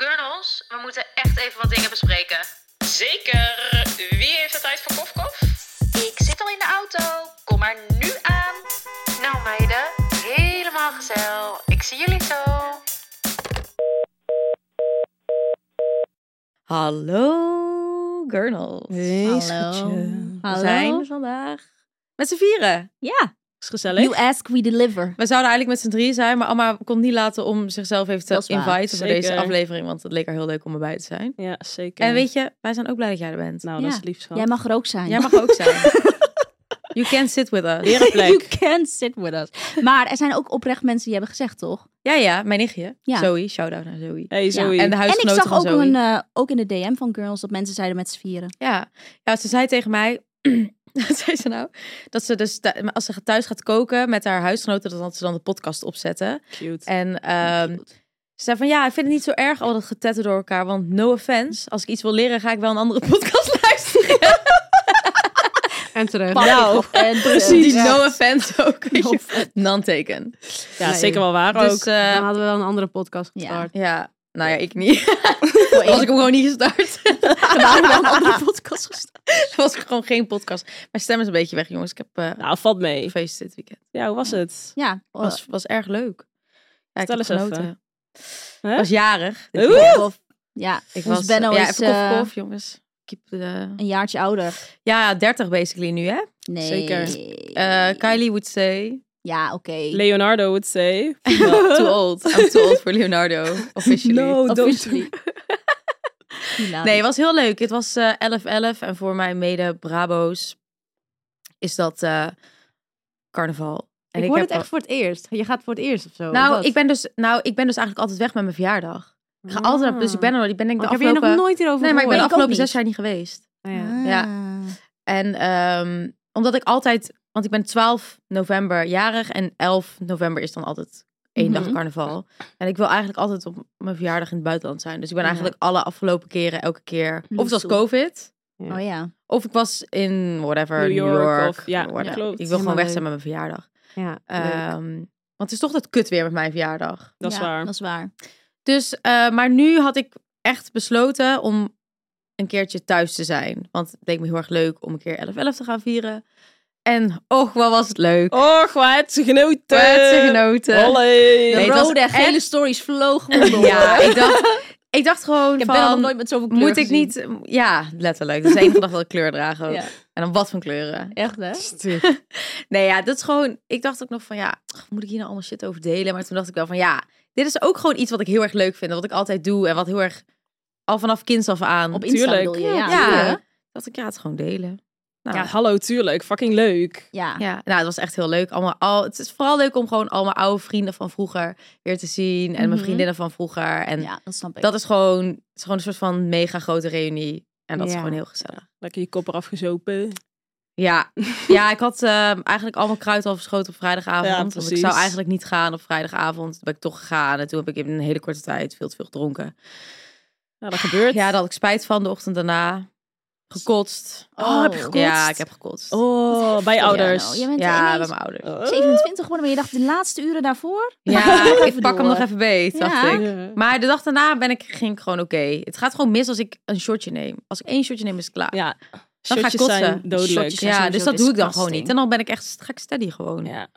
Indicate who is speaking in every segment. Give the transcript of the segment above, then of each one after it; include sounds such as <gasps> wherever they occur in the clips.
Speaker 1: Gurnels, we moeten echt even wat dingen bespreken.
Speaker 2: Zeker. Wie heeft de tijd voor kofkof?
Speaker 1: Ik zit al in de auto. Kom maar nu aan. Nou meiden, helemaal gezellig. Ik zie jullie zo.
Speaker 3: Hallo, Gurnals.
Speaker 4: Hey,
Speaker 5: Hallo.
Speaker 4: schatje.
Speaker 3: We
Speaker 5: Hallo.
Speaker 3: zijn vandaag met z'n vieren.
Speaker 5: Ja.
Speaker 4: Is gezellig.
Speaker 5: You ask, we deliver.
Speaker 3: We zouden eigenlijk met z'n drie zijn, maar Amma kon het niet laten om zichzelf even te
Speaker 5: Dat is waar.
Speaker 3: inviten voor
Speaker 4: Zeker.
Speaker 3: deze aflevering, want het leek haar heel leuk om erbij te zijn.
Speaker 4: Ja, zeker.
Speaker 3: En weet je, wij zijn ook blij dat jij er bent.
Speaker 4: Nou,
Speaker 5: Ja.
Speaker 4: dat is lief, schat.
Speaker 5: Jij mag er ook zijn.
Speaker 3: Jij mag er ook zijn. you can sit with us.
Speaker 4: <laughs> Weer een
Speaker 5: You
Speaker 4: plek.
Speaker 5: can sit with us. <laughs> Maar er zijn ook oprecht mensen die hebben gezegd, toch?
Speaker 3: Ja, ja, mijn nichtje.
Speaker 5: Ja.
Speaker 3: Zoe, shout-out naar Zoe.
Speaker 4: Hey, Zoe.
Speaker 5: Ja.
Speaker 3: En de
Speaker 5: En ik
Speaker 3: huisgenoten
Speaker 5: zag
Speaker 3: van
Speaker 5: ook,
Speaker 3: Zoe.
Speaker 5: een, eh, ook in de DM van Girls dat mensen zeiden met z'n vieren.
Speaker 3: Ja. ja, ze zei tegen mij, <clears throat> wat zei ze nou? Dat ze dus, thu- maar als ze thuis gaat koken met haar huisgenoten, dat- dat ze dan de podcast opzetten.
Speaker 4: Cute.
Speaker 3: En ehm, ze zei van, ja, ik vind het niet zo erg al dat getetten door elkaar, want no offense. Als ik iets wil leren, ga ik wel een andere <laughs> podcast luisteren.
Speaker 4: En
Speaker 3: Eh,
Speaker 4: terecht.
Speaker 5: Nou, <laughs> en
Speaker 4: precies.
Speaker 3: Die
Speaker 4: Ja.
Speaker 3: no offense ook. <laughs> weet je. Non-teken.
Speaker 4: Ja, zeker wel waar
Speaker 3: Dus,
Speaker 4: ook.
Speaker 3: eh,
Speaker 4: Dan hadden we wel een andere podcast
Speaker 5: Ja.
Speaker 4: gestart.
Speaker 3: Ja, nou ja, ik niet. <laughs> was
Speaker 5: <laughs>
Speaker 3: ik hem gewoon niet gestart. <laughs>
Speaker 5: Waarom dan een andere podcast gestart?
Speaker 3: was ik gewoon geen podcast. Mijn stem is een beetje weg, jongens. Ik heb eh
Speaker 4: Nou, valt mee.
Speaker 3: feest dit weekend.
Speaker 4: Ja, hoe was het?
Speaker 5: Ja, eh,
Speaker 3: Was, was erg leuk. Ja, ik
Speaker 4: Vertel
Speaker 3: heb
Speaker 4: eens
Speaker 3: genoten.
Speaker 4: Hè?
Speaker 3: Ik was jarig. dit
Speaker 4: Oeh!
Speaker 3: weekend.
Speaker 5: of- ja,
Speaker 3: Ik
Speaker 5: Ons
Speaker 3: was
Speaker 5: Benno
Speaker 3: ja,
Speaker 5: is,
Speaker 3: even kof,
Speaker 5: eh,
Speaker 3: kof, jongens. Keep the-
Speaker 5: een jaartje ouder.
Speaker 3: Ja, 30 basically nu, hè?
Speaker 5: Nee.
Speaker 4: Zeker.
Speaker 3: Eh, Kylie would say,
Speaker 5: Ja, oké.
Speaker 4: Leonardo would
Speaker 3: <laughs>
Speaker 4: say. <laughs>
Speaker 3: well, too old. I'm too old for Leonardo, officially.
Speaker 4: No, don't
Speaker 3: <laughs>
Speaker 4: do
Speaker 5: Officially.
Speaker 3: Nee,
Speaker 5: Hilarisch.
Speaker 3: het was heel leuk. Het was eh, 11-11 en voor mijn mede-Brabo's is dat eh, carnaval. En
Speaker 4: ik hoor
Speaker 3: heb
Speaker 4: het echt voor het eerst. Je gaat voor het eerst of zo. of
Speaker 3: Nou
Speaker 4: wat?
Speaker 3: ik, ben dus, nou, ik ben dus eigenlijk altijd weg met mijn verjaardag. Ik ga altijd op, dus ik ben er Ik ben denk ik
Speaker 4: Oh,
Speaker 3: de
Speaker 4: ik heb je
Speaker 3: afgelopen...
Speaker 4: nog nooit hierover
Speaker 3: nee, maar ik ben de
Speaker 5: Ik ook
Speaker 4: gehoord.
Speaker 3: afgelopen
Speaker 5: niet.
Speaker 3: zes jaar niet geweest.
Speaker 4: Ah, ja.
Speaker 5: Ah.
Speaker 3: Ja. En ehm, omdat ik altijd... Want ik ben 12 november jarig en 11 november is dan altijd één dag
Speaker 4: Mhm.
Speaker 3: carnaval. En ik wil eigenlijk altijd op mijn verjaardag in het buitenland zijn. Dus ik ben
Speaker 4: Ja.
Speaker 3: eigenlijk alle afgelopen keren, elke keer... Of het was
Speaker 5: Zo.
Speaker 3: COVID...
Speaker 5: Oh ja.
Speaker 3: Of ik was in whatever,
Speaker 4: New
Speaker 3: New York.
Speaker 4: York of- ja,
Speaker 3: whatever.
Speaker 4: ja, klopt.
Speaker 3: Ik wil gewoon
Speaker 4: Helemaal
Speaker 3: weg zijn met mijn verjaardag.
Speaker 4: Ja, leuk.
Speaker 3: Ehm, want het is toch dat kut weer met mijn verjaardag.
Speaker 4: dat is
Speaker 5: Ja,
Speaker 4: waar.
Speaker 5: Dat is waar.
Speaker 3: Dus, eh, maar nu had ik echt besloten om een keertje thuis te zijn. Want het leek me heel erg leuk om een keer 11-11 te gaan vieren. En och, wat was het leuk.
Speaker 4: Oh, wat ze genoten.
Speaker 5: eh,
Speaker 3: Kwetse genoten.
Speaker 4: Olé.
Speaker 3: Nee,
Speaker 5: De
Speaker 3: het was
Speaker 5: rode en
Speaker 3: echt-
Speaker 5: gele stories
Speaker 3: <laughs>
Speaker 5: vlogen me door.
Speaker 3: Ja, ik dacht, ik dacht gewoon
Speaker 5: Ik heb
Speaker 3: van...
Speaker 5: Bella nog nooit met zoveel kleur
Speaker 3: moet ik
Speaker 5: gezien.
Speaker 3: niet... Ja, letterlijk. Dat is de enige dag dat ik kleur draag ook.
Speaker 5: Ja.
Speaker 3: En dan wat van kleuren.
Speaker 5: <laughs> Echt, hè?
Speaker 3: Nee, ja, dat is gewoon. Ik dacht ook nog van ja, ach, moet ik hier nou allemaal shit over delen? Maar toen dacht ik wel van ja, dit is ook gewoon iets wat ik heel erg leuk vind. Wat ik altijd doe en wat heel erg al vanaf kinds af aan.
Speaker 5: Op Insta
Speaker 4: Tuurlijk.
Speaker 5: bedoel je, ja.
Speaker 3: ja,
Speaker 5: Ja.
Speaker 3: dacht ik ja, het gewoon delen. Nou,
Speaker 4: Ja,
Speaker 3: ja.
Speaker 4: hallo, tuurlijk. Fucking leuk.
Speaker 5: ah.
Speaker 3: nou, het was echt heel leuk. Allemaal al, het is vooral leuk om gewoon al mijn oude vrienden van vroeger weer te zien. En mijn
Speaker 5: Mhm.
Speaker 3: vriendinnen van vroeger. En
Speaker 5: Ja, dat snap ik.
Speaker 3: dat is gewoon, het is gewoon een soort van mega grote reunie. En dat is
Speaker 4: Ja.
Speaker 3: gewoon heel gezellig.
Speaker 4: Lekker je kop eraf gezopen.
Speaker 3: Ja, <laughs> ja ik had eh, eigenlijk allemaal kruid al verschoten op vrijdagavond.
Speaker 4: Ja,
Speaker 3: want ik
Speaker 4: precies.
Speaker 3: zou eigenlijk niet gaan op vrijdagavond. Toen ben ik toch gegaan. En toen heb ik in een hele korte tijd veel te veel gedronken.
Speaker 4: Nou, dat gebeurt.
Speaker 3: Ah, Ja, daar had ik spijt van de ochtend daarna. Gekotst.
Speaker 4: Oh, heb je
Speaker 5: Oh.
Speaker 4: gekotst?
Speaker 3: Ja, ik heb gekotst.
Speaker 4: Oh, bij je
Speaker 5: Ja,
Speaker 4: ouders.
Speaker 5: nou, je bent
Speaker 3: ja,
Speaker 5: ineens
Speaker 3: bij mijn ouders.
Speaker 4: Oh.
Speaker 5: 27 geworden, maar je dacht de laatste uren daarvoor? <laughs>
Speaker 3: Ja, ik
Speaker 5: Even
Speaker 3: pak hem
Speaker 5: door.
Speaker 3: nog even beet, dacht
Speaker 5: Ja.
Speaker 3: ik. Maar de dag daarna ben ik, ging ik gewoon oké. Het gaat gewoon mis als ik een shotje neem. Als ik één shotje neem, is het klaar.
Speaker 4: Ja,
Speaker 3: Dan ga ik
Speaker 4: shotjes zijn
Speaker 3: kotsen.
Speaker 4: dodelijk.
Speaker 5: Shotjes.
Speaker 3: Ja,
Speaker 5: sowieso
Speaker 3: dus dat doe ik dan gewoon
Speaker 5: disgusting.
Speaker 3: niet. En dan ben ik echt, ga ik steady gewoon.
Speaker 4: Ja.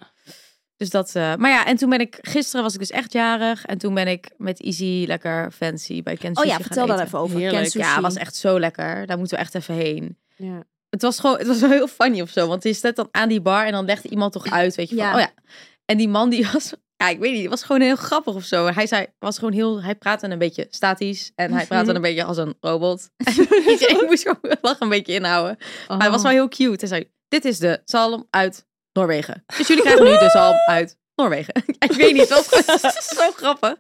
Speaker 3: Dus dat, eh, maar ja, en toen ben ik, gisteren was ik dus echt jarig. En toen ben ik met Easy lekker fancy bij Ken
Speaker 5: Oh
Speaker 3: Sushi
Speaker 5: ja,
Speaker 3: gaan
Speaker 5: vertel daar
Speaker 3: eten.
Speaker 5: even over.
Speaker 4: Heerlijk.
Speaker 5: Ken Sushi.
Speaker 3: Ja, het was echt zo lekker. Daar moeten we echt even heen.
Speaker 4: Ja.
Speaker 3: Het was gewoon, het was wel heel funny of zo. Want je staat dan aan die bar en dan legde iemand toch uit, weet je, van,
Speaker 5: Ja.
Speaker 3: oh ja. En die man die was, ja, ik weet niet, die was gewoon heel grappig of zo. Hij zei, was gewoon heel, hij praatte een beetje statisch. En hij
Speaker 5: Mhm.
Speaker 3: praatte een beetje als een
Speaker 5: <laughs>
Speaker 3: robot. ik moest gewoon lachen een beetje inhouden. Maar
Speaker 5: Oh.
Speaker 3: hij was wel heel cute. Hij zei, dit is de <laughs> zalm uit Noorwegen. Dus jullie krijgen nu de zalm uit Noorwegen. ik weet niet, dat was gewoon <laughs> zo grappig.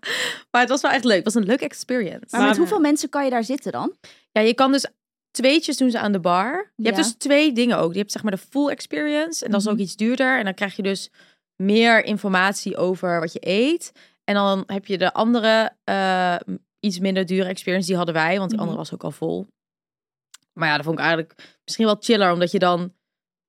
Speaker 3: Maar het was wel echt leuk. Het was een leuke experience.
Speaker 5: Maar met
Speaker 4: Maar-
Speaker 5: hoeveel mensen kan je daar zitten dan?
Speaker 3: Ja, je kan dus tweetjes doen ze aan de bar. Je hebt
Speaker 5: Ja.
Speaker 3: dus twee dingen ook. Je hebt zeg maar de full experience en dat
Speaker 4: Mhm.
Speaker 3: is ook iets duurder. En dan krijg je dus meer informatie over wat je eet. En dan heb je de andere eh, iets minder dure experience. Die hadden wij, want die
Speaker 4: Mhm.
Speaker 3: andere was ook al vol. Maar ja, dat vond ik eigenlijk misschien wel chiller, omdat je dan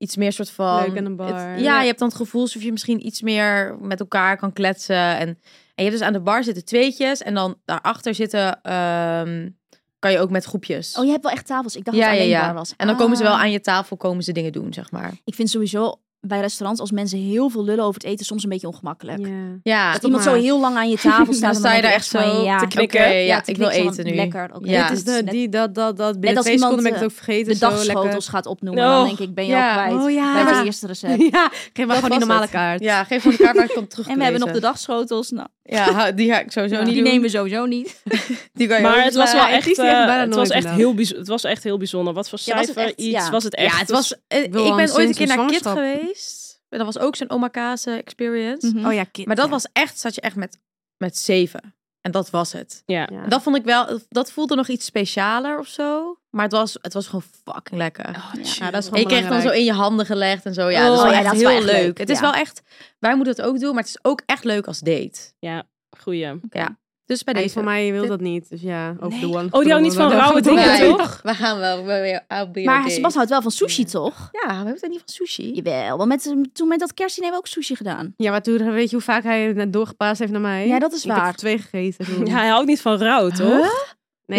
Speaker 3: iets meer soort van...
Speaker 4: Leuk aan een
Speaker 3: het-
Speaker 4: bar.
Speaker 3: ja,
Speaker 4: Ja.
Speaker 3: je hebt dan het gevoel alsof je misschien iets meer met elkaar kan kletsen. En, en je hebt dus aan de bar zitten tweetjes en dan daarachter zitten... ehm, kan je ook met groepjes.
Speaker 5: Oh, je hebt wel echt tafels. Ik dacht
Speaker 3: Ja,
Speaker 5: dat het
Speaker 3: ja,
Speaker 5: alleen
Speaker 3: ja.
Speaker 5: daar was.
Speaker 3: En dan komen ze
Speaker 5: Ah.
Speaker 3: wel aan je tafel, komen ze dingen doen, zeg maar.
Speaker 5: Ik vind sowieso bij restaurants als mensen heel veel lullen over het eten soms een beetje ongemakkelijk.
Speaker 4: Ja.
Speaker 3: Ja,
Speaker 5: Als Dus iemand zo
Speaker 4: maar.
Speaker 5: heel lang aan je
Speaker 3: <laughs>
Speaker 5: tafel staat,
Speaker 3: dan sta je daar echt zo
Speaker 5: van, ja,
Speaker 3: te knikken.
Speaker 4: oké,
Speaker 3: ja,
Speaker 5: ja, te
Speaker 3: ik wil
Speaker 5: knikken van,
Speaker 3: eten nu.
Speaker 5: Lekker, oké.
Speaker 3: Ja.
Speaker 5: dit
Speaker 4: Het is de,
Speaker 5: net
Speaker 4: die, dat, dat, dat. Binnen
Speaker 5: als
Speaker 4: twee
Speaker 5: iemand,
Speaker 4: seconden ben ik
Speaker 5: eh,
Speaker 4: het ook vergeten.
Speaker 5: de
Speaker 4: zo
Speaker 5: dagschotels
Speaker 4: lekker.
Speaker 5: gaat opnoemen, dan
Speaker 4: Oh,
Speaker 5: denk ik ben je
Speaker 3: ja.
Speaker 5: al kwijt
Speaker 4: Oh, ja.
Speaker 5: bij
Speaker 4: Ja.
Speaker 5: het eerste
Speaker 3: <laughs>
Speaker 5: recept.
Speaker 4: Ja, ik kreeg maar
Speaker 3: Dat
Speaker 4: gewoon die
Speaker 3: was
Speaker 4: normale
Speaker 3: het.
Speaker 4: kaart.
Speaker 3: Ja, geef van elkaar waar ik kan terug.
Speaker 5: <laughs> En we hebben nog de dagschotels, nou,
Speaker 3: Ja, ha- die ga ik sowieso niet
Speaker 5: die
Speaker 3: doen.
Speaker 5: nemen we sowieso niet.
Speaker 3: Die kan je
Speaker 4: Maar
Speaker 3: ook
Speaker 4: het was
Speaker 3: slaan.
Speaker 4: wel
Speaker 3: Ja, ik
Speaker 4: echt,
Speaker 3: kies die
Speaker 4: eh,
Speaker 3: bijna
Speaker 4: het
Speaker 3: nooit
Speaker 4: was echt
Speaker 3: inderdaad.
Speaker 4: heel bijzonder. Het was echt heel bijzonder. Wat voor
Speaker 5: Ja, was het
Speaker 4: cijfer
Speaker 5: echt?
Speaker 4: iets
Speaker 5: Ja.
Speaker 4: was het echt?
Speaker 3: Ja, het was... eh, Ik
Speaker 6: wil
Speaker 3: ben
Speaker 6: al
Speaker 3: ooit een
Speaker 6: sinds
Speaker 3: keer
Speaker 6: mijn
Speaker 3: naar Kit
Speaker 6: zwangerschap.
Speaker 3: geweest. Dat was ook zo'n omakase experience.
Speaker 5: Mhm.
Speaker 6: Oh ja, kind.
Speaker 3: Maar dat
Speaker 6: ja.
Speaker 3: was echt, zat je echt met, met zeven. En dat was het.
Speaker 4: Ja.
Speaker 6: Ja.
Speaker 3: En Dat vond ik wel, dat voelde nog iets specialer of zo. Maar het was, het was gewoon fucking lekker.
Speaker 6: Ja, dat is
Speaker 3: En je
Speaker 6: gewoon
Speaker 3: kreeg dan zo
Speaker 6: belangrijk.
Speaker 3: in je handen gelegd en zo. Ja, dat is
Speaker 5: Oh,
Speaker 3: wel
Speaker 5: ja,
Speaker 3: echt
Speaker 5: dat is
Speaker 3: heel
Speaker 5: wel echt
Speaker 3: leuk.
Speaker 5: leuk,
Speaker 3: Het is
Speaker 5: ja.
Speaker 3: wel echt, wij moeten het ook doen, maar het is ook echt leuk als date.
Speaker 4: Goeie.
Speaker 3: Dus bij
Speaker 6: Nee,
Speaker 3: deze.
Speaker 6: voor mij wil dat niet. Dus ja, over de one.
Speaker 4: Oh, die houdt niet van
Speaker 6: Ja.
Speaker 4: rauwe dingen,
Speaker 3: Wij-
Speaker 4: toch?
Speaker 3: We gaan wel weer
Speaker 5: Maar Sebas houdt wel van sushi, toch?
Speaker 3: Ja, we hebben het niet van sushi.
Speaker 5: Jawel, want met, toen met dat kerstdiner hebben we ook sushi gedaan.
Speaker 6: Ja, maar toen weet je hoe vaak hij het net doorgepaasd heeft naar mij.
Speaker 5: Ja, dat is
Speaker 6: Ik
Speaker 5: waar.
Speaker 6: heb er twee gegeten. toen.
Speaker 4: Ja, hij houdt niet van rauw, toch?
Speaker 6: Nee,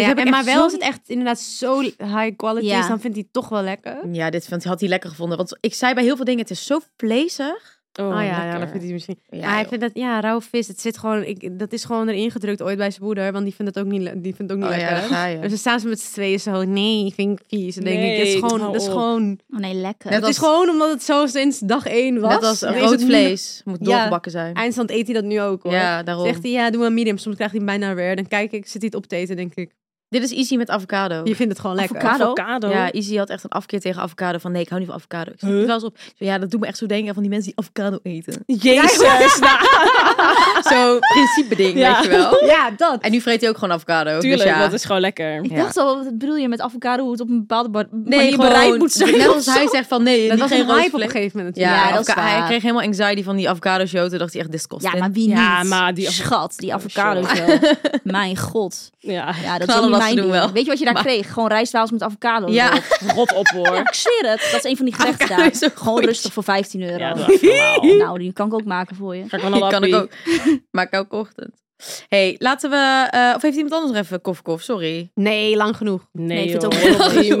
Speaker 3: Dit
Speaker 6: ja,
Speaker 3: heb ik
Speaker 6: en maar
Speaker 3: echt
Speaker 6: wel
Speaker 3: zo
Speaker 6: als het echt inderdaad zo high quality
Speaker 5: Ja.
Speaker 6: is, dan vindt hij het toch wel lekker.
Speaker 3: <laughs>
Speaker 6: Oh,
Speaker 3: Ja, dit vond, had hij lekker gevonden. Want ik zei bij heel veel dingen, het is zo vleesig.
Speaker 6: ja, ja,
Speaker 3: lekker.
Speaker 6: dan vindt hij misschien.
Speaker 3: Ja,
Speaker 6: Oh, Ja, ik
Speaker 3: joh.
Speaker 6: vind dat, ja, rauwe vis, het zit gewoon, ik, dat is gewoon erin gedrukt ooit bij zijn moeder, want die vindt het ook niet, le- die vindt het ook niet
Speaker 3: Oh ja,
Speaker 6: lekker.
Speaker 3: daar ga je.
Speaker 6: dus dan staan ze met z'n tweeën zo, nee, ik vind het vies. En dan denk ik, het is
Speaker 4: Nee,
Speaker 6: gewoon,
Speaker 4: hou
Speaker 6: dat is
Speaker 4: op.
Speaker 6: gewoon,
Speaker 5: Oh nee, lekker.
Speaker 3: Net
Speaker 6: het is
Speaker 3: als-
Speaker 6: gewoon omdat het zo sinds dag één was.
Speaker 3: Net als
Speaker 6: dan is
Speaker 3: rood
Speaker 6: het nu-
Speaker 3: vlees. Moet
Speaker 6: Ja.
Speaker 3: doorgebakken zijn.
Speaker 6: Eindstand eet hij dat nu ook hoor.
Speaker 3: Ja, daarom.
Speaker 6: Zegt hij, ja, doe maar medium. Soms krijgt hij hem bijna weer. Dan kijk ik, zit hij het op te eten, denk ik.
Speaker 3: Dit is easy met avocado.
Speaker 6: Je vindt het gewoon lekker.
Speaker 5: Avocado?
Speaker 4: Avocado.
Speaker 3: Ja, Izzy had echt een afkeer tegen avocado. Van nee, ik hou niet van avocado. Ik zit
Speaker 4: Huh?
Speaker 3: er wel eens op. Zo, ja, dat doet me echt zo denken van die mensen die avocado eten.
Speaker 4: Jezus. nou,
Speaker 3: zo principe ding,
Speaker 4: Ja.
Speaker 3: weet je <laughs> wel.
Speaker 6: Ja, dat.
Speaker 3: En nu vreet hij ook gewoon avocado. dus
Speaker 4: tuurlijk,
Speaker 3: ja.
Speaker 4: dat is gewoon lekker.
Speaker 5: Ik
Speaker 3: Ja.
Speaker 5: dacht al, wat bedoel je met avocado, hoe het op een bepaalde bar-
Speaker 3: Nee,
Speaker 5: manier bereid moet zijn?
Speaker 3: Net
Speaker 5: of
Speaker 3: als
Speaker 5: zo?
Speaker 3: hij zegt van nee,
Speaker 6: Dat
Speaker 3: niet
Speaker 6: was
Speaker 3: geen
Speaker 6: een
Speaker 3: rood
Speaker 6: hype op een
Speaker 3: vlees.
Speaker 6: gegeven moment
Speaker 3: Ja,
Speaker 6: natuurlijk.
Speaker 5: Ja, dat is
Speaker 3: avocado- Hij
Speaker 5: waar.
Speaker 3: kreeg helemaal anxiety van die avocado show. Toen dacht hij echt disgusting.
Speaker 5: Ja, maar wie niet?
Speaker 4: Ja, maar die avo-
Speaker 5: Schat, die avocado
Speaker 4: sorry.
Speaker 5: zo. Mijn god.
Speaker 4: Ja,
Speaker 5: Ja, dat
Speaker 3: Knallen
Speaker 5: is ook niet
Speaker 3: was
Speaker 5: mijn
Speaker 3: te doen
Speaker 5: ding.
Speaker 3: wel.
Speaker 5: Weet je wat je daar
Speaker 3: Maar-
Speaker 5: kreeg? Gewoon rijstwafels met avocado.
Speaker 3: Ja. <laughs>
Speaker 5: erop.
Speaker 4: rot op
Speaker 5: Ja,
Speaker 4: hoor.
Speaker 5: ik zweer het. Dat is een van die gerechten
Speaker 3: Avocado
Speaker 5: daar.
Speaker 3: is ook
Speaker 5: Gewoon
Speaker 3: goed.
Speaker 5: rustig voor 15 euro. Oh,
Speaker 4: Ja, dat is normaal.
Speaker 5: nou, die kan ik ook maken voor je.
Speaker 4: Ga ik wel
Speaker 6: <laughs>
Speaker 4: naar de
Speaker 3: kan ik
Speaker 4: appie.
Speaker 3: ook. <laughs> Maak ik elke ochtend. hey, laten we... eh, of heeft iemand anders nog even koffie koffie? <laughs> Sorry.
Speaker 6: Nee, lang genoeg.
Speaker 4: Nee,
Speaker 5: Nee, ik vind het
Speaker 4: joh.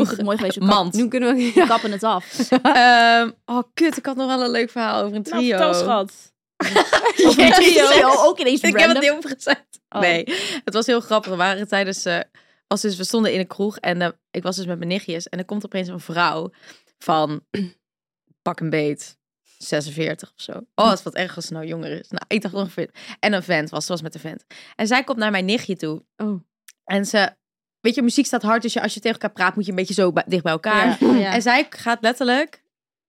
Speaker 6: <laughs>
Speaker 3: Genoeg.
Speaker 5: ook mooi geweest. Ik vind
Speaker 4: <laughs>
Speaker 5: het mooi geweest. We
Speaker 3: Mand.
Speaker 6: Nu kunnen we...
Speaker 5: kap- we kappen het
Speaker 3: <laughs>
Speaker 5: af.
Speaker 3: Ehm, oh, kut. Ik had nog wel een leuk verhaal over een
Speaker 4: Nou,
Speaker 3: trio.
Speaker 4: vertel schat.
Speaker 3: Over een trio.
Speaker 5: Zo, ook
Speaker 3: <laughs>
Speaker 5: ineens
Speaker 3: Ik heb het
Speaker 5: random.
Speaker 3: niet opgezet.
Speaker 4: Oh.
Speaker 3: Nee, het was heel grappig. We waren tijdens... eh, was dus, we stonden in een kroeg en eh, ik was dus met mijn nichtjes. En er komt opeens een vrouw van <clears throat> pak een beet 46 of zo. Oh, het wat erg als ze nou jonger is. Nou, ik dacht ongeveer. En een vent was, ze was met een vent. En zij komt naar mijn nichtje toe.
Speaker 6: Oh.
Speaker 3: En ze... Weet je, muziek staat hard, dus je, als je tegen elkaar praat, moet je een beetje zo bij- dicht bij elkaar.
Speaker 5: Ja.
Speaker 3: En zij gaat letterlijk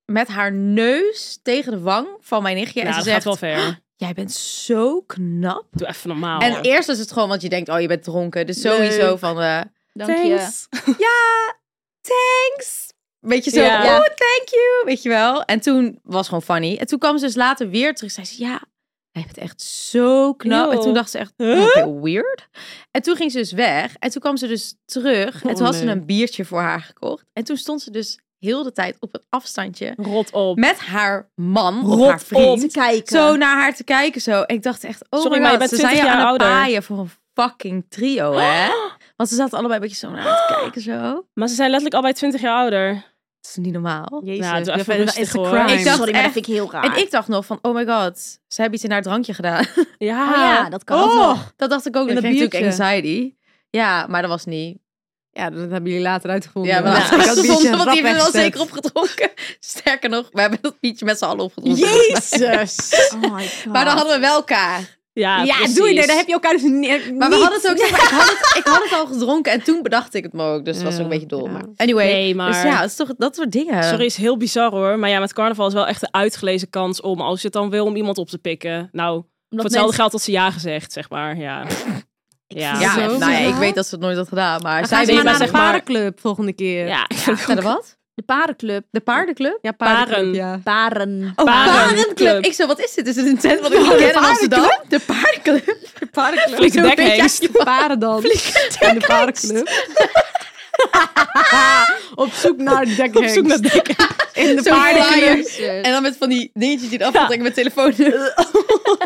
Speaker 3: met haar neus tegen de wang van mijn nichtje.
Speaker 4: Ja,
Speaker 3: en
Speaker 4: nou,
Speaker 3: ze
Speaker 4: dat
Speaker 3: zegt,
Speaker 4: gaat wel ver.
Speaker 3: jij bent zo knap.
Speaker 4: Doe even normaal.
Speaker 3: En eerst is het gewoon, want je denkt, oh, je bent dronken. Dus sowieso
Speaker 4: Leuk.
Speaker 3: van, eh,
Speaker 5: Dank je.
Speaker 3: thanks. Weet je zo,
Speaker 4: Ja.
Speaker 3: oh, thank you. Weet je wel. En toen was gewoon funny. En toen kwam ze dus later weer terug. Zei ze, ja, hij bent echt zo knap. En
Speaker 4: Yo.
Speaker 3: toen dacht ze echt,
Speaker 4: Huh?
Speaker 3: oké, weird. En toen ging ze dus weg. En toen kwam ze dus terug. En
Speaker 6: Oh,
Speaker 3: toen had ze
Speaker 6: nee.
Speaker 3: een biertje voor haar gekocht. En toen stond ze dus heel de tijd op een afstandje
Speaker 4: Rot op.
Speaker 3: met haar man of
Speaker 4: Rot
Speaker 3: haar vriend.
Speaker 5: Om te kijken.
Speaker 3: Zo naar haar te kijken zo. En ik dacht echt, oh
Speaker 4: Sorry,
Speaker 3: my
Speaker 4: maar je
Speaker 3: god,
Speaker 4: bent
Speaker 3: ze zijn
Speaker 4: 20
Speaker 3: je
Speaker 4: jaar
Speaker 3: aan het
Speaker 4: ouder.
Speaker 3: paaien voor een fucking trio,
Speaker 6: <gasps>
Speaker 3: hè? Want ze zaten allebei een beetje zo naar haar te kijken zo.
Speaker 4: Maar ze zijn letterlijk allebei 20 jaar ouder.
Speaker 3: Het is niet normaal.
Speaker 6: Jezus,
Speaker 4: Nou, doe
Speaker 6: dat
Speaker 4: even
Speaker 6: is- dat
Speaker 4: rustig,
Speaker 6: is een
Speaker 4: hoor.
Speaker 6: crime.
Speaker 3: Ik dacht
Speaker 5: Sorry, maar dat
Speaker 3: echt-
Speaker 5: vind ik heel raar.
Speaker 3: En ik dacht nog van, oh my god, ze hebben iets in haar drankje gedaan.
Speaker 4: Ja.
Speaker 5: Oh ja, dat kan ook
Speaker 6: <laughs> Oh.
Speaker 5: nog.
Speaker 3: dat dacht ik ook.
Speaker 6: In
Speaker 3: Dat
Speaker 6: dat
Speaker 3: kreeg natuurlijk
Speaker 6: biertje.
Speaker 3: anxiety. Ja, maar dat was niet.
Speaker 6: Ja, dat hebben jullie later uitgevonden.
Speaker 3: Ja, maar
Speaker 6: Ja,
Speaker 3: dat
Speaker 6: ik
Speaker 3: was <laughs>
Speaker 6: had
Speaker 3: zonde,
Speaker 6: biertje
Speaker 3: want die
Speaker 6: rap
Speaker 3: hebben we wel
Speaker 6: weggezet.
Speaker 3: zeker opgedronken. <laughs> Sterker nog, we hebben dat biertje met z'n allen opgedronken.
Speaker 6: Jezus.
Speaker 5: Oh <laughs> my god.
Speaker 3: Maar dan hadden we wel elkaar.
Speaker 4: Ja,
Speaker 6: Ja,
Speaker 4: precies.
Speaker 6: doe je. Nee, dan heb je elkaar dus niet.
Speaker 3: Maar we hadden het ook, zeg
Speaker 6: <laughs>
Speaker 3: maar, ik, had het, ik had het al gedronken en toen bedacht ik het me ook. Dus het was ook een
Speaker 6: Ja,
Speaker 3: beetje dol.
Speaker 6: ja.
Speaker 3: Maar anyway,
Speaker 4: Nee, maar...
Speaker 3: Dus ja, het is toch dat soort
Speaker 6: eh.
Speaker 3: dingen.
Speaker 4: Sorry, is heel bizar hoor. Maar ja, met carnaval is wel echt de uitgelezen kans om, als je het dan wil, om iemand op te pikken. Nou,
Speaker 6: Voor
Speaker 5: Omdat
Speaker 6: hetzelfde
Speaker 5: mensen-
Speaker 6: geld had ze ja gezegd, zeg maar. Ja. Ja.
Speaker 3: Ja,
Speaker 1: Zo.
Speaker 3: nou ja, ik
Speaker 5: Ja.
Speaker 3: weet dat ze het nooit had gedaan, maar
Speaker 1: Dan
Speaker 3: zij
Speaker 1: gaan ze
Speaker 6: weet
Speaker 3: deed
Speaker 1: maar naar
Speaker 6: maar,
Speaker 1: de
Speaker 6: zeg maar-
Speaker 1: paardenclub volgende keer.
Speaker 6: Ja.
Speaker 3: Verder wat?
Speaker 5: De parenclub.
Speaker 3: De paardenclub?
Speaker 1: Ja,
Speaker 6: Paren.
Speaker 3: <laughs>
Speaker 1: paardenclub. Ja.
Speaker 5: Paren.
Speaker 3: Oh,
Speaker 6: Paardenclub.
Speaker 3: Ik zo, wat is dit? Is het een tent wat ik niet ken in Amsterdam? De paardenclub.
Speaker 1: Paardenclub.
Speaker 6: Flinke
Speaker 1: Zo'n beetje
Speaker 6: bekheest.
Speaker 1: aan je Parendans.
Speaker 3: Oh,
Speaker 5: <laughs>
Speaker 1: En de paardenclub. Op zoek naar dekking. Op
Speaker 6: zoek naar
Speaker 1: dekking.
Speaker 3: <laughs>
Speaker 1: In de
Speaker 3: Zo'n
Speaker 1: paardenclub.
Speaker 3: En dan met van die dingetjes die eraf trekken met telefoon.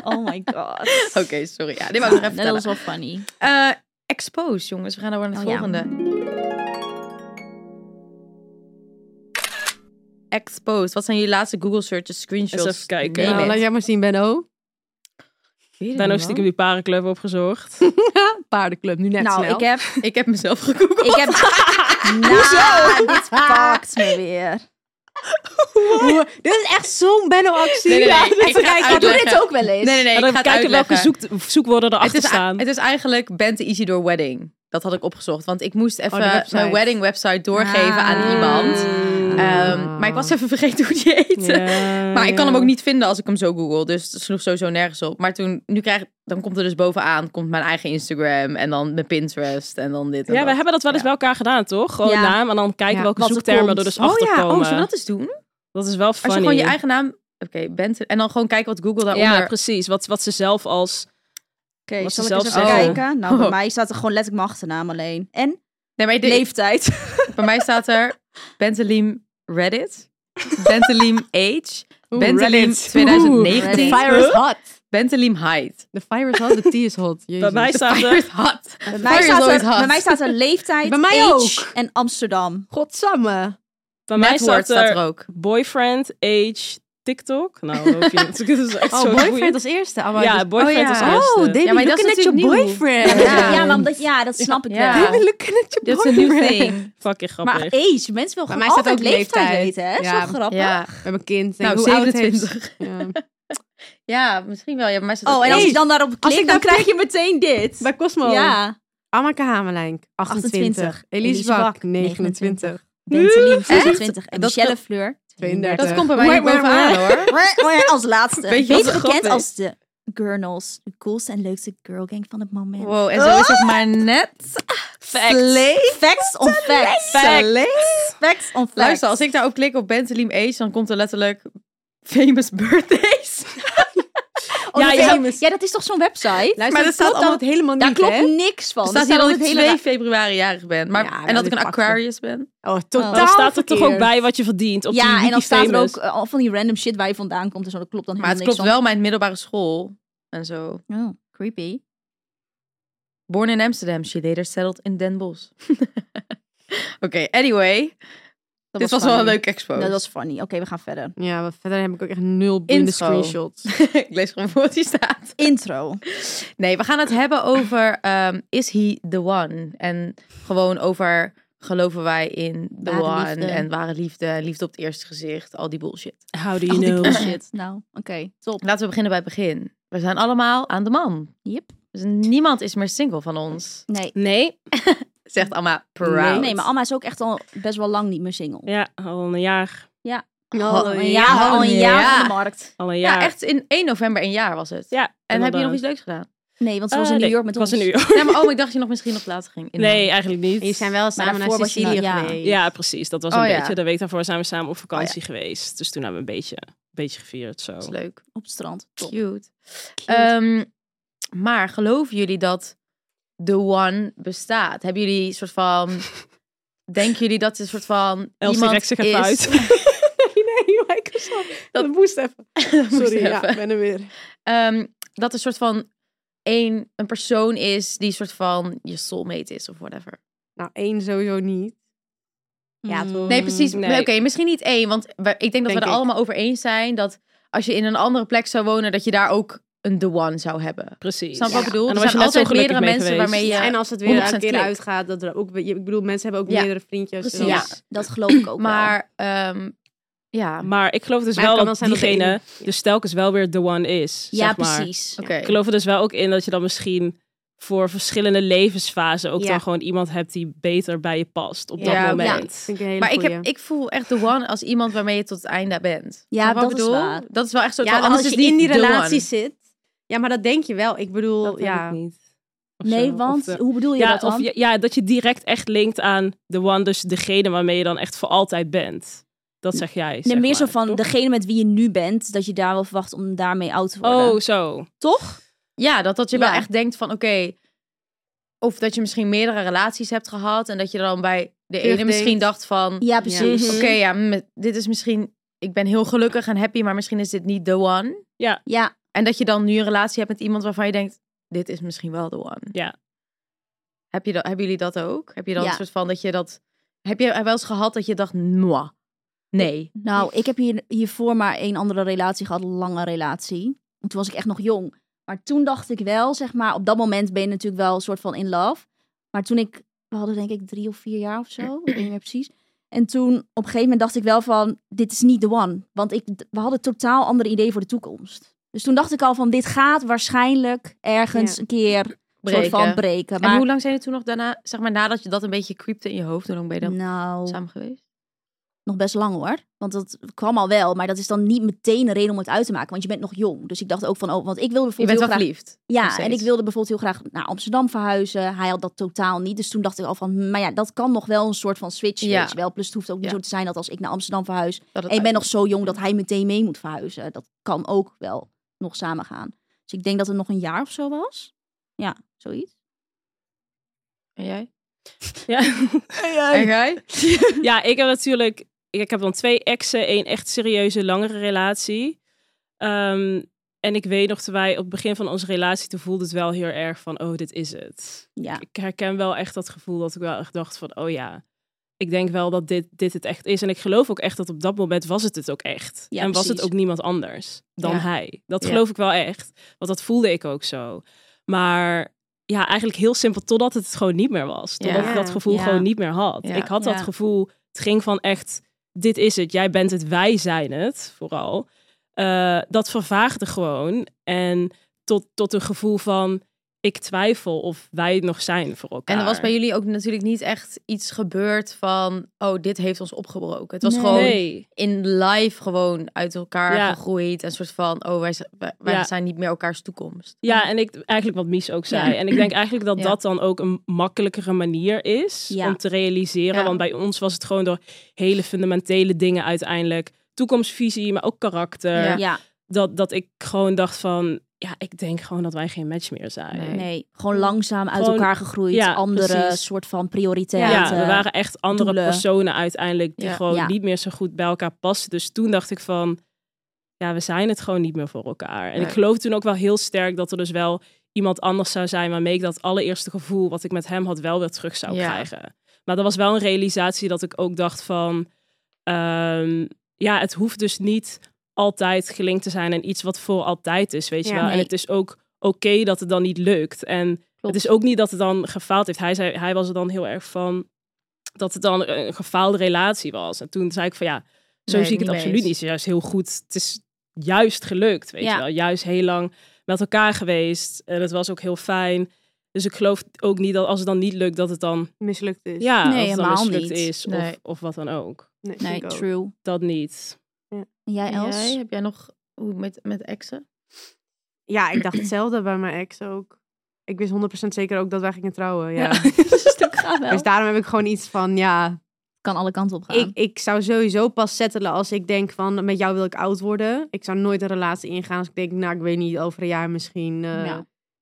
Speaker 5: Oh my god.
Speaker 3: <laughs> Oké, sorry. Ja, dit wou ik nog even
Speaker 5: Dat
Speaker 3: vertellen.
Speaker 5: was wel funny.
Speaker 3: Eh, expose, jongens. We gaan over naar het
Speaker 5: Oh, ja.
Speaker 3: volgende. Expose. Wat zijn jullie laatste Google searches, screenshots?
Speaker 6: Eens even kijken.
Speaker 3: Neem
Speaker 6: Nou,
Speaker 1: Nou,
Speaker 3: het.
Speaker 1: laat jij maar zien, Benno.
Speaker 3: Weet het
Speaker 6: Daarna
Speaker 3: niet,
Speaker 6: heeft stiekem die parenclub opgezocht.
Speaker 1: Paardenclub, nu net
Speaker 5: nou,
Speaker 1: snel.
Speaker 5: ik heb...
Speaker 3: <laughs> man. Ik heb mezelf gegoogeld.
Speaker 5: Ik
Speaker 3: <laughs>
Speaker 5: heb... Nou, <laughs> dit pakt me weer.
Speaker 3: <laughs>
Speaker 1: Oeh, Dit is echt zo'n Benno-actie.
Speaker 3: Nee, nee, nee.
Speaker 1: Ja, dit-
Speaker 3: Ik ga het
Speaker 5: Ik doe
Speaker 3: uitleggen.
Speaker 5: dit ook wel eens.
Speaker 3: Nee, nee, nee.
Speaker 6: en
Speaker 3: Ik
Speaker 6: Nou, dan
Speaker 3: ga het
Speaker 6: kijken welke
Speaker 3: uitleggen.
Speaker 6: zoek, zoekwoorden
Speaker 3: het
Speaker 6: erachter
Speaker 3: is,
Speaker 6: staan.
Speaker 3: het is eigenlijk Bent Easy Door Wedding. Dat had ik opgezocht. Want ik moest even
Speaker 1: Oh, de website.
Speaker 3: mijn wedding website doorgeven aan
Speaker 5: Ah.
Speaker 3: iemand. Ehm, maar ik was even vergeten hoe die heette.
Speaker 6: Ja,
Speaker 3: <laughs> Maar ik kan
Speaker 6: ja.
Speaker 3: hem ook niet vinden als ik hem zo google. Dus het sloeg sowieso nergens op. Maar toen, nu krijg dan komt er dus bovenaan komt mijn eigen Instagram. En dan mijn Pinterest. En dan dit en
Speaker 6: Ja,
Speaker 3: dat.
Speaker 6: we hebben dat wel eens bij elkaar gedaan, toch? Gewoon
Speaker 5: Ja.
Speaker 6: naam en dan kijken
Speaker 1: Ja,
Speaker 6: welke
Speaker 5: wat er
Speaker 6: zoektermen
Speaker 5: komt.
Speaker 6: er dus
Speaker 3: Oh
Speaker 6: achter
Speaker 3: ja,
Speaker 6: komen.
Speaker 3: oh, zullen we dat eens doen?
Speaker 6: Dat is wel funny.
Speaker 3: Als je gewoon je eigen naam... Oké, Bent... En dan gewoon kijken wat Google daaronder...
Speaker 6: Ja, precies. Wat, wat ze zelf als...
Speaker 5: Oké,
Speaker 6: Wat
Speaker 5: zal
Speaker 6: ze
Speaker 5: ik eens
Speaker 6: zelf
Speaker 5: even
Speaker 6: zeggen.
Speaker 5: kijken? Nou, bij
Speaker 3: Oh.
Speaker 5: mij staat er gewoon letterlijk mijn achternaam alleen. En
Speaker 3: nee, maar de,
Speaker 5: leeftijd.
Speaker 3: bij mij staat er Bentelim Reddit. Bentelim Age.
Speaker 6: Oeh,
Speaker 3: Bentelim
Speaker 6: Reddit.
Speaker 3: 2019.
Speaker 5: Oeh, Reddit.
Speaker 3: hot. Bentelim Height.
Speaker 1: De fire is hot, de tea is hot.
Speaker 6: Bij
Speaker 1: Jezus.
Speaker 6: mij staat
Speaker 3: Fire
Speaker 6: er...
Speaker 3: is hot.
Speaker 5: Bij
Speaker 3: Fire
Speaker 5: mij,
Speaker 3: is
Speaker 5: staat
Speaker 3: always
Speaker 5: er,
Speaker 3: hot.
Speaker 5: bij mij staat er leeftijd,
Speaker 1: Bij mij
Speaker 5: age
Speaker 1: ook.
Speaker 5: en Amsterdam.
Speaker 1: Godsamme.
Speaker 6: Bij mij
Speaker 3: Netwoord
Speaker 6: staat er
Speaker 3: ook.
Speaker 6: boyfriend, age, TikTok.
Speaker 3: <laughs>
Speaker 6: Nou, loop je. Het is echt
Speaker 1: Oh,
Speaker 6: zo
Speaker 1: boyfriend
Speaker 6: boeiend.
Speaker 1: als eerste. Ah, maar
Speaker 6: Ja,
Speaker 1: dat-
Speaker 6: boyfriend
Speaker 3: oh
Speaker 6: eh,
Speaker 3: ja.
Speaker 6: als eerste.
Speaker 1: Oh, David,
Speaker 3: Ja, maar dat is
Speaker 1: looking at your
Speaker 3: natuurlijk nieuw.
Speaker 1: boyfriend.
Speaker 3: Ja.
Speaker 5: Ja, maar omdat, ja, dat snap ik
Speaker 3: Ja.
Speaker 5: wel.
Speaker 3: Ja.
Speaker 1: David, looking at your
Speaker 3: That's a new
Speaker 1: boyfriend.
Speaker 3: <laughs> thing.
Speaker 6: Fucking grappig.
Speaker 5: Maar age, mensen willen
Speaker 1: Bij
Speaker 5: gewoon
Speaker 1: mij staat
Speaker 5: altijd
Speaker 1: ook
Speaker 5: leeftijd,
Speaker 1: leeftijd.
Speaker 5: weten, hè?
Speaker 1: Ja.
Speaker 5: Zo grappig.
Speaker 3: Ja.
Speaker 1: We hebben een kind. Denk,
Speaker 3: Nou,
Speaker 1: hoe oud het is.
Speaker 3: 27.
Speaker 1: Ja.
Speaker 3: <laughs> Ja, misschien wel. Ja, maar
Speaker 5: Oh, en als
Speaker 1: Age.
Speaker 5: je dan daarop
Speaker 1: Als
Speaker 5: klikt,
Speaker 1: ik
Speaker 5: dan
Speaker 1: daar
Speaker 5: krijg je meteen dit.
Speaker 1: Bij Cosmo.
Speaker 5: Ja.
Speaker 1: Anneke Hamelijn, 28.
Speaker 5: 28.
Speaker 1: Elise
Speaker 5: Elise Bak,
Speaker 1: Bak, 29.
Speaker 5: Bentelim, 26. En
Speaker 3: Dat
Speaker 5: Michelle Fleur,
Speaker 1: 32.
Speaker 3: Dat komt bij mij
Speaker 1: Wait,
Speaker 3: niet
Speaker 1: wait,
Speaker 3: bovenaan hoor.
Speaker 5: Als laatste.
Speaker 3: Weet je wat
Speaker 5: Beter
Speaker 3: de grap
Speaker 5: bekend
Speaker 3: is?
Speaker 5: als de Gurnals. De coolste en leukste girlgang van het moment.
Speaker 3: Wow, en zo is het maar net.
Speaker 5: Facts on facts. Facts on facts.
Speaker 3: Luister, als ik daarop klik op Bentelim Age, dan komt er letterlijk famous birthdays.
Speaker 5: Oh,
Speaker 6: Ja,
Speaker 5: dat
Speaker 6: je
Speaker 5: is-
Speaker 6: hebt-
Speaker 5: ja, dat is toch zo'n website?
Speaker 1: Luister,
Speaker 3: Maar
Speaker 1: maar
Speaker 3: dat
Speaker 1: dat
Speaker 3: staat
Speaker 1: staat allemaal helemaal niet,
Speaker 5: Daar klopt
Speaker 1: hè?
Speaker 5: niks van.
Speaker 3: Er
Speaker 5: Er
Speaker 3: staat hier dat ik
Speaker 5: altijd hele
Speaker 3: 2 februari jarig ben. Maar,
Speaker 1: Ja, nou,
Speaker 3: en dat ik
Speaker 1: dit
Speaker 3: een
Speaker 1: pakt wel.
Speaker 3: Aquarius
Speaker 1: Oh,
Speaker 3: ben.
Speaker 5: Oh.
Speaker 6: Maar dan
Speaker 1: totaal
Speaker 6: staat er toch ook
Speaker 1: verkeerd.
Speaker 6: bij wat je verdient. Op die
Speaker 5: Ja, en dan staat er
Speaker 6: Wikifamous.
Speaker 5: ook eh, al van die random shit waar je vandaan komt en zo. Dat klopt dan
Speaker 3: Maar het
Speaker 5: helemaal
Speaker 3: klopt
Speaker 5: niks
Speaker 3: wel mijn middelbare school en zo.
Speaker 5: van. Oh, creepy.
Speaker 3: Born in Amsterdam, she later settled in Den Bosch. <laughs> Oké, anyway.
Speaker 5: Dat
Speaker 3: dit was wel een
Speaker 5: funny.
Speaker 3: leuk expo.
Speaker 5: Dat was funny. Oké, we gaan verder.
Speaker 1: Ja, maar verder heb ik ook echt nul boeiende
Speaker 3: Intro.
Speaker 1: screenshots.
Speaker 3: <laughs> ik lees gewoon voor wat hier staat.
Speaker 5: Intro.
Speaker 3: Nee, we gaan het hebben over ehm, is he the one? En gewoon over geloven wij in the
Speaker 5: Ware
Speaker 3: one
Speaker 5: liefde.
Speaker 3: en ware liefde en liefde op het eerste gezicht, al die bullshit.
Speaker 6: How do
Speaker 5: Al
Speaker 6: you
Speaker 5: die
Speaker 6: know?
Speaker 5: bullshit. Nou, oké. Top.
Speaker 3: Laten we beginnen bij het begin. We zijn allemaal aan de man.
Speaker 5: Yep.
Speaker 3: Dus niemand is meer single van ons.
Speaker 5: Nee.
Speaker 6: Nee.
Speaker 3: <laughs> Zegt Amma proud.
Speaker 5: Nee, maar Alma is ook echt al best wel lang niet meer single.
Speaker 6: Ja, al een jaar.
Speaker 3: Al
Speaker 5: Al een jaar, al een jaar
Speaker 3: Ja.
Speaker 5: van de markt.
Speaker 6: Al een
Speaker 3: Ja,
Speaker 6: jaar.
Speaker 3: echt in 1 november een jaar was het.
Speaker 6: Ja,
Speaker 3: En heb je nog
Speaker 6: inderdaad.
Speaker 3: iets leuks gedaan?
Speaker 5: Nee, want ze
Speaker 6: Eh,
Speaker 5: was in New
Speaker 6: nee,
Speaker 5: York met
Speaker 6: ik
Speaker 5: ons.
Speaker 6: was in New
Speaker 3: <laughs>
Speaker 6: York.
Speaker 3: Ja, maar oh, ik dacht je nog misschien nog later ging. In
Speaker 6: Nee, eigenlijk niet.
Speaker 1: En je zijn wel samen naar
Speaker 5: daarvoor was je
Speaker 1: Sicilië
Speaker 5: nou- ja.
Speaker 1: geweest.
Speaker 6: Ja, precies. Dat was een
Speaker 3: Oh, ja. Oh
Speaker 6: beetje. De week daarvoor zijn we samen op vakantie geweest. Dus toen hebben we een beetje, een beetje gevierd. Zo.
Speaker 3: Dat is leuk.
Speaker 5: Op het strand. Top.
Speaker 3: Cute. Ehm, maar geloven jullie dat The One bestaat? Hebben jullie een soort van... denken jullie dat het een soort van
Speaker 6: Els
Speaker 3: iemand
Speaker 6: direct zich even
Speaker 3: is... <laughs>
Speaker 6: uit.
Speaker 1: nee, Microsoft. Dat moest even.
Speaker 3: Dat moest
Speaker 1: Sorry,
Speaker 3: even.
Speaker 1: ja, ik ben er weer.
Speaker 3: Ehm, dat een soort van één, een persoon is die een soort van je soulmate is of whatever.
Speaker 1: Nou, één sowieso niet. Ja,
Speaker 5: Mm.
Speaker 1: toch?
Speaker 3: Nee, precies.
Speaker 6: nee.
Speaker 3: Oké, misschien niet één, want we- ik denk dat
Speaker 1: Denk
Speaker 3: we er
Speaker 1: ik.
Speaker 3: allemaal over eens zijn dat als je in een andere plek zou wonen, dat je daar ook een The One zou hebben.
Speaker 6: Precies.
Speaker 3: Snap je wat ik
Speaker 6: Ja.
Speaker 3: bedoel?
Speaker 6: En
Speaker 3: Er
Speaker 6: dan was je
Speaker 3: zijn
Speaker 6: net zo
Speaker 3: altijd
Speaker 6: gelukkig
Speaker 3: meerdere
Speaker 6: mee
Speaker 3: mensen
Speaker 6: geweest.
Speaker 3: waarmee je...
Speaker 1: En als het weer een
Speaker 3: 100%
Speaker 1: keer
Speaker 3: klikt.
Speaker 1: uitgaat, dat er ook... Ik bedoel, mensen hebben ook
Speaker 3: Ja.
Speaker 1: meerdere vriendjes. dus
Speaker 3: Precies.
Speaker 1: dan-
Speaker 5: Ja, dat geloof ik ook wel.
Speaker 3: Maar ehm, ja,
Speaker 6: Maar ik geloof dus
Speaker 1: Maar het
Speaker 6: wel
Speaker 1: kan
Speaker 6: dat
Speaker 1: wel zijn dat de
Speaker 6: diegene
Speaker 1: ene-
Speaker 6: dus telkens wel weer the one is.
Speaker 5: Ja,
Speaker 6: zeg maar.
Speaker 5: precies.
Speaker 3: oké.
Speaker 6: Ik geloof er dus wel ook in dat je dan misschien voor verschillende levensfasen ook
Speaker 1: Ja.
Speaker 6: dan gewoon iemand hebt die beter bij je past op dat
Speaker 3: Ja,
Speaker 6: moment.
Speaker 1: Vind ik een hele
Speaker 3: Maar ik,
Speaker 1: goeie.
Speaker 3: heb, ik voel echt the one als iemand waarmee je tot het einde bent.
Speaker 5: Ja,
Speaker 3: Snap je wat
Speaker 5: dat
Speaker 3: ik
Speaker 5: is
Speaker 3: bedoel?
Speaker 5: waar.
Speaker 3: Dat is wel echt zo.
Speaker 1: Ja,
Speaker 3: terwijl
Speaker 1: als
Speaker 3: anders
Speaker 1: je
Speaker 3: is
Speaker 1: in
Speaker 3: niet
Speaker 1: die
Speaker 3: the
Speaker 1: relatie
Speaker 3: one.
Speaker 1: zit, Ja, maar dat denk je wel. Ik bedoel,
Speaker 7: Dat heb
Speaker 1: ja.
Speaker 7: ik niet.
Speaker 6: of zo.
Speaker 5: Nee,
Speaker 6: Of
Speaker 5: want
Speaker 6: de-
Speaker 5: hoe bedoel je
Speaker 6: ja,
Speaker 5: dat dan?
Speaker 6: Of, ja, ja, dat je direct echt linkt aan de one, dus degene waarmee je dan echt voor altijd bent. Dat zeg jij.
Speaker 5: nee,
Speaker 6: zeg
Speaker 5: meer zo
Speaker 6: maar,
Speaker 5: van
Speaker 6: toch?
Speaker 5: degene met wie je nu bent, dat je daar wel verwacht om daarmee oud te worden.
Speaker 6: Oh, zo.
Speaker 5: Toch?
Speaker 3: Ja, dat, dat je wel
Speaker 5: Ja.
Speaker 3: echt denkt van, oké... of dat je misschien meerdere relaties hebt gehad... en dat je dan bij de ene
Speaker 1: Terugdenkt.
Speaker 3: misschien dacht van...
Speaker 5: Ja, precies.
Speaker 3: Oké, ja, met- dit is misschien... Ik ben heel gelukkig en happy, maar misschien is dit niet the one.
Speaker 5: Ja,
Speaker 3: En dat je dan nu een relatie hebt met iemand waarvan je denkt... dit is misschien wel the one.
Speaker 6: Ja.
Speaker 3: Heb je dat, hebben jullie dat ook? Heb je dan
Speaker 5: Ja.
Speaker 3: een soort van dat je dat... Heb je wel eens gehad dat je dacht, moi, nee.
Speaker 5: nou, ik heb hier, hiervoor maar één andere relatie gehad, lange relatie. En toen was ik echt nog jong. Maar toen dacht ik wel, zeg maar, op dat moment ben je natuurlijk wel een soort van in love. Maar toen ik, we hadden denk ik drie of vier jaar of zo, ik weet niet meer precies. En toen op een gegeven moment dacht ik wel van, dit is niet de one. Want ik, we hadden totaal andere ideeën voor de toekomst. Dus toen dacht ik al van, dit gaat waarschijnlijk ergens
Speaker 1: Ja.
Speaker 5: een keer een soort van
Speaker 3: Breken.
Speaker 5: breken.
Speaker 3: En
Speaker 5: Maar
Speaker 3: hoe lang zijn jullie toen nog daarna, zeg maar nadat je dat een beetje creepte in je hoofd, hoe lang ben je dan
Speaker 5: nou,
Speaker 3: samen geweest?
Speaker 5: nog best lang hoor. Want dat kwam al wel, maar dat is dan niet meteen een reden om het uit te maken. Want je bent nog jong. Dus ik dacht ook van, oh, want ik wilde
Speaker 3: Je
Speaker 5: bijvoorbeeld
Speaker 3: bent wel
Speaker 5: heel graag...
Speaker 3: verliefd. nog
Speaker 5: Ja,
Speaker 3: steeds.
Speaker 5: en ik wilde bijvoorbeeld heel graag naar Amsterdam verhuizen. Hij had dat totaal niet. Dus toen dacht ik al van, hm, maar ja, dat kan nog wel een soort van switch.
Speaker 3: Ja.
Speaker 5: Weet je wel. Plus het hoeft ook niet
Speaker 3: Ja.
Speaker 5: zo te zijn dat als ik naar Amsterdam verhuis...
Speaker 3: Dat het
Speaker 5: en ik ben
Speaker 3: uit-
Speaker 5: nog zo jong dat hij meteen mee moet verhuizen. Dat kan ook wel nog samen gaan. Dus ik denk dat het nog een jaar of zo was. Ja, zoiets.
Speaker 3: En jij?
Speaker 6: Ja. <laughs>
Speaker 3: En jij?
Speaker 6: ja, ik heb natuurlijk. Ik heb dan twee exen, één echt serieuze, langere relatie. Ehm, en ik weet nog, toen wij op het begin van onze relatie, toen voelde het wel heel erg van, oh, dit is het.
Speaker 5: Ja.
Speaker 6: Ik herken wel echt dat gevoel dat ik wel echt dacht van, oh ja, ik denk wel dat dit, dit het echt is. En ik geloof ook echt dat op dat moment was het het ook echt.
Speaker 5: Ja,
Speaker 6: en was
Speaker 5: precies.
Speaker 6: het ook niemand anders dan
Speaker 3: Ja.
Speaker 6: hij. Dat
Speaker 3: Ja.
Speaker 6: geloof ik wel echt, want dat voelde ik ook zo. Maar ja, eigenlijk heel simpel, totdat het het gewoon niet meer was. Totdat
Speaker 3: Ja.
Speaker 6: ik dat gevoel
Speaker 3: Ja.
Speaker 6: gewoon niet meer had.
Speaker 3: Ja.
Speaker 6: Ik had dat
Speaker 5: Ja.
Speaker 6: gevoel, het ging van echt, dit is het, jij bent het, wij zijn het, vooral. Eh, dat vervaagde gewoon. En tot, tot een gevoel van, ik twijfel of wij het nog zijn voor elkaar.
Speaker 3: En er was bij jullie ook natuurlijk niet echt iets gebeurd van, oh, dit heeft ons opgebroken. Het was
Speaker 5: Nee.
Speaker 3: gewoon
Speaker 6: Nee,
Speaker 3: in live gewoon uit elkaar
Speaker 6: Ja.
Speaker 3: gegroeid. En soort van, oh, wij, z- wij, wij
Speaker 6: Ja.
Speaker 3: zijn niet meer elkaars toekomst.
Speaker 6: ja, en ik, eigenlijk wat Mies ook zei. En ik denk eigenlijk dat
Speaker 3: Ja.
Speaker 6: dat dan ook een makkelijkere manier is
Speaker 5: Ja.
Speaker 6: om te realiseren.
Speaker 3: Ja.
Speaker 6: Want bij ons was het gewoon door hele fundamentele dingen uiteindelijk. Toekomstvisie, maar ook karakter.
Speaker 3: Ja.
Speaker 5: Ja,
Speaker 6: dat, dat ik gewoon dacht van... Ja, ik denk gewoon dat wij geen match meer zijn.
Speaker 3: Nee.
Speaker 5: nee. Gewoon langzaam uit
Speaker 6: Gewoon-
Speaker 5: elkaar gegroeid.
Speaker 6: ja,
Speaker 5: andere
Speaker 6: precies.
Speaker 5: soort van
Speaker 6: Ja,
Speaker 5: prioriteiten.
Speaker 6: we waren echt andere
Speaker 5: doelen.
Speaker 6: personen uiteindelijk... die
Speaker 3: eh, Ja.
Speaker 6: gewoon
Speaker 5: Ja.
Speaker 6: niet meer zo goed bij elkaar passen. Dus toen dacht ik van... Ja, we zijn het gewoon niet meer voor elkaar. En
Speaker 3: Nee.
Speaker 6: ik geloof toen ook wel heel sterk dat er dus wel iemand anders zou zijn... waarmee ik dat allereerste gevoel wat ik met hem had wel weer terug zou
Speaker 3: Ja.
Speaker 6: krijgen. Maar er was wel een realisatie dat ik ook dacht van... ehm, ja, het hoeft dus niet altijd gelinkt te zijn en iets wat voor altijd is, weet je
Speaker 1: Ja,
Speaker 6: wel. En
Speaker 5: nee.
Speaker 6: het is ook oké dat het dan niet lukt. En het is ook niet dat het dan gefaald heeft. Hij, zei, hij was er dan heel erg van dat het dan een gefaalde relatie was. En toen zei ik van ja, zo
Speaker 3: Nee,
Speaker 6: zie
Speaker 3: niet
Speaker 6: ik het
Speaker 3: mee
Speaker 6: absoluut
Speaker 3: eens.
Speaker 6: niet. Het is juist heel goed. Het is juist gelukt, weet
Speaker 5: Ja.
Speaker 6: je wel. Juist heel lang met elkaar geweest. En het was ook heel fijn. Dus ik geloof ook niet dat als het dan niet lukt, dat het dan,
Speaker 1: Mislukt is.
Speaker 6: ja,
Speaker 5: Nee,
Speaker 6: dat het dan
Speaker 5: helemaal
Speaker 6: mislukt
Speaker 5: niet.
Speaker 6: is.
Speaker 3: Nee.
Speaker 6: Of, of wat dan ook.
Speaker 1: Nee,
Speaker 5: Nee,
Speaker 1: vind ik ook.
Speaker 5: true.
Speaker 6: Dat niet.
Speaker 5: En jij,
Speaker 3: En
Speaker 5: Els? <laughs>
Speaker 3: jij? Heb jij nog hoe met, met exen?
Speaker 1: Ja, ik dacht hetzelfde bij mijn ex ook. Ik wist 100% zeker ook dat wij gingen trouwen. Ja.
Speaker 5: stuk gaan wel.
Speaker 1: Dus daarom heb ik gewoon iets van, ja,
Speaker 5: kan alle kanten op gaan.
Speaker 1: ik, ik zou sowieso pas settelen als ik denk van, met jou wil ik oud worden. Ik zou nooit een relatie ingaan als ik denk, nou, ik weet niet, over een jaar misschien eh,
Speaker 5: Ja.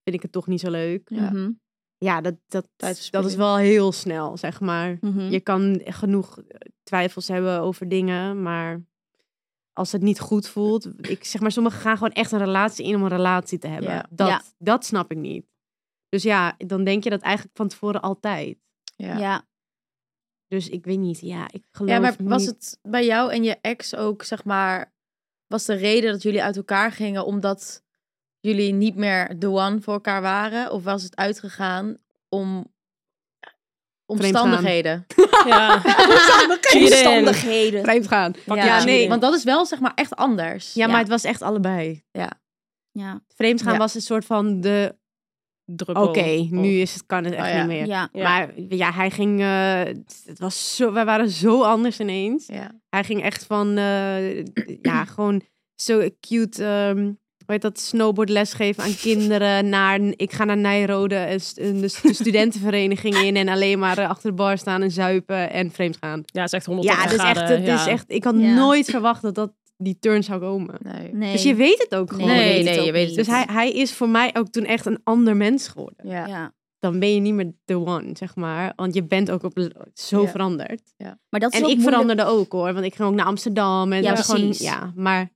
Speaker 1: vind ik het toch niet zo leuk.
Speaker 5: Mhm, mhm. ja.
Speaker 1: Ja, dat, dat, dat
Speaker 3: Tijdverspilling.
Speaker 1: is wel heel snel, zeg maar.
Speaker 3: Mhm.
Speaker 5: Mhm.
Speaker 1: Je kan genoeg twijfels hebben over dingen, maar als het niet goed voelt, ik zeg maar, sommigen gaan gewoon echt een relatie in om een relatie te hebben.
Speaker 3: Ja.
Speaker 1: Dat,
Speaker 5: Ja.
Speaker 1: dat snap ik niet. Dus ja, dan denk je dat eigenlijk van tevoren altijd. Dus ik weet niet, ja, ik geloof
Speaker 3: Ja, maar was
Speaker 1: niet-
Speaker 3: het bij jou en je ex ook, zeg maar, was de reden dat jullie uit elkaar gingen omdat jullie niet meer the one voor elkaar waren? Of was het uitgegaan om omstandigheden?
Speaker 6: Ja.
Speaker 1: <laughs>
Speaker 6: Omstandigheden.
Speaker 5: Omstandigheden.
Speaker 1: vreemd gaan?
Speaker 3: Ja,
Speaker 1: Ja, nee.
Speaker 3: want dat is wel, zeg maar, echt anders.
Speaker 1: Ja, maar
Speaker 5: Ja.
Speaker 1: het was echt allebei.
Speaker 5: Ja.
Speaker 1: Vreemd gaan
Speaker 3: Ja.
Speaker 1: was een soort van de, oké,
Speaker 6: Druppel.
Speaker 1: nu is het, kan het echt
Speaker 3: Oh, ja.
Speaker 1: niet meer.
Speaker 5: Ja.
Speaker 6: Ja.
Speaker 1: Maar ja, hij ging, eh, het was zo, wij waren zo anders ineens.
Speaker 3: Ja.
Speaker 6: <clears throat>
Speaker 1: Hij ging echt van, eh, ja, gewoon zo cute ehm,
Speaker 6: weet dat snowboardles geven aan kinderen. Naar, ik ga naar Nijrode, een st- een- de st- de studentenvereniging in. En alleen maar eh, achter de bar staan en zuipen en vreemd gaan.
Speaker 4: Ja, het is echt 180
Speaker 6: Ja, dus echt,
Speaker 4: graden.
Speaker 6: het
Speaker 4: ja.
Speaker 6: is echt, ik had
Speaker 5: Ja.
Speaker 6: nooit verwacht dat, dat die turn zou komen.
Speaker 3: Nee.
Speaker 5: Nee.
Speaker 6: Dus je weet het ook gewoon.
Speaker 3: Nee,
Speaker 5: je weet
Speaker 3: nee,
Speaker 5: het ook
Speaker 3: je weet
Speaker 5: niet. Dus
Speaker 3: het
Speaker 6: Dus hij, hij is voor mij ook toen echt een ander mens geworden.
Speaker 3: Ja.
Speaker 5: Ja.
Speaker 6: Dan ben je niet meer de one, zeg maar. Want je bent ook op, zo
Speaker 3: Ja.
Speaker 6: veranderd.
Speaker 5: Maar dat is
Speaker 6: En
Speaker 5: ook
Speaker 6: ik
Speaker 5: moeilijk-
Speaker 6: veranderde ook hoor. Want ik ging ook naar Amsterdam. En
Speaker 5: Ja,
Speaker 6: het was gewoon,
Speaker 5: precies.
Speaker 6: ja, maar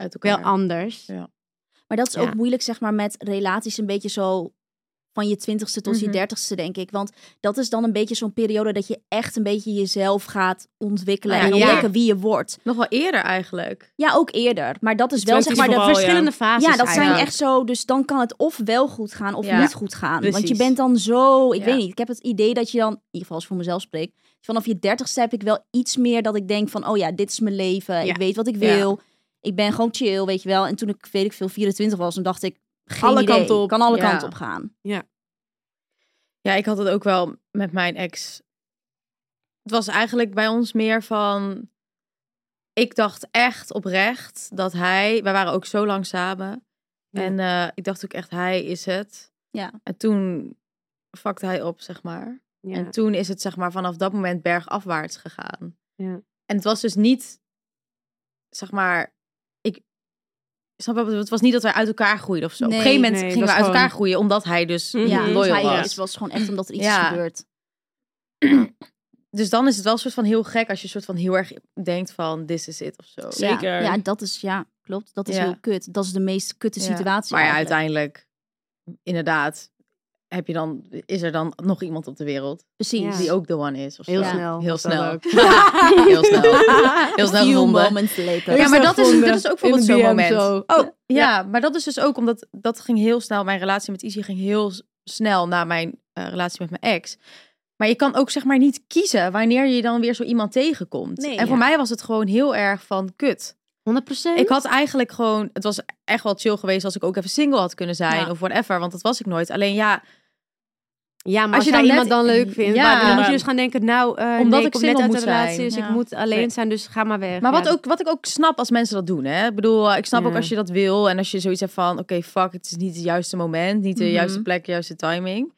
Speaker 3: Uit
Speaker 6: wel
Speaker 3: elkaar.
Speaker 6: anders.
Speaker 3: Ja.
Speaker 5: Maar dat is
Speaker 6: Ja.
Speaker 5: ook moeilijk, zeg maar, met relaties een beetje zo van je twintigste tot
Speaker 3: Mhm.
Speaker 5: je dertigste, denk ik. Want dat is dan een beetje zo'n periode dat je echt een beetje jezelf gaat ontwikkelen
Speaker 3: Ah ja,
Speaker 5: en
Speaker 3: ja.
Speaker 5: ontdekken wie je wordt.
Speaker 3: Nog wel eerder eigenlijk.
Speaker 5: Ja, ook eerder. Maar dat is wel, zeg
Speaker 4: Twenties
Speaker 5: maar, de
Speaker 4: vooral, ja.
Speaker 6: Verschillende fases
Speaker 5: Ja, dat zijn
Speaker 6: eigenlijk.
Speaker 5: echt zo. Dus dan kan het of wel goed gaan of
Speaker 3: Ja,
Speaker 5: niet goed gaan. Want je
Speaker 6: precies.
Speaker 5: bent dan zo. Ik
Speaker 3: Ja.
Speaker 5: weet niet. Ik heb het idee dat je dan, in ieder geval als ik voor mezelf spreek, vanaf je dertigste heb ik wel iets meer dat ik denk van, oh ja, dit is mijn leven.
Speaker 6: Ja.
Speaker 5: Ik weet wat ik
Speaker 3: Ja.
Speaker 5: wil. Ik ben gewoon chill, weet je wel. En toen ik, weet ik veel, 24 was, dan dacht ik, geen
Speaker 6: Alle
Speaker 5: idee.
Speaker 6: kanten op.
Speaker 5: Kan alle
Speaker 3: Ja.
Speaker 5: kanten op gaan.
Speaker 3: Ja, ik had het ook wel met mijn ex. Het was eigenlijk bij ons meer van. Ik dacht echt oprecht dat hij. Wij waren ook zo lang samen.
Speaker 6: Ja.
Speaker 3: En eh, ik dacht ook echt, hij is het.
Speaker 5: Ja.
Speaker 3: En toen fuckte hij op, zeg maar.
Speaker 6: Ja.
Speaker 3: En toen is het zeg maar vanaf dat moment bergafwaarts gegaan.
Speaker 6: Ja.
Speaker 3: En het was dus niet, zeg maar, ik snap je wat ik bedoel? het was niet dat wij uit elkaar groeiden of zo. Op
Speaker 5: Nee.
Speaker 3: een gegeven moment
Speaker 6: Nee,
Speaker 3: gingen
Speaker 6: dat
Speaker 3: we
Speaker 6: is
Speaker 3: uit elkaar
Speaker 6: gewoon-
Speaker 3: groeien omdat hij dus
Speaker 4: Mhm.
Speaker 5: Ja,
Speaker 3: ja,
Speaker 4: dus
Speaker 5: dus
Speaker 3: loyal
Speaker 5: hij,
Speaker 3: was.
Speaker 5: Het was gewoon echt omdat er iets
Speaker 3: Ja.
Speaker 5: gebeurt.
Speaker 3: Dus dan is het wel een soort van heel gek als je soort van heel erg denkt van this is it of zo.
Speaker 4: Ja. Zeker.
Speaker 5: Ja, ja, dat is, ja, klopt. Dat is
Speaker 3: Ja.
Speaker 5: heel kut. Dat is de meest kutte
Speaker 3: Ja.
Speaker 5: situatie.
Speaker 3: Maar ja,
Speaker 5: eigenlijk.
Speaker 3: uiteindelijk, inderdaad, heb je dan, is er dan nog iemand op de wereld
Speaker 5: Precies.
Speaker 3: die ook de one is of zo.
Speaker 6: Heel
Speaker 5: Ja.
Speaker 6: snel.
Speaker 3: Heel
Speaker 6: was dat
Speaker 3: snel.
Speaker 6: ook.
Speaker 3: <laughs> Heel
Speaker 6: <laughs>
Speaker 3: snel. Heel snel
Speaker 5: Few
Speaker 3: gevonden.
Speaker 5: moments
Speaker 3: Ja,
Speaker 5: later.
Speaker 3: maar
Speaker 6: snel
Speaker 3: dat is, dus-
Speaker 6: gevonden.
Speaker 3: dat is ook
Speaker 6: In
Speaker 3: bijvoorbeeld
Speaker 6: de
Speaker 3: zo'n
Speaker 6: DM
Speaker 3: moment.
Speaker 6: zo.
Speaker 3: Oh, ja. maar dat is dus ook omdat dat ging heel snel. Mijn relatie met Izzy ging heel s- snel na mijn eh, relatie met mijn ex. Maar je kan ook zeg maar niet kiezen wanneer je dan weer zo iemand tegenkomt.
Speaker 5: Nee,
Speaker 3: en
Speaker 5: ja.
Speaker 3: voor mij was het gewoon heel erg van kut.
Speaker 6: 100%?
Speaker 3: Ik had eigenlijk gewoon, het was echt wel chill geweest als ik ook even single had kunnen zijn
Speaker 5: Ja.
Speaker 3: of whatever, want dat was ik nooit. Alleen ja,
Speaker 6: Ja, maar
Speaker 3: Als
Speaker 6: als,
Speaker 3: je
Speaker 6: jij
Speaker 3: dan net-
Speaker 6: iemand dan leuk vindt,
Speaker 3: Ja.
Speaker 6: maar dan moet
Speaker 4: Maar-
Speaker 6: je dus gaan denken, nou, eh,
Speaker 3: Omdat
Speaker 6: nee,
Speaker 3: ik
Speaker 6: kom net
Speaker 3: single
Speaker 6: uit een
Speaker 3: moet
Speaker 6: relatie,
Speaker 3: zijn.
Speaker 6: dus
Speaker 5: Ja.
Speaker 6: ik moet alleen zijn, dus ga maar weg.
Speaker 3: maar wat,
Speaker 6: Ja.
Speaker 3: ook, wat ik ook snap als mensen dat doen, hè. Ik bedoel, eh, ik snap ook
Speaker 6: Ja.
Speaker 3: als je dat wil en als je zoiets hebt van, oké, fuck, het is niet het juiste moment, niet de
Speaker 5: Mhm.
Speaker 3: juiste plek, juiste timing.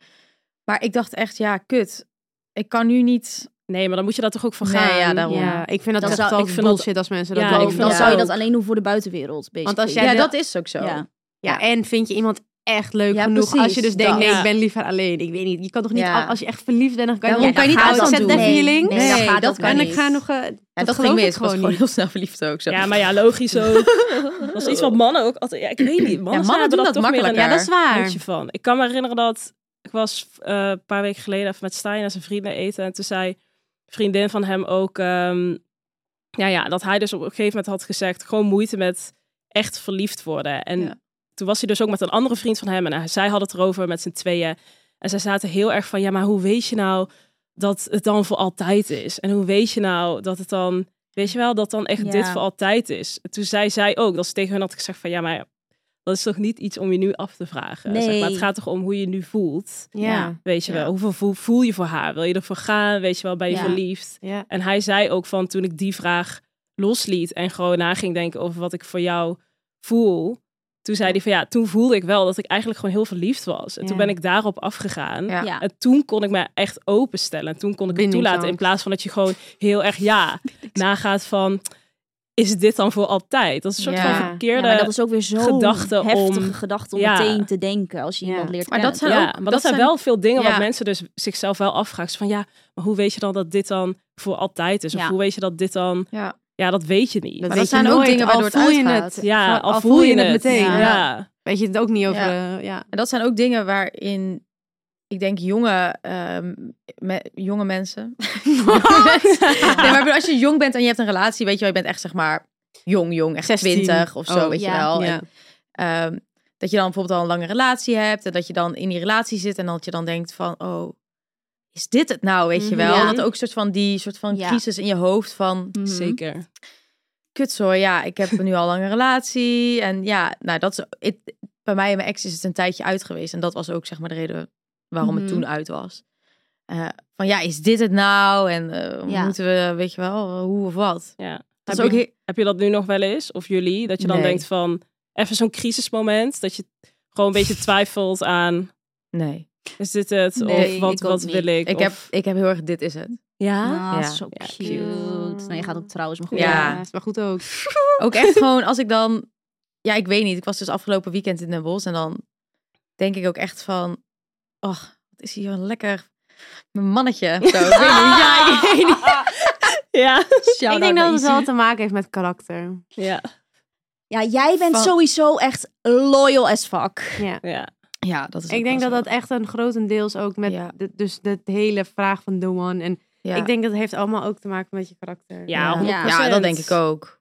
Speaker 3: Maar ik dacht echt, ja, kut, ik kan nu niet.
Speaker 4: Nee, maar dan moet je daar toch ook van gaan.
Speaker 3: Nee, ja, daarom.
Speaker 6: Ja, ik vind dat,
Speaker 5: Dan
Speaker 6: echt
Speaker 5: zou-
Speaker 6: wel
Speaker 4: ik vind dat-
Speaker 6: bullshit als mensen
Speaker 4: Ja,
Speaker 6: dat
Speaker 4: ik
Speaker 6: doen.
Speaker 4: vind
Speaker 5: dan
Speaker 4: dat
Speaker 5: zou je
Speaker 4: ook.
Speaker 5: dat alleen doen voor de buitenwereld.
Speaker 6: Want als
Speaker 3: Ja,
Speaker 6: jij de-
Speaker 5: basically.
Speaker 3: dat is ook zo.
Speaker 5: Ja.
Speaker 6: Ja, en vind je iemand echt leuk
Speaker 3: Ja,
Speaker 6: genoeg
Speaker 3: precies,
Speaker 6: als je dus denkt,
Speaker 3: dat.
Speaker 6: nee,
Speaker 4: Ja.
Speaker 6: ik ben liever alleen. Ik weet niet, je kan toch niet,
Speaker 3: Ja.
Speaker 6: af- als je echt verliefd bent, dan kan je,
Speaker 3: Ja,
Speaker 6: dan
Speaker 3: dan kan je niet
Speaker 6: ga ik
Speaker 3: afstand
Speaker 6: zet
Speaker 3: doen.
Speaker 6: net feeling.
Speaker 5: Nee,
Speaker 3: Nee,
Speaker 5: dat
Speaker 3: dat
Speaker 5: kan
Speaker 6: en
Speaker 3: niet.
Speaker 6: ik ga nog... eh,
Speaker 3: En dat,
Speaker 6: geloof
Speaker 3: ging mis.
Speaker 6: ik
Speaker 3: Ik was
Speaker 6: gewoon
Speaker 3: gewoon
Speaker 6: niet.
Speaker 3: heel snel verliefd ook. Zo.
Speaker 4: Ja, maar ja, logisch ook.
Speaker 3: <laughs>
Speaker 4: Dat is iets wat mannen ook altijd... Ja, ik weet niet. Mannen,
Speaker 3: Ja, mannen
Speaker 4: zijn- hebben
Speaker 3: doen dat
Speaker 4: toch meer
Speaker 3: makkelijker.
Speaker 4: een-
Speaker 6: Ja, dat is waar.
Speaker 4: Houd je van. Ik kan me herinneren dat ik was eh, een paar weken geleden even met Stijn en zijn vrienden eten. En toen zei een vriendin van hem ook, ehm, ja, ja, dat hij dus op een gegeven moment had gezegd, gewoon moeite met echt verliefd worden. En
Speaker 3: Ja.
Speaker 4: toen was hij dus ook met een andere vriend van hem en hij- zij had het erover met z'n tweeën. En zij zaten heel erg van, ja, maar hoe weet je nou dat het dan voor altijd is? En hoe weet je nou dat het dan, weet je wel, dat dan echt
Speaker 5: Ja.
Speaker 4: dit voor altijd is? En toen zei zij ook, dat ze tegen hun had gezegd van, ja, maar dat is toch niet iets om je nu af te vragen? Zeg maar,
Speaker 5: Nee.
Speaker 4: het gaat toch om hoe je nu voelt,
Speaker 6: Ja.
Speaker 4: weet je
Speaker 3: Ja.
Speaker 4: wel? Hoeveel voel, voel je voor haar? Wil je ervoor gaan? Weet je wel, ben je
Speaker 5: Ja.
Speaker 4: verliefd?
Speaker 6: Ja.
Speaker 4: En hij zei ook van, toen ik die vraag losliet en gewoon na ging denken over wat ik voor jou voel... Toen zei hij van ja, toen voelde ik wel dat ik eigenlijk gewoon heel verliefd was. En toen
Speaker 6: Ja.
Speaker 4: ben ik daarop afgegaan.
Speaker 3: Ja.
Speaker 5: Ja.
Speaker 4: En toen kon ik me echt openstellen. En toen kon ik het
Speaker 6: Bindingsangst.
Speaker 4: toelaten. In plaats van dat je gewoon heel erg ja nagaat van... Is dit dan voor altijd? Dat is een soort
Speaker 3: Ja.
Speaker 4: van
Speaker 5: Ja,
Speaker 4: verkeerde...
Speaker 5: maar dat is ook weer zo'n
Speaker 4: eh, gedachte om-
Speaker 5: heftige gedachte om
Speaker 4: Ja.
Speaker 5: meteen te denken als je
Speaker 6: Ja.
Speaker 5: iemand leert
Speaker 3: Maar dat
Speaker 5: kennen.
Speaker 3: zijn
Speaker 4: ja,
Speaker 3: ook-
Speaker 4: maar dat, zijn wel veel dingen
Speaker 3: ja.
Speaker 4: wat mensen dus zichzelf wel afvragen. Zo Van ja, maar hoe weet je dan dat dit dan voor altijd is? Of
Speaker 5: Ja.
Speaker 4: hoe weet je dat dit dan...
Speaker 3: Ja.
Speaker 4: Ja, dat weet je niet.
Speaker 6: Dat
Speaker 3: Maar
Speaker 6: weet
Speaker 3: dat zijn
Speaker 6: je
Speaker 3: ook
Speaker 6: nooit,
Speaker 3: dingen
Speaker 6: al
Speaker 3: waardoor het
Speaker 6: voel je
Speaker 3: uitgaat.
Speaker 6: het.
Speaker 4: ja,
Speaker 6: al voel je het meteen.
Speaker 4: Ja. Ja.
Speaker 6: Weet je het ook niet over...
Speaker 3: Ja.
Speaker 6: eh, ja.
Speaker 3: En dat zijn ook dingen waarin ik denk jonge, ehm, me- jonge mensen. <laughs> nee, maar ik bedoel, als je jong bent en je hebt een relatie, weet je wel, je bent echt zeg maar jong, jong, echt
Speaker 6: 16.
Speaker 3: 20 of zo,
Speaker 6: Oh,
Speaker 3: weet je
Speaker 5: ja.
Speaker 3: wel.
Speaker 6: Ja.
Speaker 3: En, ehm, dat je dan bijvoorbeeld al een lange relatie hebt en dat je dan in die relatie zit en dat je dan denkt van, oh, is dit het nou, weet je
Speaker 4: Mhm.
Speaker 3: wel?
Speaker 5: Ja.
Speaker 3: Dat ook een soort van die soort van
Speaker 5: Ja.
Speaker 3: crisis in je hoofd van,
Speaker 5: Mhm.
Speaker 4: Zeker.
Speaker 3: kutzooi, ja, ik heb nu al lang een relatie. En ja, nou, dat is, het- bij mij en mijn ex is het een tijdje uit geweest. En dat was ook, zeg maar, de reden waarom
Speaker 5: Mhm.
Speaker 3: het toen uit was. Eh, van ja, is dit het nou? En eh,
Speaker 5: Ja.
Speaker 3: moeten we, weet je wel, hoe of wat?
Speaker 4: Ja.
Speaker 3: Dat
Speaker 4: Heb,
Speaker 3: is ook
Speaker 4: je,
Speaker 3: heel-
Speaker 4: heb je dat nu nog wel eens? Of jullie? Dat je dan
Speaker 3: Nee.
Speaker 4: denkt van... even zo'n crisismoment? Dat je gewoon een beetje twijfelt aan,
Speaker 3: Nee.
Speaker 4: is dit het?
Speaker 5: Nee,
Speaker 4: of wat,
Speaker 5: ik ook
Speaker 4: wat
Speaker 5: niet.
Speaker 4: wil ik?
Speaker 3: Ik heb,
Speaker 4: Of-
Speaker 3: ik heb heel erg, dit is het.
Speaker 4: Ja?
Speaker 5: Ah,
Speaker 3: Ja.
Speaker 5: zo
Speaker 4: Ja,
Speaker 5: cute.
Speaker 6: cute.
Speaker 5: Nou, je gaat ook trouwens, maar goed.
Speaker 3: Ja.
Speaker 6: is maar goed ook.
Speaker 3: Ook echt gewoon als ik dan... Ja, ik weet niet. Ik was dus afgelopen weekend in Den Bosch. En dan denk ik ook echt van... Och, wat is hier een lekker... Mijn mannetje. of Zo. Ik weet niet. Ja, ik weet niet.
Speaker 4: Ja.
Speaker 6: ik denk dat het wel te maken heeft met karakter.
Speaker 4: ja.
Speaker 5: Ja, jij bent
Speaker 3: Van-
Speaker 5: sowieso echt loyal as fuck.
Speaker 6: Ja.
Speaker 4: Ja.
Speaker 3: Ja, dat is ook
Speaker 6: Ik denk
Speaker 3: wel
Speaker 6: dat dat
Speaker 3: zo.
Speaker 6: echt een grotendeels ook met
Speaker 3: Ja.
Speaker 6: de, dus de hele vraag van The One. En
Speaker 3: Ja.
Speaker 6: ik denk dat het heeft allemaal ook te maken met je karakter.
Speaker 4: Ja,
Speaker 3: ja.
Speaker 4: 100%.
Speaker 3: dat denk ik ook.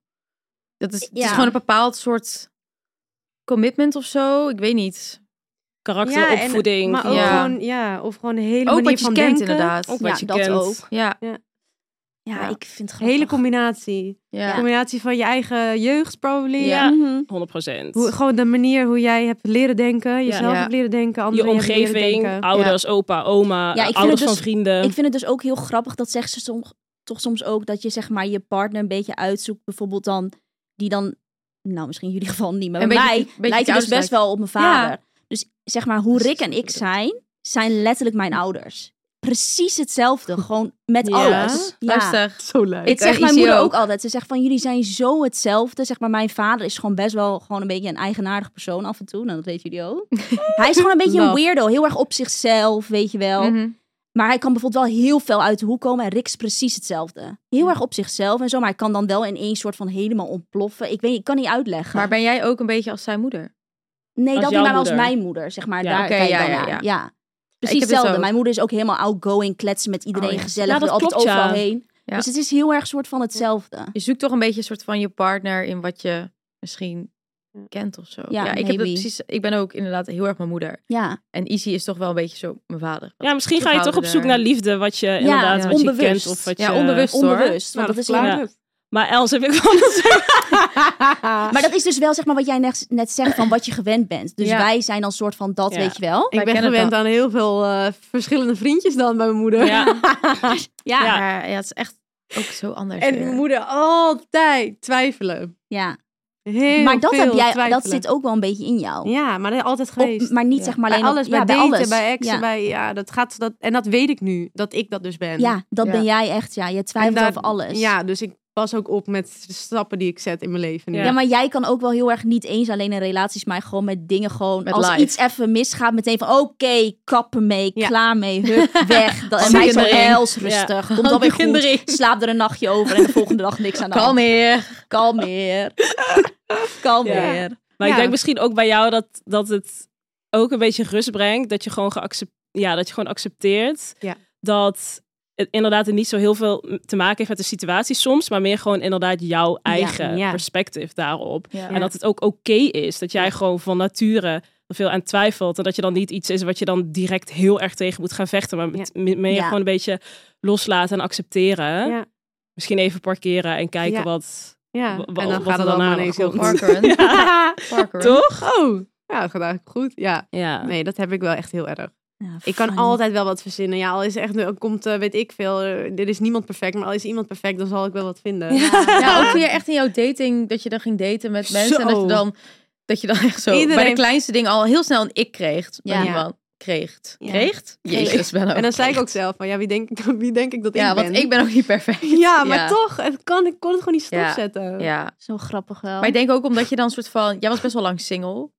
Speaker 3: Dat is, het
Speaker 5: Ja.
Speaker 3: is gewoon een bepaald soort commitment of zo. Ik weet niet.
Speaker 4: Karakter,
Speaker 6: Ja, en-
Speaker 4: opvoeding.
Speaker 6: maar ook
Speaker 3: Ja.
Speaker 6: gewoon, ja, of gewoon een hele
Speaker 3: Ook
Speaker 6: manier
Speaker 3: wat je
Speaker 6: van
Speaker 3: kent
Speaker 6: denken.
Speaker 3: inderdaad.
Speaker 4: Ook wat
Speaker 5: ja,
Speaker 4: je
Speaker 5: dat
Speaker 4: kent.
Speaker 5: ook.
Speaker 3: Ja,
Speaker 5: Ja,
Speaker 3: Ja.
Speaker 5: ik vind het
Speaker 6: Een hele
Speaker 5: grappig.
Speaker 6: combinatie.
Speaker 3: ja.
Speaker 6: Combinatie van je eigen jeugd, probably.
Speaker 4: Ja.
Speaker 5: Mhm.
Speaker 4: 100 procent.
Speaker 6: Hoe, gewoon de manier hoe jij hebt leren denken. Jezelf
Speaker 3: Ja.
Speaker 6: hebt leren denken.
Speaker 4: Je
Speaker 6: Anderen Hebt leren
Speaker 4: omgeving,
Speaker 6: denken.
Speaker 4: ouders, opa, oma,
Speaker 5: Ja, ik vind
Speaker 4: ouders
Speaker 5: het
Speaker 4: van
Speaker 5: dus-
Speaker 4: vrienden.
Speaker 5: Ik vind het dus ook heel grappig dat zegt ze soms, toch soms ook dat je zeg maar je partner een beetje uitzoekt. Bijvoorbeeld dan, die dan, nou misschien in jullie <laughs> geval niet, maar
Speaker 3: Een
Speaker 5: bij
Speaker 3: beetje-
Speaker 5: mij
Speaker 3: beetje je
Speaker 5: lijkt het dus
Speaker 3: ouders
Speaker 5: best
Speaker 3: lijkt.
Speaker 5: wel op mijn vader. Dus zeg maar hoe Rick en ik zijn, zijn letterlijk mijn ouders. Precies hetzelfde, gewoon met
Speaker 4: Ja.
Speaker 5: alles. Ja.
Speaker 3: Luister.
Speaker 6: Zo leuk.
Speaker 5: Dit
Speaker 3: eh,
Speaker 5: zegt mijn
Speaker 3: ICO.
Speaker 5: moeder ook altijd. Ze zegt van jullie zijn zo hetzelfde. Zeg maar mijn vader is gewoon best wel gewoon een beetje een eigenaardig persoon af en toe. Nou, dat weten jullie
Speaker 3: <laughs>
Speaker 5: ook. Hij is gewoon een beetje een
Speaker 3: Love.
Speaker 5: weirdo. Heel erg op zichzelf, weet je wel.
Speaker 3: Mhm.
Speaker 5: Maar hij kan bijvoorbeeld wel heel veel uit de hoek komen. En Rick is precies hetzelfde. Heel erg op zichzelf en zo. Maar hij kan dan wel in één soort van helemaal ontploffen. Ik weet ik kan niet uitleggen.
Speaker 3: Maar ben jij ook een beetje als zijn moeder?
Speaker 5: nee,
Speaker 4: als
Speaker 5: dat niet,
Speaker 4: jouw
Speaker 5: maar als
Speaker 4: moeder?
Speaker 5: mijn moeder, zeg maar.
Speaker 4: Ja,
Speaker 5: Daar
Speaker 3: oké,
Speaker 5: kijk ik
Speaker 3: ja,
Speaker 5: dan
Speaker 3: ja,
Speaker 5: naar.
Speaker 3: ja.
Speaker 5: Precies
Speaker 3: heb dit
Speaker 5: hetzelfde.
Speaker 3: ook.
Speaker 5: Mijn moeder is ook helemaal outgoing, kletsen met iedereen,
Speaker 3: Oh, ja.
Speaker 5: gezellig.
Speaker 4: Ja, dat
Speaker 5: wil altijd
Speaker 4: klopt, ja.
Speaker 5: overal heen.
Speaker 3: Ja.
Speaker 5: Dus het is heel erg soort van hetzelfde.
Speaker 3: Je zoekt toch een beetje een soort van je partner in wat je misschien kent of zo.
Speaker 5: Ja,
Speaker 3: ik, heb dat
Speaker 5: maybe.
Speaker 3: precies, ik ben ook inderdaad heel erg mijn moeder.
Speaker 5: Ja.
Speaker 3: En Izzy is toch wel een beetje zo mijn vader.
Speaker 4: ja, misschien ga je toch op zoek naar liefde, wat je inderdaad
Speaker 3: ja.
Speaker 4: wat je
Speaker 5: Onbewust.
Speaker 4: kent. Of wat
Speaker 3: Ja,
Speaker 4: je...
Speaker 3: onbewust. hoor.
Speaker 5: Onbewust.
Speaker 6: Nou,
Speaker 5: Want dat is
Speaker 4: verklaart
Speaker 5: heel-
Speaker 4: Ja. Maar Els heb ik wel
Speaker 5: Maar dat is dus wel zeg maar wat jij net, net zegt van wat je gewend bent. Dus
Speaker 3: Ja.
Speaker 5: wij zijn dan soort van dat,
Speaker 4: Ja.
Speaker 5: weet je wel.
Speaker 6: Ik
Speaker 3: Wij
Speaker 6: ben
Speaker 3: kennen
Speaker 6: gewend
Speaker 3: dat.
Speaker 6: aan heel veel eh, verschillende vriendjes dan bij mijn moeder.
Speaker 4: Ja.
Speaker 3: Ja,
Speaker 4: Ja.
Speaker 3: maar ja, het is echt ook zo anders.
Speaker 6: En
Speaker 3: weer.
Speaker 6: mijn moeder altijd twijfelen.
Speaker 5: Ja.
Speaker 6: Heel
Speaker 5: Maar dat,
Speaker 6: veel
Speaker 5: heb jij, dat
Speaker 6: twijfelen.
Speaker 5: zit ook wel een beetje in jou.
Speaker 6: Ja, maar dat is altijd
Speaker 5: Op-
Speaker 6: geweest.
Speaker 5: maar niet
Speaker 3: Ja.
Speaker 5: zeg maar
Speaker 6: bij
Speaker 5: alleen op-
Speaker 6: alles, bij
Speaker 5: ja,
Speaker 6: daten, bij,
Speaker 5: alles.
Speaker 6: exen,
Speaker 5: ja.
Speaker 6: bij... Ja, dat gaat... Dat, en dat weet ik nu, dat ik dat dus ben.
Speaker 5: Ja, dat
Speaker 3: Ja.
Speaker 5: ben jij echt. Ja, je twijfelt
Speaker 6: En daar-
Speaker 5: over alles.
Speaker 6: Ja, dus ik pas ook op met de stappen die ik zet in mijn leven. nu.
Speaker 4: Ja.
Speaker 5: Ja, maar jij kan ook wel heel erg niet eens alleen in relaties, maar gewoon met dingen gewoon.
Speaker 3: Met
Speaker 5: als
Speaker 3: life.
Speaker 5: iets even misgaat, meteen van oké, kappen mee,
Speaker 6: Ja.
Speaker 5: klaar mee, hup, weg. Dan, en
Speaker 3: Zak
Speaker 5: mij
Speaker 3: in
Speaker 5: zo
Speaker 3: de ring.
Speaker 5: els rustig. Komt
Speaker 3: Hand
Speaker 5: alweer
Speaker 3: in de
Speaker 5: goed.
Speaker 3: ring.
Speaker 5: Slaap er een nachtje over en de volgende dag niks aan de
Speaker 3: Kalm
Speaker 5: hand.
Speaker 3: hier.
Speaker 5: Kalmeer. Kalmeer.
Speaker 4: Maar ik
Speaker 6: Ja.
Speaker 4: denk misschien ook bij jou dat, dat het ook een beetje rust brengt. Dat je gewoon, geaccept, ja, dat je gewoon accepteert
Speaker 6: Ja.
Speaker 4: dat het inderdaad niet zo heel veel te maken heeft met de situatie soms. Maar meer gewoon inderdaad jouw eigen
Speaker 6: ja.
Speaker 4: perspectief daarop.
Speaker 3: Ja.
Speaker 4: En dat het ook oké is dat jij gewoon van nature er veel aan twijfelt. En dat je dan niet iets is wat je dan direct heel erg tegen moet gaan vechten. Maar met- me- meer
Speaker 5: Ja.
Speaker 4: gewoon een beetje loslaten en accepteren.
Speaker 6: Ja.
Speaker 4: Misschien even parkeren en kijken
Speaker 6: Ja.
Speaker 4: wat...
Speaker 6: Ja,
Speaker 4: Wa-
Speaker 6: en
Speaker 4: wa-
Speaker 6: dan
Speaker 4: wat
Speaker 6: gaat het
Speaker 4: er
Speaker 6: allemaal
Speaker 4: daarna
Speaker 6: ineens heel
Speaker 4: komt.
Speaker 3: <laughs>
Speaker 6: goed.
Speaker 3: Parkeren.
Speaker 6: Ja.
Speaker 3: Parkeren.
Speaker 4: Toch?
Speaker 6: Oh, ja, dat gaat eigenlijk goed. Ja,
Speaker 4: Ja.
Speaker 6: nee, dat heb ik wel echt heel erg.
Speaker 5: Ja,
Speaker 6: Ik kan
Speaker 5: funny.
Speaker 6: altijd wel wat verzinnen. Ja, al is echt, er komt, eh, weet ik veel, eh, er is niemand perfect, maar al is iemand perfect, dan zal ik wel wat vinden.
Speaker 3: Ja, ook toen je echt in jouw dating, dat je dan ging daten met mensen. En dat je
Speaker 6: Zo.
Speaker 3: dan, dat je dan echt zo bij de
Speaker 6: Iedereen-
Speaker 3: kleinste ding al heel snel een ik kreeg.
Speaker 5: Ja.
Speaker 3: Ja. Iemand. Kreeg.
Speaker 6: Ja.
Speaker 3: Kreeg? Jezus, ben ook
Speaker 6: En dan zei ik ook
Speaker 3: kreeg.
Speaker 6: zelf van, ja, wie denk <laughs> ik, wie denk ik dat
Speaker 3: Oh, Ja,
Speaker 6: ik ben?
Speaker 3: want
Speaker 6: <laughs>
Speaker 3: ik ben ook niet perfect.
Speaker 6: Ja, maar toch, het kan, ik kon het gewoon niet
Speaker 3: Ja.
Speaker 6: stopzetten. Ja,
Speaker 3: Ja.
Speaker 5: Zo grappig wel.
Speaker 3: Maar ik denk ook omdat je dan soort van... Jij was best wel lang single.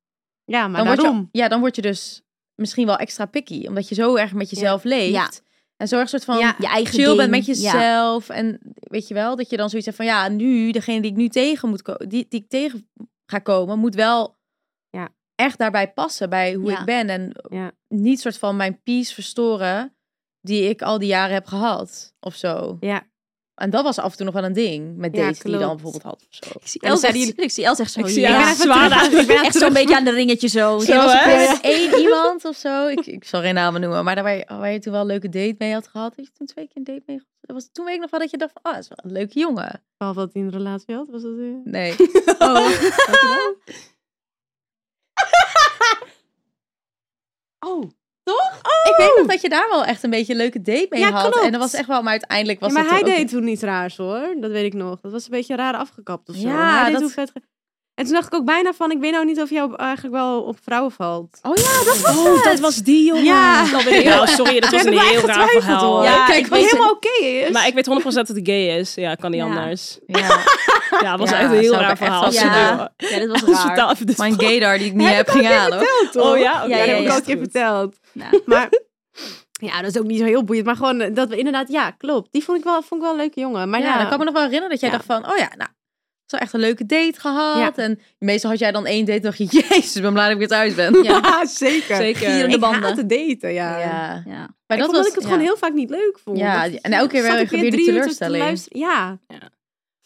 Speaker 6: maar
Speaker 3: dan
Speaker 6: daarom.
Speaker 3: Word je, ja, dan word je dus misschien wel extra picky. Omdat je zo erg met jezelf leeft.
Speaker 5: Ja.
Speaker 3: En zo erg soort van...
Speaker 5: je eigen
Speaker 3: Chill
Speaker 5: ding.
Speaker 3: bent met
Speaker 5: Ja.
Speaker 3: jezelf en weet je wel dat je dan zoiets hebt van ja nu degene die ik nu tegen moet ko- die, die ik tegen ga komen moet wel
Speaker 6: Ja.
Speaker 3: echt daarbij passen bij hoe
Speaker 5: Ja.
Speaker 3: ik ben en
Speaker 6: Ja.
Speaker 3: niet soort van mijn peace verstoren die ik al die jaren heb gehad of zo
Speaker 6: Ja.
Speaker 3: en dat was af en toe nog wel een ding met
Speaker 6: Ja,
Speaker 3: dates die je dan
Speaker 6: klopt.
Speaker 3: bijvoorbeeld had of zo
Speaker 5: Ik zie
Speaker 6: En dan
Speaker 5: Els echt,
Speaker 6: zeiden jullie-
Speaker 5: ik zie Els echt zo.
Speaker 4: Ik zie
Speaker 5: ja.
Speaker 4: haar
Speaker 6: Ik ben
Speaker 4: echt zwaar
Speaker 6: terug-
Speaker 4: aan-
Speaker 6: ik ben aan
Speaker 5: echt
Speaker 4: <laughs>
Speaker 6: terug-
Speaker 5: zo'n beetje aan de ringetje zo.
Speaker 4: Zo,
Speaker 5: Ja,
Speaker 4: hè?
Speaker 5: was-
Speaker 3: Er is
Speaker 5: <laughs>
Speaker 3: één iemand of zo ik, ik zal geen namen noemen maar daar waar je, waar je toen wel een leuke date mee had gehad had je toen twee keer een date mee gehad? Dat was toen weet ik nog wel dat je dacht van ah dat is wel een leuke jongen
Speaker 6: Behalve dat hij een relatie had, was dat weer... <laughs>
Speaker 3: nee
Speaker 6: Oh.
Speaker 3: Ik weet nog dat je daar wel echt een beetje een leuke date mee
Speaker 6: Ja,
Speaker 3: had.
Speaker 6: klopt.
Speaker 3: En dat was echt wel, maar uiteindelijk was
Speaker 6: Ja, maar
Speaker 3: dat
Speaker 6: hij
Speaker 3: er ook-
Speaker 6: deed toen iets raars hoor, dat weet ik nog. Dat was een beetje raar afgekapt of zo.
Speaker 3: Ja,
Speaker 6: hij deed
Speaker 3: dat-
Speaker 6: toen vet ge- En toen dacht ik ook bijna van, ik weet nou niet of jij op- eigenlijk wel op vrouwen valt.
Speaker 3: Oh ja, dat was
Speaker 4: Oh, dat was die jongen.
Speaker 6: Ja.
Speaker 4: Dat <laughs> ben ik- nou, sorry, dat
Speaker 6: Toen
Speaker 4: was een
Speaker 6: hebben wij
Speaker 4: heel raar
Speaker 6: getwijfeld,
Speaker 4: verhaal.
Speaker 6: hoor.
Speaker 3: Ja,
Speaker 6: Kijk,
Speaker 3: ik
Speaker 6: wat
Speaker 3: weet
Speaker 6: helemaal oké is.
Speaker 4: Maar ik weet 100% dat het gay is. Ja, kan niet
Speaker 5: Ja.
Speaker 4: anders.
Speaker 3: Ja.
Speaker 4: Ja, het was
Speaker 3: Ja,
Speaker 4: echt een heel
Speaker 3: zou ik
Speaker 4: raar
Speaker 3: echt
Speaker 4: verhaal.
Speaker 3: wel
Speaker 4: Sorry,
Speaker 5: Ja.
Speaker 4: hoor.
Speaker 5: Ja, dit was
Speaker 4: Dat is
Speaker 5: raar.
Speaker 4: <laughs> totaal even de
Speaker 6: <laughs>
Speaker 3: Mijn gaydar die ik niet
Speaker 6: Heb
Speaker 3: heb
Speaker 6: ik al een keer
Speaker 3: gegaan hoor.
Speaker 6: verteld, hoor.
Speaker 4: Oh ja? Oké,
Speaker 5: Ja, ja,
Speaker 6: dat heb ik
Speaker 5: ja.
Speaker 6: al een keer
Speaker 4: Goed.
Speaker 6: verteld. <laughs>
Speaker 5: Nou.
Speaker 6: Maar ja, dat is ook niet zo heel boeiend. Maar gewoon eh, dat we inderdaad, ja, klopt. Die vond ik wel, vond ik wel een leuke jongen. Maar
Speaker 3: Maar ja,
Speaker 6: ja,
Speaker 3: dan kan ik me nog wel herinneren dat jij
Speaker 6: Ja.
Speaker 3: dacht van, oh ja, nou, zo echt een leuke date gehad. En meestal had jij dan één date en dacht je, <laughs> jezus, ik ben blij dat ik weer thuis ben.
Speaker 5: Ja.
Speaker 3: <laughs>
Speaker 6: zeker.
Speaker 3: Zeker.
Speaker 6: Gierende
Speaker 3: Ik
Speaker 6: banden.
Speaker 3: haat
Speaker 6: te daten, ja.
Speaker 3: Ja.
Speaker 5: Ja.
Speaker 3: Maar
Speaker 6: dat
Speaker 3: dat
Speaker 6: was,
Speaker 3: was
Speaker 6: ik het
Speaker 3: ja.
Speaker 6: gewoon heel vaak niet leuk vond.
Speaker 3: Ja, en elke keer
Speaker 6: zat
Speaker 3: weer
Speaker 6: ik
Speaker 3: weer die
Speaker 6: drie uur te
Speaker 3: teleurstelling.
Speaker 6: luisteren. Ja.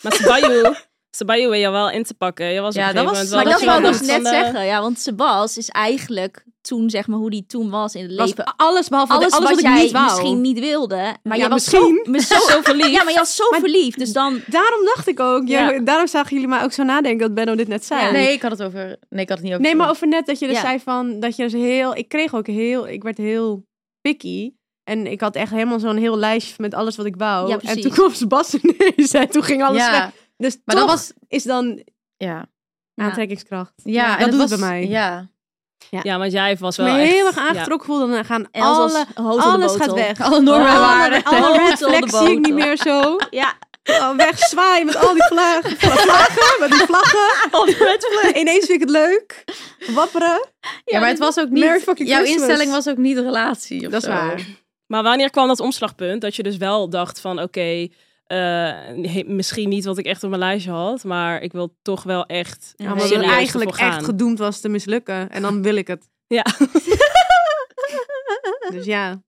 Speaker 4: Maar Sabayu, Sabayu wil je wel in te pakken. Je was op
Speaker 3: Ja,
Speaker 4: een
Speaker 3: dat was-
Speaker 4: gegeven moment wel
Speaker 5: Maar dat
Speaker 4: de
Speaker 5: wou ik
Speaker 4: iemand
Speaker 5: dus net
Speaker 4: van eh, de-
Speaker 5: zeggen. Ja, want Sebas is eigenlijk toen, zeg maar, hoe die toen was in het
Speaker 6: Was
Speaker 5: leven.
Speaker 6: alles behalve
Speaker 5: Alles,
Speaker 6: alles
Speaker 5: wat
Speaker 6: ik
Speaker 5: jij
Speaker 6: niet wou.
Speaker 5: misschien niet wilde. Maar
Speaker 6: Ja,
Speaker 5: jij was
Speaker 6: misschien.
Speaker 5: zo, zo, verliefd. Ja, maar je was zo
Speaker 6: Maar-
Speaker 5: verliefd. Dus dan...
Speaker 6: Daarom dacht ik ook. Ja,
Speaker 5: Ja.
Speaker 6: Daarom zagen jullie mij ook zo nadenken dat Benno dit net zei.
Speaker 5: Ja.
Speaker 3: Nee, ik had het over, nee, ik had het niet over.
Speaker 6: Nee, maar over net dat je dus
Speaker 5: Ja.
Speaker 6: zei van dat je dus heel. Ik kreeg ook heel. Ik werd heel picky. En ik had echt helemaal zo'n heel lijstje met alles wat ik wou.
Speaker 5: Ja,
Speaker 6: en
Speaker 5: precies.
Speaker 6: toen kwam Sebas <laughs> ineens en toen ging alles
Speaker 3: ja,
Speaker 6: weg. Dus
Speaker 3: Maar
Speaker 6: toch
Speaker 3: dat was,
Speaker 6: is dan
Speaker 3: ja.
Speaker 6: aantrekkingskracht.
Speaker 3: Ja, en
Speaker 6: dat
Speaker 3: het
Speaker 6: doet
Speaker 3: was,
Speaker 6: het bij mij.
Speaker 3: Ja.
Speaker 4: Ja, want jij was
Speaker 6: Ik
Speaker 4: wel
Speaker 6: ben
Speaker 4: echt...
Speaker 6: heel erg
Speaker 4: ja.
Speaker 6: aangetrokken voelde en dan gaan
Speaker 5: En als-
Speaker 6: alle,
Speaker 5: als hout in de
Speaker 6: alles gaat
Speaker 5: botel.
Speaker 6: weg.
Speaker 3: Alle normen en
Speaker 6: alle,
Speaker 3: waarden.
Speaker 6: <laughs> alle
Speaker 5: Hout
Speaker 6: red
Speaker 5: onder de
Speaker 6: flags zie ik niet
Speaker 5: botel.
Speaker 6: meer zo.
Speaker 5: Ja.
Speaker 6: Oh, Wegzwaaien met al die vlaggen. vlaggen met die vlaggen. <laughs> Al die Ineens vind ik het leuk. Wapperen.
Speaker 3: Ja, maar het was ook niet.
Speaker 6: Merry fucking
Speaker 3: jouw
Speaker 6: Christmas.
Speaker 3: instelling was ook niet relatie. Of
Speaker 6: Dat is
Speaker 3: zo.
Speaker 6: waar.
Speaker 4: Maar wanneer kwam dat omslagpunt? Dat je dus wel dacht van, oké, eh, he- misschien niet wat ik echt op mijn lijstje had, maar ik wil toch wel echt
Speaker 6: Ja,
Speaker 5: Ja, maar
Speaker 6: omdat het
Speaker 4: serieus
Speaker 5: Serieus
Speaker 6: eigenlijk
Speaker 4: ervoor gaan.
Speaker 6: echt gedoemd was te mislukken. En dan wil ik het.
Speaker 4: Ja.
Speaker 6: <laughs> Dus ja.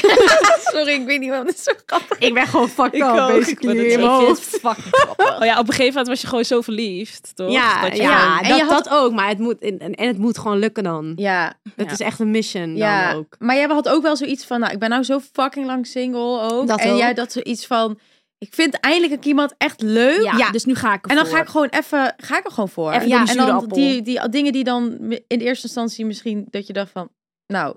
Speaker 3: <laughs> Sorry, ik weet niet waarom dit zo grappig
Speaker 6: Ik ben gewoon fucked
Speaker 4: Ik
Speaker 6: up,
Speaker 4: ook.
Speaker 6: basically.
Speaker 4: Ik
Speaker 6: in
Speaker 4: vind
Speaker 6: mijn
Speaker 4: het
Speaker 6: hoofd. <laughs>
Speaker 4: Oh ja, op een gegeven moment was je gewoon zo verliefd, toch?
Speaker 6: Ja,
Speaker 4: Dat je
Speaker 6: ja,
Speaker 4: gewoon-
Speaker 6: dat,
Speaker 3: En je had-
Speaker 6: dat ook. Maar het moet, en, en het moet gewoon lukken dan.
Speaker 3: <laughs> Ja,
Speaker 6: Het
Speaker 4: Ja.
Speaker 6: is echt een mission dan
Speaker 3: ja.
Speaker 6: ook.
Speaker 3: Nou, Maar jij had ook wel zoiets van, nou, ik ben nou zo fucking lang single ook.
Speaker 5: Dat
Speaker 3: en jij
Speaker 5: ook.
Speaker 3: dat zoiets van, ik vind eindelijk ook iemand echt leuk.
Speaker 5: Ja,
Speaker 6: Ja.
Speaker 5: dus nu ga ik
Speaker 3: En
Speaker 5: ervoor.
Speaker 3: dan ga ik gewoon even, ga ik er gewoon voor.
Speaker 5: Even
Speaker 6: Ja,
Speaker 5: door die
Speaker 3: en
Speaker 5: zure
Speaker 3: dan
Speaker 5: appel.
Speaker 3: die, die dingen die dan in de eerste instantie misschien, dat je dacht van, nou,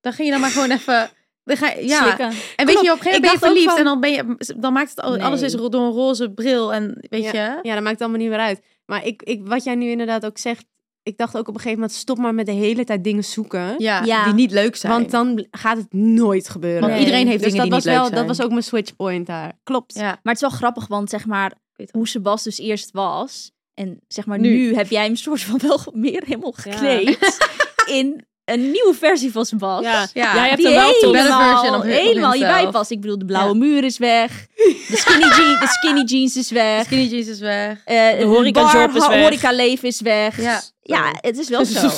Speaker 3: dan ging je dan maar gewoon <laughs> even... Dan ga, je- ja,
Speaker 5: Slikken.
Speaker 3: en weet je, op een
Speaker 6: Ik
Speaker 3: gegeven moment ben je
Speaker 6: dacht ook
Speaker 3: verliefd
Speaker 6: van-
Speaker 3: en dan, ben je, dan maakt het al, alles
Speaker 5: Nee.
Speaker 3: is ro- door een roze bril en weet je...
Speaker 6: <laughs> Ja, dat maakt allemaal niet meer uit. Maar ik, ik, wat jij nu inderdaad ook zegt. Ik dacht ook op een gegeven moment, stop maar met de hele tijd dingen zoeken.
Speaker 3: Ja,
Speaker 5: Ja.
Speaker 3: die niet leuk zijn.
Speaker 6: Want dan bl- gaat het nooit gebeuren.
Speaker 3: Want
Speaker 5: Nee.
Speaker 3: iedereen heeft
Speaker 6: Dus
Speaker 3: dingen
Speaker 6: dat
Speaker 3: die
Speaker 6: was
Speaker 3: niet leuk
Speaker 6: wel,
Speaker 3: zijn.
Speaker 6: dat was ook mijn switchpoint daar. Klopt.
Speaker 3: Ja.
Speaker 5: Maar het is wel grappig, want zeg maar,
Speaker 3: weet het.
Speaker 5: hoe Sebas dus eerst was. En zeg maar, nu,
Speaker 3: Nu.
Speaker 5: heb jij hem soort van wel <laughs> meer helemaal gekleed. in een nieuwe versie van Sebas.
Speaker 4: Ja,
Speaker 3: Ja.
Speaker 4: jij hebt
Speaker 5: die
Speaker 4: er wel toch...
Speaker 3: better version
Speaker 5: helemaal,
Speaker 3: of him-
Speaker 5: helemaal je
Speaker 3: himself.
Speaker 5: bij past. Ik bedoel, de blauwe
Speaker 3: Ja.
Speaker 5: muur is weg. De
Speaker 3: <laughs>
Speaker 5: skinny, je- de skinny jeans is weg.
Speaker 3: Skinny jeans is weg.
Speaker 5: eh,
Speaker 4: De horecajob
Speaker 5: bar-
Speaker 4: is
Speaker 5: ho-
Speaker 4: weg.
Speaker 5: horecaleven is weg.
Speaker 3: Ja.
Speaker 5: Ja, het is
Speaker 3: <laughs>
Speaker 5: wel zo.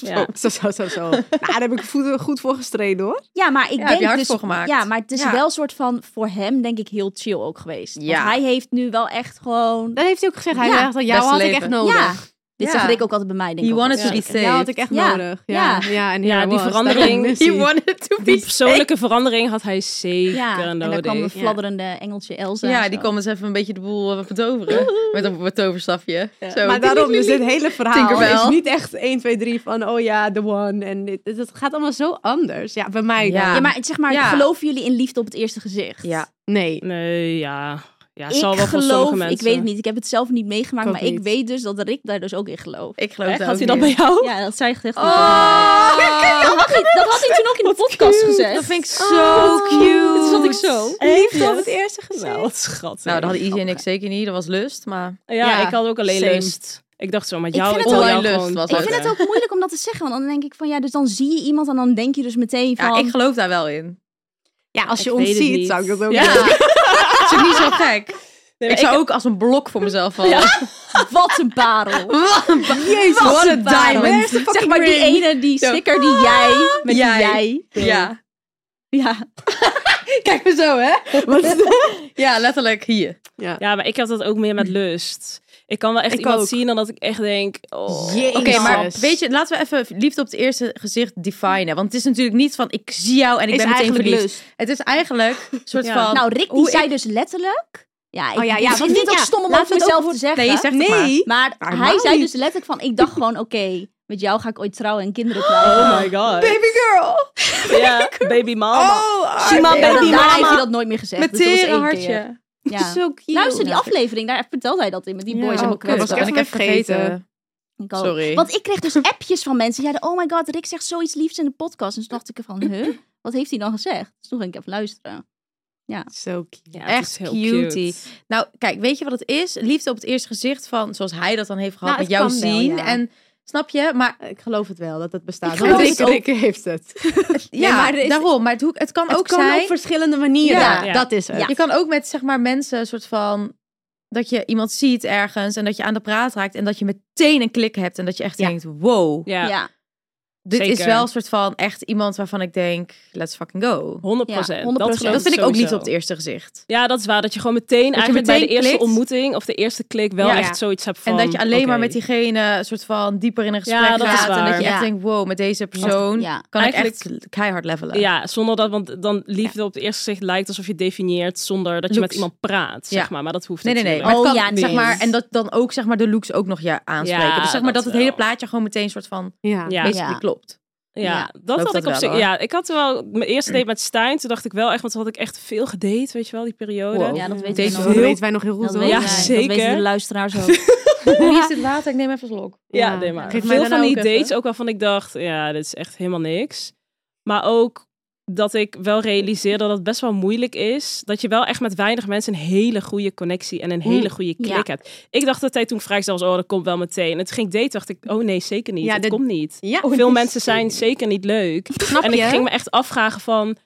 Speaker 4: Ja.
Speaker 6: <laughs> Zo, zo, zo, zo. nou, daar heb ik voet- goed voor gestreden hoor.
Speaker 5: Ja, maar
Speaker 3: Ja,
Speaker 5: ik
Speaker 3: heb
Speaker 5: denk
Speaker 3: je hard
Speaker 5: dus,
Speaker 3: voor gemaakt.
Speaker 5: Ja, maar het is
Speaker 3: Ja.
Speaker 5: wel een soort van voor hem denk ik heel chill ook geweest.
Speaker 3: Ja.
Speaker 5: Want hij heeft nu wel echt gewoon.
Speaker 6: Dat heeft hij ook gezegd. Hij
Speaker 5: Ja,
Speaker 6: zegt echt, jou
Speaker 3: beste
Speaker 6: had ik
Speaker 3: leven.
Speaker 6: echt nodig.
Speaker 5: Ja. Dit
Speaker 3: Ja.
Speaker 5: zegt Rick ook altijd bij mij. Denk
Speaker 3: He
Speaker 5: ik ook
Speaker 3: wanted
Speaker 5: wel
Speaker 3: to be
Speaker 5: zeker.
Speaker 3: saved.
Speaker 6: Jou had ik echt
Speaker 5: Ja.
Speaker 6: nodig.
Speaker 5: Ja.
Speaker 6: Ja, ja. en
Speaker 4: Ja,
Speaker 6: here I
Speaker 4: die
Speaker 6: was.
Speaker 4: verandering-
Speaker 6: Daar-
Speaker 3: He wanted to
Speaker 4: Die
Speaker 3: be saved.
Speaker 4: persoonlijke verandering had hij zeker
Speaker 5: Ja, en
Speaker 4: nodig.
Speaker 5: dan kwam een
Speaker 6: Ja.
Speaker 5: fladderende engeltje Elsa. en
Speaker 3: Ja,
Speaker 5: zo.
Speaker 3: die kwam eens even een beetje de boel eh, betoveren. Met een betoverstafje. <laughs> Zo.
Speaker 6: Maar daarom, dus dit hele verhaal
Speaker 3: Tinkerbell.
Speaker 6: is niet echt 1, 2, 3 van oh ja, the one. En dit, dit- het gaat allemaal zo anders. Ja, bij mij dan.
Speaker 3: Ja.
Speaker 5: Ja, maar zeg maar,
Speaker 3: Ja.
Speaker 5: geloven jullie in liefde op het eerste gezicht?
Speaker 3: Ja.
Speaker 6: Nee.
Speaker 4: Nee, ja. Ja,
Speaker 5: Ik
Speaker 4: zal wel voor
Speaker 5: geloof,
Speaker 4: sommige
Speaker 5: ik
Speaker 4: mensen.
Speaker 5: weet het niet. Ik heb het zelf niet meegemaakt,
Speaker 6: Ik ook
Speaker 5: maar ik
Speaker 6: niet.
Speaker 5: weet dus dat Rick daar dus ook in gelooft.
Speaker 3: Ik geloof
Speaker 4: Echt,
Speaker 3: dat
Speaker 4: had hij
Speaker 3: ook
Speaker 4: dat bij
Speaker 3: niet.
Speaker 4: jou?
Speaker 5: Ja, dat zei hij echt.
Speaker 3: Oh,
Speaker 5: dat, had hij, dat had hij toen ook in de podcast gezegd.
Speaker 3: dat vind ik
Speaker 4: Oh,
Speaker 3: zo cute.
Speaker 5: Dat vond ik zo.
Speaker 6: Liefde op het eerste gezicht.
Speaker 4: Nou, wat schattig.
Speaker 3: Nou, dat hadden Izzy en ik zeker niet. Dat was lust, maar...
Speaker 4: ja,
Speaker 6: Ja,
Speaker 4: ik had ook alleen
Speaker 6: same.
Speaker 4: lust. Ik dacht zo, met jou...
Speaker 5: vind
Speaker 4: ik
Speaker 5: het
Speaker 4: wil
Speaker 5: ook-
Speaker 4: jou
Speaker 3: Online
Speaker 4: gewoon-
Speaker 3: lust was
Speaker 5: Ik vind het ook moeilijk om dat te zeggen, want dan denk ik van ja, dus dan zie je iemand en dan denk je dus meteen van.
Speaker 3: Ja, ik geloof daar wel in.
Speaker 6: Ja, als je
Speaker 4: Ik
Speaker 6: ons
Speaker 4: weet het
Speaker 6: ziet,
Speaker 4: niet.
Speaker 6: zou ik dat ook
Speaker 3: Ja.
Speaker 6: doen.
Speaker 3: Dat <laughs> is ook niet zo gek. Ik
Speaker 4: Nee, maar
Speaker 3: zou ook als een blok voor mezelf vallen. <laughs>
Speaker 5: Wat een parel.
Speaker 3: Wat een ba-
Speaker 6: Jezus,
Speaker 3: Wat een
Speaker 5: parel.
Speaker 3: diamond.
Speaker 5: Zeg maar die ene, die
Speaker 3: Zo.
Speaker 5: sticker die jij, met jij.
Speaker 3: Jij.
Speaker 5: jij.
Speaker 3: Ja.
Speaker 5: Ja.
Speaker 3: Kijk me zo, hè? Ja, letterlijk hier.
Speaker 4: Ja, maar ik had dat ook meer
Speaker 5: Mm.
Speaker 4: met lust. Ik kan wel echt
Speaker 6: Ik
Speaker 4: iemand
Speaker 6: ook.
Speaker 4: zien dan dat ik echt denk... Oh,
Speaker 6: Jezus.
Speaker 3: Oké, maar weet je, laten we even liefde op het eerste gezicht definen. Want het is natuurlijk niet van ik zie jou en ik
Speaker 6: Is
Speaker 3: ben meteen
Speaker 6: eigenlijk
Speaker 3: verliefd.
Speaker 6: lust.
Speaker 3: Het is eigenlijk een soort
Speaker 4: Ja.
Speaker 3: van...
Speaker 5: Nou, Rick die
Speaker 3: hoe
Speaker 5: zei dus letterlijk. Ja, ik
Speaker 6: Oh ja, ja,
Speaker 5: ik
Speaker 6: want
Speaker 5: vind
Speaker 6: dit-
Speaker 5: het ook
Speaker 6: ja,
Speaker 5: stom om
Speaker 6: laat
Speaker 5: over
Speaker 6: het
Speaker 5: mezelf
Speaker 6: over-
Speaker 5: te zeggen.
Speaker 3: Nee, je zegt het maar.
Speaker 6: Nee.
Speaker 5: Maar
Speaker 6: Helemaal
Speaker 5: hij zei
Speaker 6: niet.
Speaker 5: dus letterlijk van, ik dacht gewoon, oké, met jou ga ik ooit trouwen en kinderen krijgen.
Speaker 4: Oh my god.
Speaker 3: Baby <laughs> girl!
Speaker 4: Ja, baby mama.
Speaker 3: Oh,
Speaker 4: Shima
Speaker 5: En
Speaker 4: baby
Speaker 5: daarna heeft hij
Speaker 4: mama.
Speaker 5: dat nooit meer gezegd.
Speaker 3: Met
Speaker 5: dus dat was
Speaker 3: tere
Speaker 5: één keer.
Speaker 3: hartje.
Speaker 5: Ja.
Speaker 6: Zo cute.
Speaker 5: Luister die
Speaker 3: Ja.
Speaker 5: aflevering, daar vertelt hij dat in met die boys
Speaker 6: Ja.
Speaker 5: en
Speaker 6: Oh,
Speaker 5: elkaar.
Speaker 6: kut.
Speaker 3: Dat
Speaker 6: was
Speaker 3: ben
Speaker 6: ik even
Speaker 3: ik even
Speaker 6: vergeten.
Speaker 3: vergeten.
Speaker 5: Ik ook.
Speaker 3: Sorry.
Speaker 5: Want ik kreeg dus <laughs> appjes van mensen. Die zeiden, oh my god, Rick zegt zoiets liefs in de podcast. En toen dacht ik van, huh? Wat heeft hij dan gezegd? Dus toen ging ik even luisteren.
Speaker 6: Zo cute.
Speaker 4: Ja,
Speaker 3: Echt cutie. Nou, kijk, weet je wat het is? Liefde op het eerste gezicht van, zoals hij dat dan heeft gehad,
Speaker 6: Nou,
Speaker 3: met
Speaker 6: het
Speaker 3: jou
Speaker 6: kan wel,
Speaker 3: zien.
Speaker 6: ja.
Speaker 3: En snap je? Maar
Speaker 6: Ik geloof het wel dat het bestaat.
Speaker 5: Ik
Speaker 6: Want
Speaker 5: geloof
Speaker 6: Rick-
Speaker 5: het ook.
Speaker 6: Rick heeft het.
Speaker 3: ja,
Speaker 6: maar er is-
Speaker 3: daarom. Maar het, hoe- het kan
Speaker 6: Het
Speaker 3: ook
Speaker 6: kan
Speaker 3: zijn.
Speaker 6: op verschillende manieren.
Speaker 3: Ja.
Speaker 4: Ja.
Speaker 6: Dat is het.
Speaker 5: Ja.
Speaker 3: Je kan ook met zeg maar mensen een soort van dat je iemand ziet ergens en dat je aan de praat raakt en dat je meteen een klik hebt en dat je echt
Speaker 6: Ja.
Speaker 3: denkt wow
Speaker 4: Ja,
Speaker 5: Ja.
Speaker 3: dit is
Speaker 4: zeker.
Speaker 3: wel een soort van echt iemand waarvan ik denk let's fucking go
Speaker 4: 100
Speaker 5: Ja,
Speaker 4: procent.
Speaker 5: 100%.
Speaker 4: Dat,
Speaker 3: dat
Speaker 4: geloof
Speaker 3: vind ik ook
Speaker 4: sowieso.
Speaker 3: liefde op het eerste gezicht
Speaker 4: Ja, dat is waar. Dat je gewoon meteen
Speaker 3: je
Speaker 4: eigenlijk bij de
Speaker 3: meteen
Speaker 4: eerste
Speaker 3: klikt.
Speaker 4: ontmoeting of de eerste klik wel
Speaker 3: Ja.
Speaker 4: echt zoiets hebt van...
Speaker 3: en dat je alleen maar
Speaker 4: oké.
Speaker 3: met diegene een soort van dieper in een gesprek
Speaker 4: Ja, dat is
Speaker 3: gaat en dat
Speaker 4: waar.
Speaker 3: je echt
Speaker 5: Ja.
Speaker 3: denkt wow met deze persoon
Speaker 5: Ja.
Speaker 3: kan ik
Speaker 4: Eigenlijk-
Speaker 3: echt keihard levelen
Speaker 4: Ja, zonder dat, want dan liefde op het eerste gezicht lijkt alsof je definieert zonder dat je
Speaker 3: Looks.
Speaker 4: met iemand praat, zeg
Speaker 3: Ja.
Speaker 4: maar. Maar dat hoeft
Speaker 3: Nee, nee, nee.
Speaker 4: natuurlijk.
Speaker 3: Maar het
Speaker 5: Oh,
Speaker 3: kan,
Speaker 5: ja, nee.
Speaker 3: zeg maar, en dat dan ook zeg maar, de looks ook nog je aanspreken.
Speaker 4: Ja,
Speaker 3: dus zeg maar dat,
Speaker 4: dat
Speaker 3: het hele
Speaker 4: wel.
Speaker 3: plaatje gewoon meteen een soort van
Speaker 6: Ja.
Speaker 4: Ja.
Speaker 3: basically
Speaker 5: Ja.
Speaker 3: klopt.
Speaker 4: Ja,
Speaker 5: Ja,
Speaker 4: dat
Speaker 3: loopt
Speaker 4: had
Speaker 3: dat
Speaker 4: ik op
Speaker 3: wel,
Speaker 4: zich.
Speaker 3: hoor.
Speaker 4: Ja, ik had wel mijn
Speaker 3: <clears throat>
Speaker 4: eerste date met Stijn. Toen dacht ik wel echt, want toen had ik echt veel gedate, weet je wel, die periode.
Speaker 3: Wow.
Speaker 5: Ja, dat weten
Speaker 4: Deze
Speaker 5: we
Speaker 6: Dat
Speaker 5: nog.
Speaker 4: heel-
Speaker 6: weten wij nog heel goed.
Speaker 5: Dat
Speaker 6: hoor.
Speaker 5: weten
Speaker 4: Ja,
Speaker 5: wij.
Speaker 4: zeker.
Speaker 5: Dat weten de luisteraars ook.
Speaker 3: Hier is het water, ik neem even een slok.
Speaker 4: Ja,
Speaker 6: Ja.
Speaker 4: nee, maar
Speaker 6: Geef mij
Speaker 4: veel
Speaker 6: daarna
Speaker 4: van die
Speaker 6: ook
Speaker 4: dates
Speaker 6: even.
Speaker 4: ook waarvan ik dacht, ja, dit is echt helemaal niks. Maar ook dat ik wel realiseerde dat het best wel moeilijk is. Dat je wel echt met weinig mensen een hele goede connectie en een hele goede
Speaker 5: Ja.
Speaker 4: klik hebt. Ik dacht altijd toen ik vrijstel was, oh, dat komt wel meteen. En toen ging ik daten, dacht ik, oh nee, zeker niet.
Speaker 6: Ja,
Speaker 4: dat
Speaker 6: dit-
Speaker 4: komt niet.
Speaker 6: Ja.
Speaker 4: Veel mensen zijn zeker niet leuk.
Speaker 6: Snap
Speaker 4: en
Speaker 6: je?
Speaker 4: ik ging me echt afvragen van,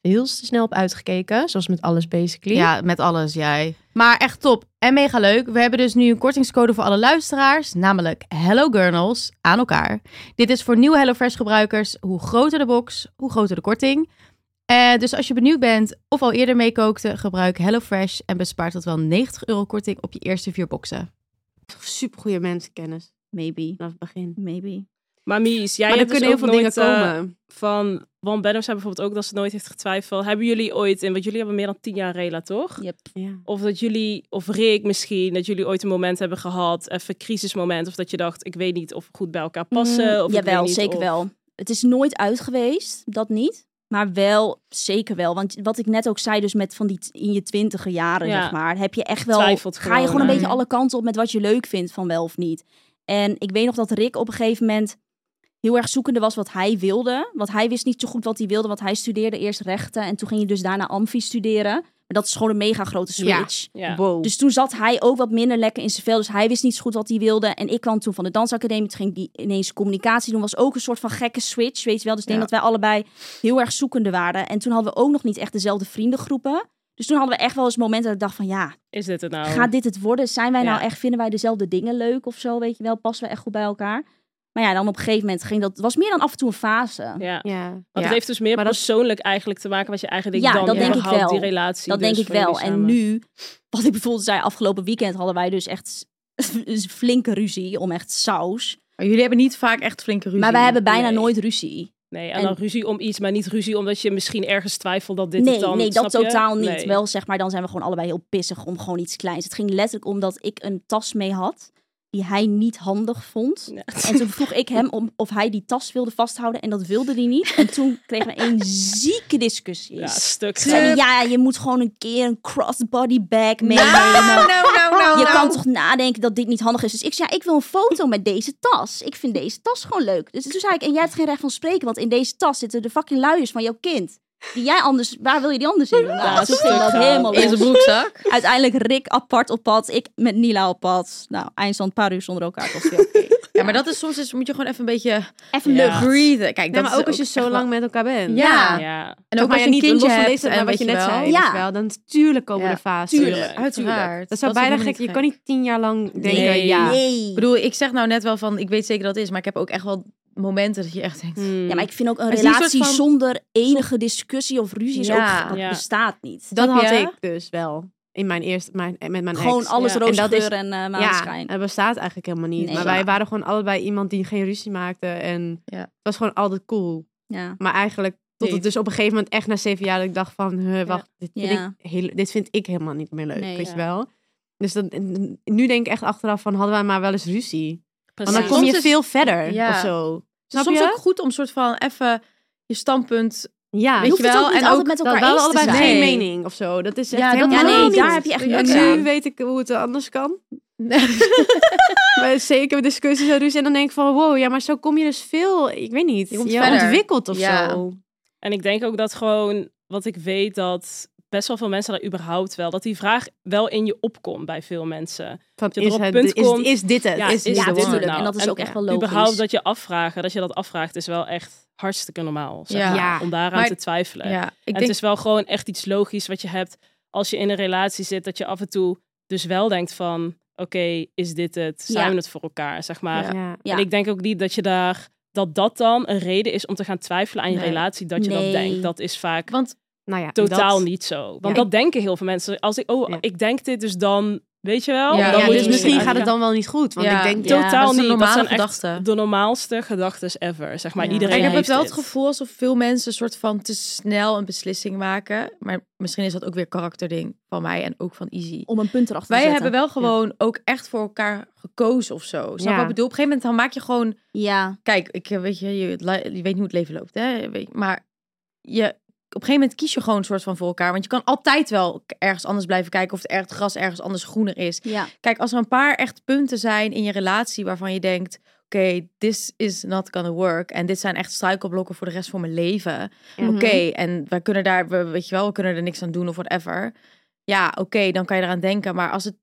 Speaker 8: heel te snel op uitgekeken. Zoals met alles basically.
Speaker 9: Ja, met alles jij. Maar echt top en mega leuk. We hebben dus nu een kortingscode voor alle luisteraars, namelijk Hello Gurnals aan elkaar. Dit is voor nieuwe HelloFresh gebruikers. Hoe groter de box, hoe groter de korting. Eh, dus als je benieuwd bent of al eerder meekookte, gebruik HelloFresh en bespaart tot wel 90 euro korting op je eerste vier boxen.
Speaker 6: Super goede mensenkennis
Speaker 5: Maybe.
Speaker 6: vanaf het begin.
Speaker 5: Maybe.
Speaker 4: Maar Mies, jij
Speaker 6: maar er
Speaker 4: hebt dus
Speaker 6: kunnen heel
Speaker 4: ook
Speaker 6: veel dingen
Speaker 4: nooit, eh,
Speaker 6: komen.
Speaker 4: van Wan Benham zei bijvoorbeeld ook dat ze nooit heeft getwijfeld. Hebben jullie ooit, in want jullie hebben meer dan tien jaar rela, toch?
Speaker 5: Yep.
Speaker 6: Ja.
Speaker 4: Of dat jullie, of Rick misschien, dat jullie ooit een moment hebben gehad, even een crisismoment, of dat je dacht, ik weet niet of we goed bij elkaar passen. of ik weet
Speaker 5: Mhm, Jawel,
Speaker 4: niet
Speaker 5: zeker
Speaker 4: of-
Speaker 5: wel. Het is nooit uit geweest, dat niet. Maar wel, zeker wel. Want wat ik net ook zei, dus met van die t- in je twintiger jaren,
Speaker 4: Ja.
Speaker 5: zeg maar, heb je echt wel.
Speaker 4: Twijfelt
Speaker 5: ga je gewoon
Speaker 4: gewoon,
Speaker 5: een
Speaker 4: hè?
Speaker 5: beetje alle kanten op met wat je leuk vindt van wel of niet. En ik weet nog dat Rick op een gegeven moment heel erg zoekende was wat hij wilde. Want hij wist niet zo goed wat hij wilde, want hij studeerde eerst rechten. En toen ging hij dus daarna amfi studeren. Maar dat is gewoon een mega grote switch.
Speaker 4: Ja.
Speaker 6: Wow.
Speaker 5: Dus toen zat hij ook wat minder lekker in zijn vel. Dus hij wist niet zo goed wat hij wilde. En ik kwam toen van de dansacademie. Toen ging die ineens communicatie doen. Was ook een soort van gekke switch, weet je wel. Dus ik denk dat wij allebei heel erg zoekende waren. En toen hadden we ook nog niet echt dezelfde vriendengroepen. Dus toen hadden we echt wel eens momenten dat ik dacht van ja,
Speaker 4: Is dit het nou?
Speaker 5: gaat dit het worden? Zijn wij nou
Speaker 4: Ja.
Speaker 5: echt, vinden wij dezelfde dingen leuk of zo, weet je wel? Passen we echt goed bij elkaar? Maar ja, dan op een gegeven moment ging dat... Het was meer dan af en toe een fase.
Speaker 4: Ja.
Speaker 8: Ja.
Speaker 4: Want
Speaker 8: Ja.
Speaker 4: het heeft dus meer
Speaker 8: Maar dat-
Speaker 4: persoonlijk eigenlijk te maken wat je eigenlijk
Speaker 5: Ja,
Speaker 4: dan
Speaker 5: dat denk ik
Speaker 4: überhaupt
Speaker 5: wel.
Speaker 4: die relatie.
Speaker 5: Dat
Speaker 4: dus
Speaker 5: denk ik
Speaker 4: voor jullie
Speaker 5: wel. En
Speaker 4: samen.
Speaker 5: nu, wat ik bijvoorbeeld zei, afgelopen weekend hadden wij dus echt <laughs> flinke ruzie om echt saus.
Speaker 3: Maar jullie hebben niet vaak echt flinke ruzie.
Speaker 5: Maar wij hebben bijna
Speaker 4: nee.
Speaker 5: nooit ruzie.
Speaker 4: Nee, en,
Speaker 5: en-
Speaker 4: dan ruzie om iets, maar niet ruzie omdat je misschien ergens twijfelt dat dit
Speaker 5: nee,
Speaker 4: het dan...
Speaker 5: nee, dat
Speaker 4: snap je?
Speaker 5: totaal niet.
Speaker 4: Nee.
Speaker 5: Wel zeg maar, dan zijn we gewoon allebei heel pissig om gewoon iets kleins. Het ging letterlijk om dat ik een tas mee had die hij niet handig vond.
Speaker 4: Ja.
Speaker 5: En toen vroeg ik hem om, of hij die tas wilde vasthouden en dat wilde hij niet. En toen kregen we
Speaker 4: <laughs>
Speaker 5: een zieke discussie.
Speaker 4: Ja, stuk.
Speaker 5: Ze zeiden, ja, je moet gewoon een keer een crossbody bag meenemen. <laughs> je kan toch nadenken dat dit niet handig is. Dus ik zei, ja, ik wil een foto met deze tas. Ik vind deze tas gewoon leuk. Dus toen zei ik, en jij hebt geen recht van spreken, want in deze tas zitten de fucking luiers van jouw kind. Die jij anders, waar wil je die anders in? doen? Nou, toen ging dat
Speaker 4: stuk
Speaker 5: helemaal
Speaker 3: Eh, In zijn
Speaker 5: los.
Speaker 3: broekzak.
Speaker 5: Uiteindelijk Rick apart op pad, ik met Nila op pad. Nou, eindstand een paar uur zonder elkaar. Dat was weer
Speaker 3: <laughs>
Speaker 5: oké.
Speaker 3: Ja, maar dat is soms is, moet je gewoon even een beetje
Speaker 5: Even
Speaker 4: Ja.
Speaker 5: lucht.
Speaker 3: breathen. Kijk,
Speaker 6: Nee,
Speaker 3: dat
Speaker 6: maar
Speaker 3: is
Speaker 6: ook als je
Speaker 3: echt
Speaker 6: zo
Speaker 3: wel-
Speaker 6: lang met elkaar bent.
Speaker 3: Ja.
Speaker 4: Ja.
Speaker 3: En ook als
Speaker 6: maar ja,
Speaker 3: je een
Speaker 6: niet
Speaker 3: kindje
Speaker 6: los van
Speaker 3: hebt.
Speaker 6: deze, maar
Speaker 3: en
Speaker 6: wat je net zei.
Speaker 5: Ja.
Speaker 6: weet je wel, dan tuurlijk komen
Speaker 3: Ja.
Speaker 6: de fases.
Speaker 4: Tuurlijk.
Speaker 3: Uiteraard.
Speaker 6: Dat zou
Speaker 3: is
Speaker 6: bijna
Speaker 3: helemaal
Speaker 6: gek.
Speaker 3: niet
Speaker 6: Je kan niet tien jaar lang denken,
Speaker 4: Nee.
Speaker 6: ja.
Speaker 5: Nee.
Speaker 3: Ik bedoel, ik zeg nou net wel van, ik weet zeker dat het is, maar ik heb ook echt wel momenten dat je echt denkt,
Speaker 4: Hmm.
Speaker 5: Ja, maar ik vind ook een
Speaker 3: Het is niet een
Speaker 5: relatie
Speaker 3: soort van-
Speaker 5: zonder enige discussie of ruzie is
Speaker 3: Ja.
Speaker 5: ook, dat
Speaker 4: Ja.
Speaker 5: bestaat niet.
Speaker 6: Dat
Speaker 3: Snap
Speaker 6: had
Speaker 3: je?
Speaker 6: ik dus wel. In mijn eerste, mijn, eh, met mijn ex.
Speaker 5: Gewoon alles
Speaker 4: Ja.
Speaker 5: roze
Speaker 6: En dat is-
Speaker 5: geur en eh
Speaker 6: Ja,
Speaker 5: maanschijn.
Speaker 6: dat bestaat eigenlijk helemaal niet.
Speaker 5: Nee.
Speaker 6: Maar wij waren gewoon allebei iemand die geen ruzie maakte. En
Speaker 3: Ja.
Speaker 6: het was gewoon altijd cool.
Speaker 5: ja.
Speaker 6: Maar eigenlijk tot
Speaker 3: Niet.
Speaker 6: het dus op een gegeven moment echt na zeven jaar dat ik dacht van... huh, wacht, dit, vind
Speaker 5: Ja.
Speaker 6: ik heel, dit vind ik helemaal niet meer leuk,
Speaker 5: Nee,
Speaker 6: weet
Speaker 5: ja.
Speaker 6: je wel? Dus dan, en- nu denk ik echt achteraf van, hadden wij maar wel eens ruzie. Want dan
Speaker 4: Precies.
Speaker 6: kom
Speaker 3: Soms
Speaker 6: je
Speaker 3: is-
Speaker 6: veel verder
Speaker 3: Ja.
Speaker 6: of zo.
Speaker 3: Het is
Speaker 6: Snap
Speaker 3: soms
Speaker 6: je?
Speaker 3: ook goed om soort van even je standpunt.
Speaker 6: Ja,
Speaker 3: Weet
Speaker 5: Je hoeft
Speaker 3: je
Speaker 5: het
Speaker 3: wel,
Speaker 5: ook niet
Speaker 3: en
Speaker 5: altijd
Speaker 3: ook
Speaker 5: met
Speaker 3: dat
Speaker 5: elkaar
Speaker 3: we
Speaker 5: eens te
Speaker 3: allebei
Speaker 5: zijn.
Speaker 3: zijn.
Speaker 6: geen
Speaker 3: Nee.
Speaker 6: mening of zo. Dat is echt
Speaker 3: Ja, dat
Speaker 6: helemaal
Speaker 5: Ja, nee,
Speaker 6: niet.
Speaker 5: daar heb je echt
Speaker 3: Ja,
Speaker 5: geluk
Speaker 6: En
Speaker 5: aan.
Speaker 6: nu weet ik hoe het anders
Speaker 3: <laughs>
Speaker 6: kan. Maar zeker met discussies en ruzie. En dan denk ik van, wow, ja, maar zo kom je dus veel, ik weet niet,
Speaker 3: Je
Speaker 6: je,
Speaker 3: komt verder.
Speaker 6: ontwikkelt of
Speaker 3: Ja.
Speaker 6: zo.
Speaker 4: En ik denk ook dat gewoon, wat ik weet, dat best wel veel mensen daar überhaupt wel, dat die vraag wel in je opkomt bij veel mensen.
Speaker 6: Van,
Speaker 4: je er
Speaker 6: is,
Speaker 4: op
Speaker 6: het,
Speaker 4: punt
Speaker 6: is,
Speaker 4: komt-
Speaker 6: is dit het?
Speaker 4: Ja,
Speaker 6: is,
Speaker 4: is
Speaker 5: ja,
Speaker 4: dit het
Speaker 5: tuurlijk.
Speaker 4: nou?
Speaker 5: En dat is ook echt wel logisch.
Speaker 4: Überhaupt dat je afvragen, dat je dat afvraagt, is wel echt hartstikke normaal. Zeg
Speaker 3: Ja.
Speaker 4: maar,
Speaker 6: Ja.
Speaker 4: Om daaraan
Speaker 3: Maar-
Speaker 4: te twijfelen.
Speaker 3: Ja, ik
Speaker 4: en
Speaker 3: denk,
Speaker 4: het is wel gewoon echt iets logisch wat je hebt als je in een relatie zit, dat je af en toe dus wel denkt van, oké, is dit het? Zijn
Speaker 5: Ja.
Speaker 4: we het voor elkaar? Zeg maar.
Speaker 6: Ja.
Speaker 5: Ja.
Speaker 4: En ik denk ook niet dat je daar, dat dat dan een reden is om te gaan twijfelen aan je
Speaker 3: Nee.
Speaker 4: relatie, dat je
Speaker 5: Nee.
Speaker 4: dat denkt. Dat is vaak
Speaker 3: want
Speaker 6: Nou ja,
Speaker 4: totaal
Speaker 6: dat-
Speaker 4: niet zo. Want
Speaker 6: Ja.
Speaker 4: dat denken heel veel mensen. Als ik, oh,
Speaker 6: Ja.
Speaker 4: ik denk dit, dus dan Weet je wel?
Speaker 3: Ja,
Speaker 4: Dan
Speaker 3: ja,
Speaker 4: moet
Speaker 3: dus
Speaker 4: je
Speaker 3: misschien
Speaker 4: uitgaan.
Speaker 6: wel niet goed.
Speaker 3: Ja.
Speaker 4: Totaal
Speaker 3: dat is een
Speaker 4: niet.
Speaker 3: normale
Speaker 4: dat zijn
Speaker 3: gedachte.
Speaker 4: echt de normaalste gedachten ever. Zeg maar,
Speaker 5: Ja.
Speaker 4: iedereen
Speaker 3: ik heb het
Speaker 4: heeft
Speaker 3: wel het
Speaker 4: dit.
Speaker 3: gevoel alsof veel mensen een soort van te snel een beslissing maken. Maar misschien is dat ook weer karakterding van mij en ook van Izzy.
Speaker 5: Om een punt erachter
Speaker 3: Wij
Speaker 5: te zetten.
Speaker 3: hebben wel gewoon ook echt voor elkaar gekozen of zo. Snap je
Speaker 6: Ja.
Speaker 3: wat ik bedoel? Op een gegeven moment dan maak je gewoon...
Speaker 5: Ja,
Speaker 3: Kijk, ik, eh, weet je, je, het li- je weet niet hoe het leven loopt, hè? Je weet- Maar je, op een gegeven moment kies je gewoon een soort van voor elkaar. Want je kan altijd wel k- ergens anders blijven kijken of het, er, het gras ergens anders groener is.
Speaker 5: ja.
Speaker 3: Kijk, als er een paar echt punten zijn in je relatie waarvan je denkt... Oké, this is not gonna work. En dit zijn echt struikelblokken voor de rest van mijn leven
Speaker 6: Mhm.
Speaker 3: oké, en wij kunnen daar, we, weet je wel, we kunnen er niks aan doen of whatever. Ja, oké, dan kan je eraan denken. Maar als het,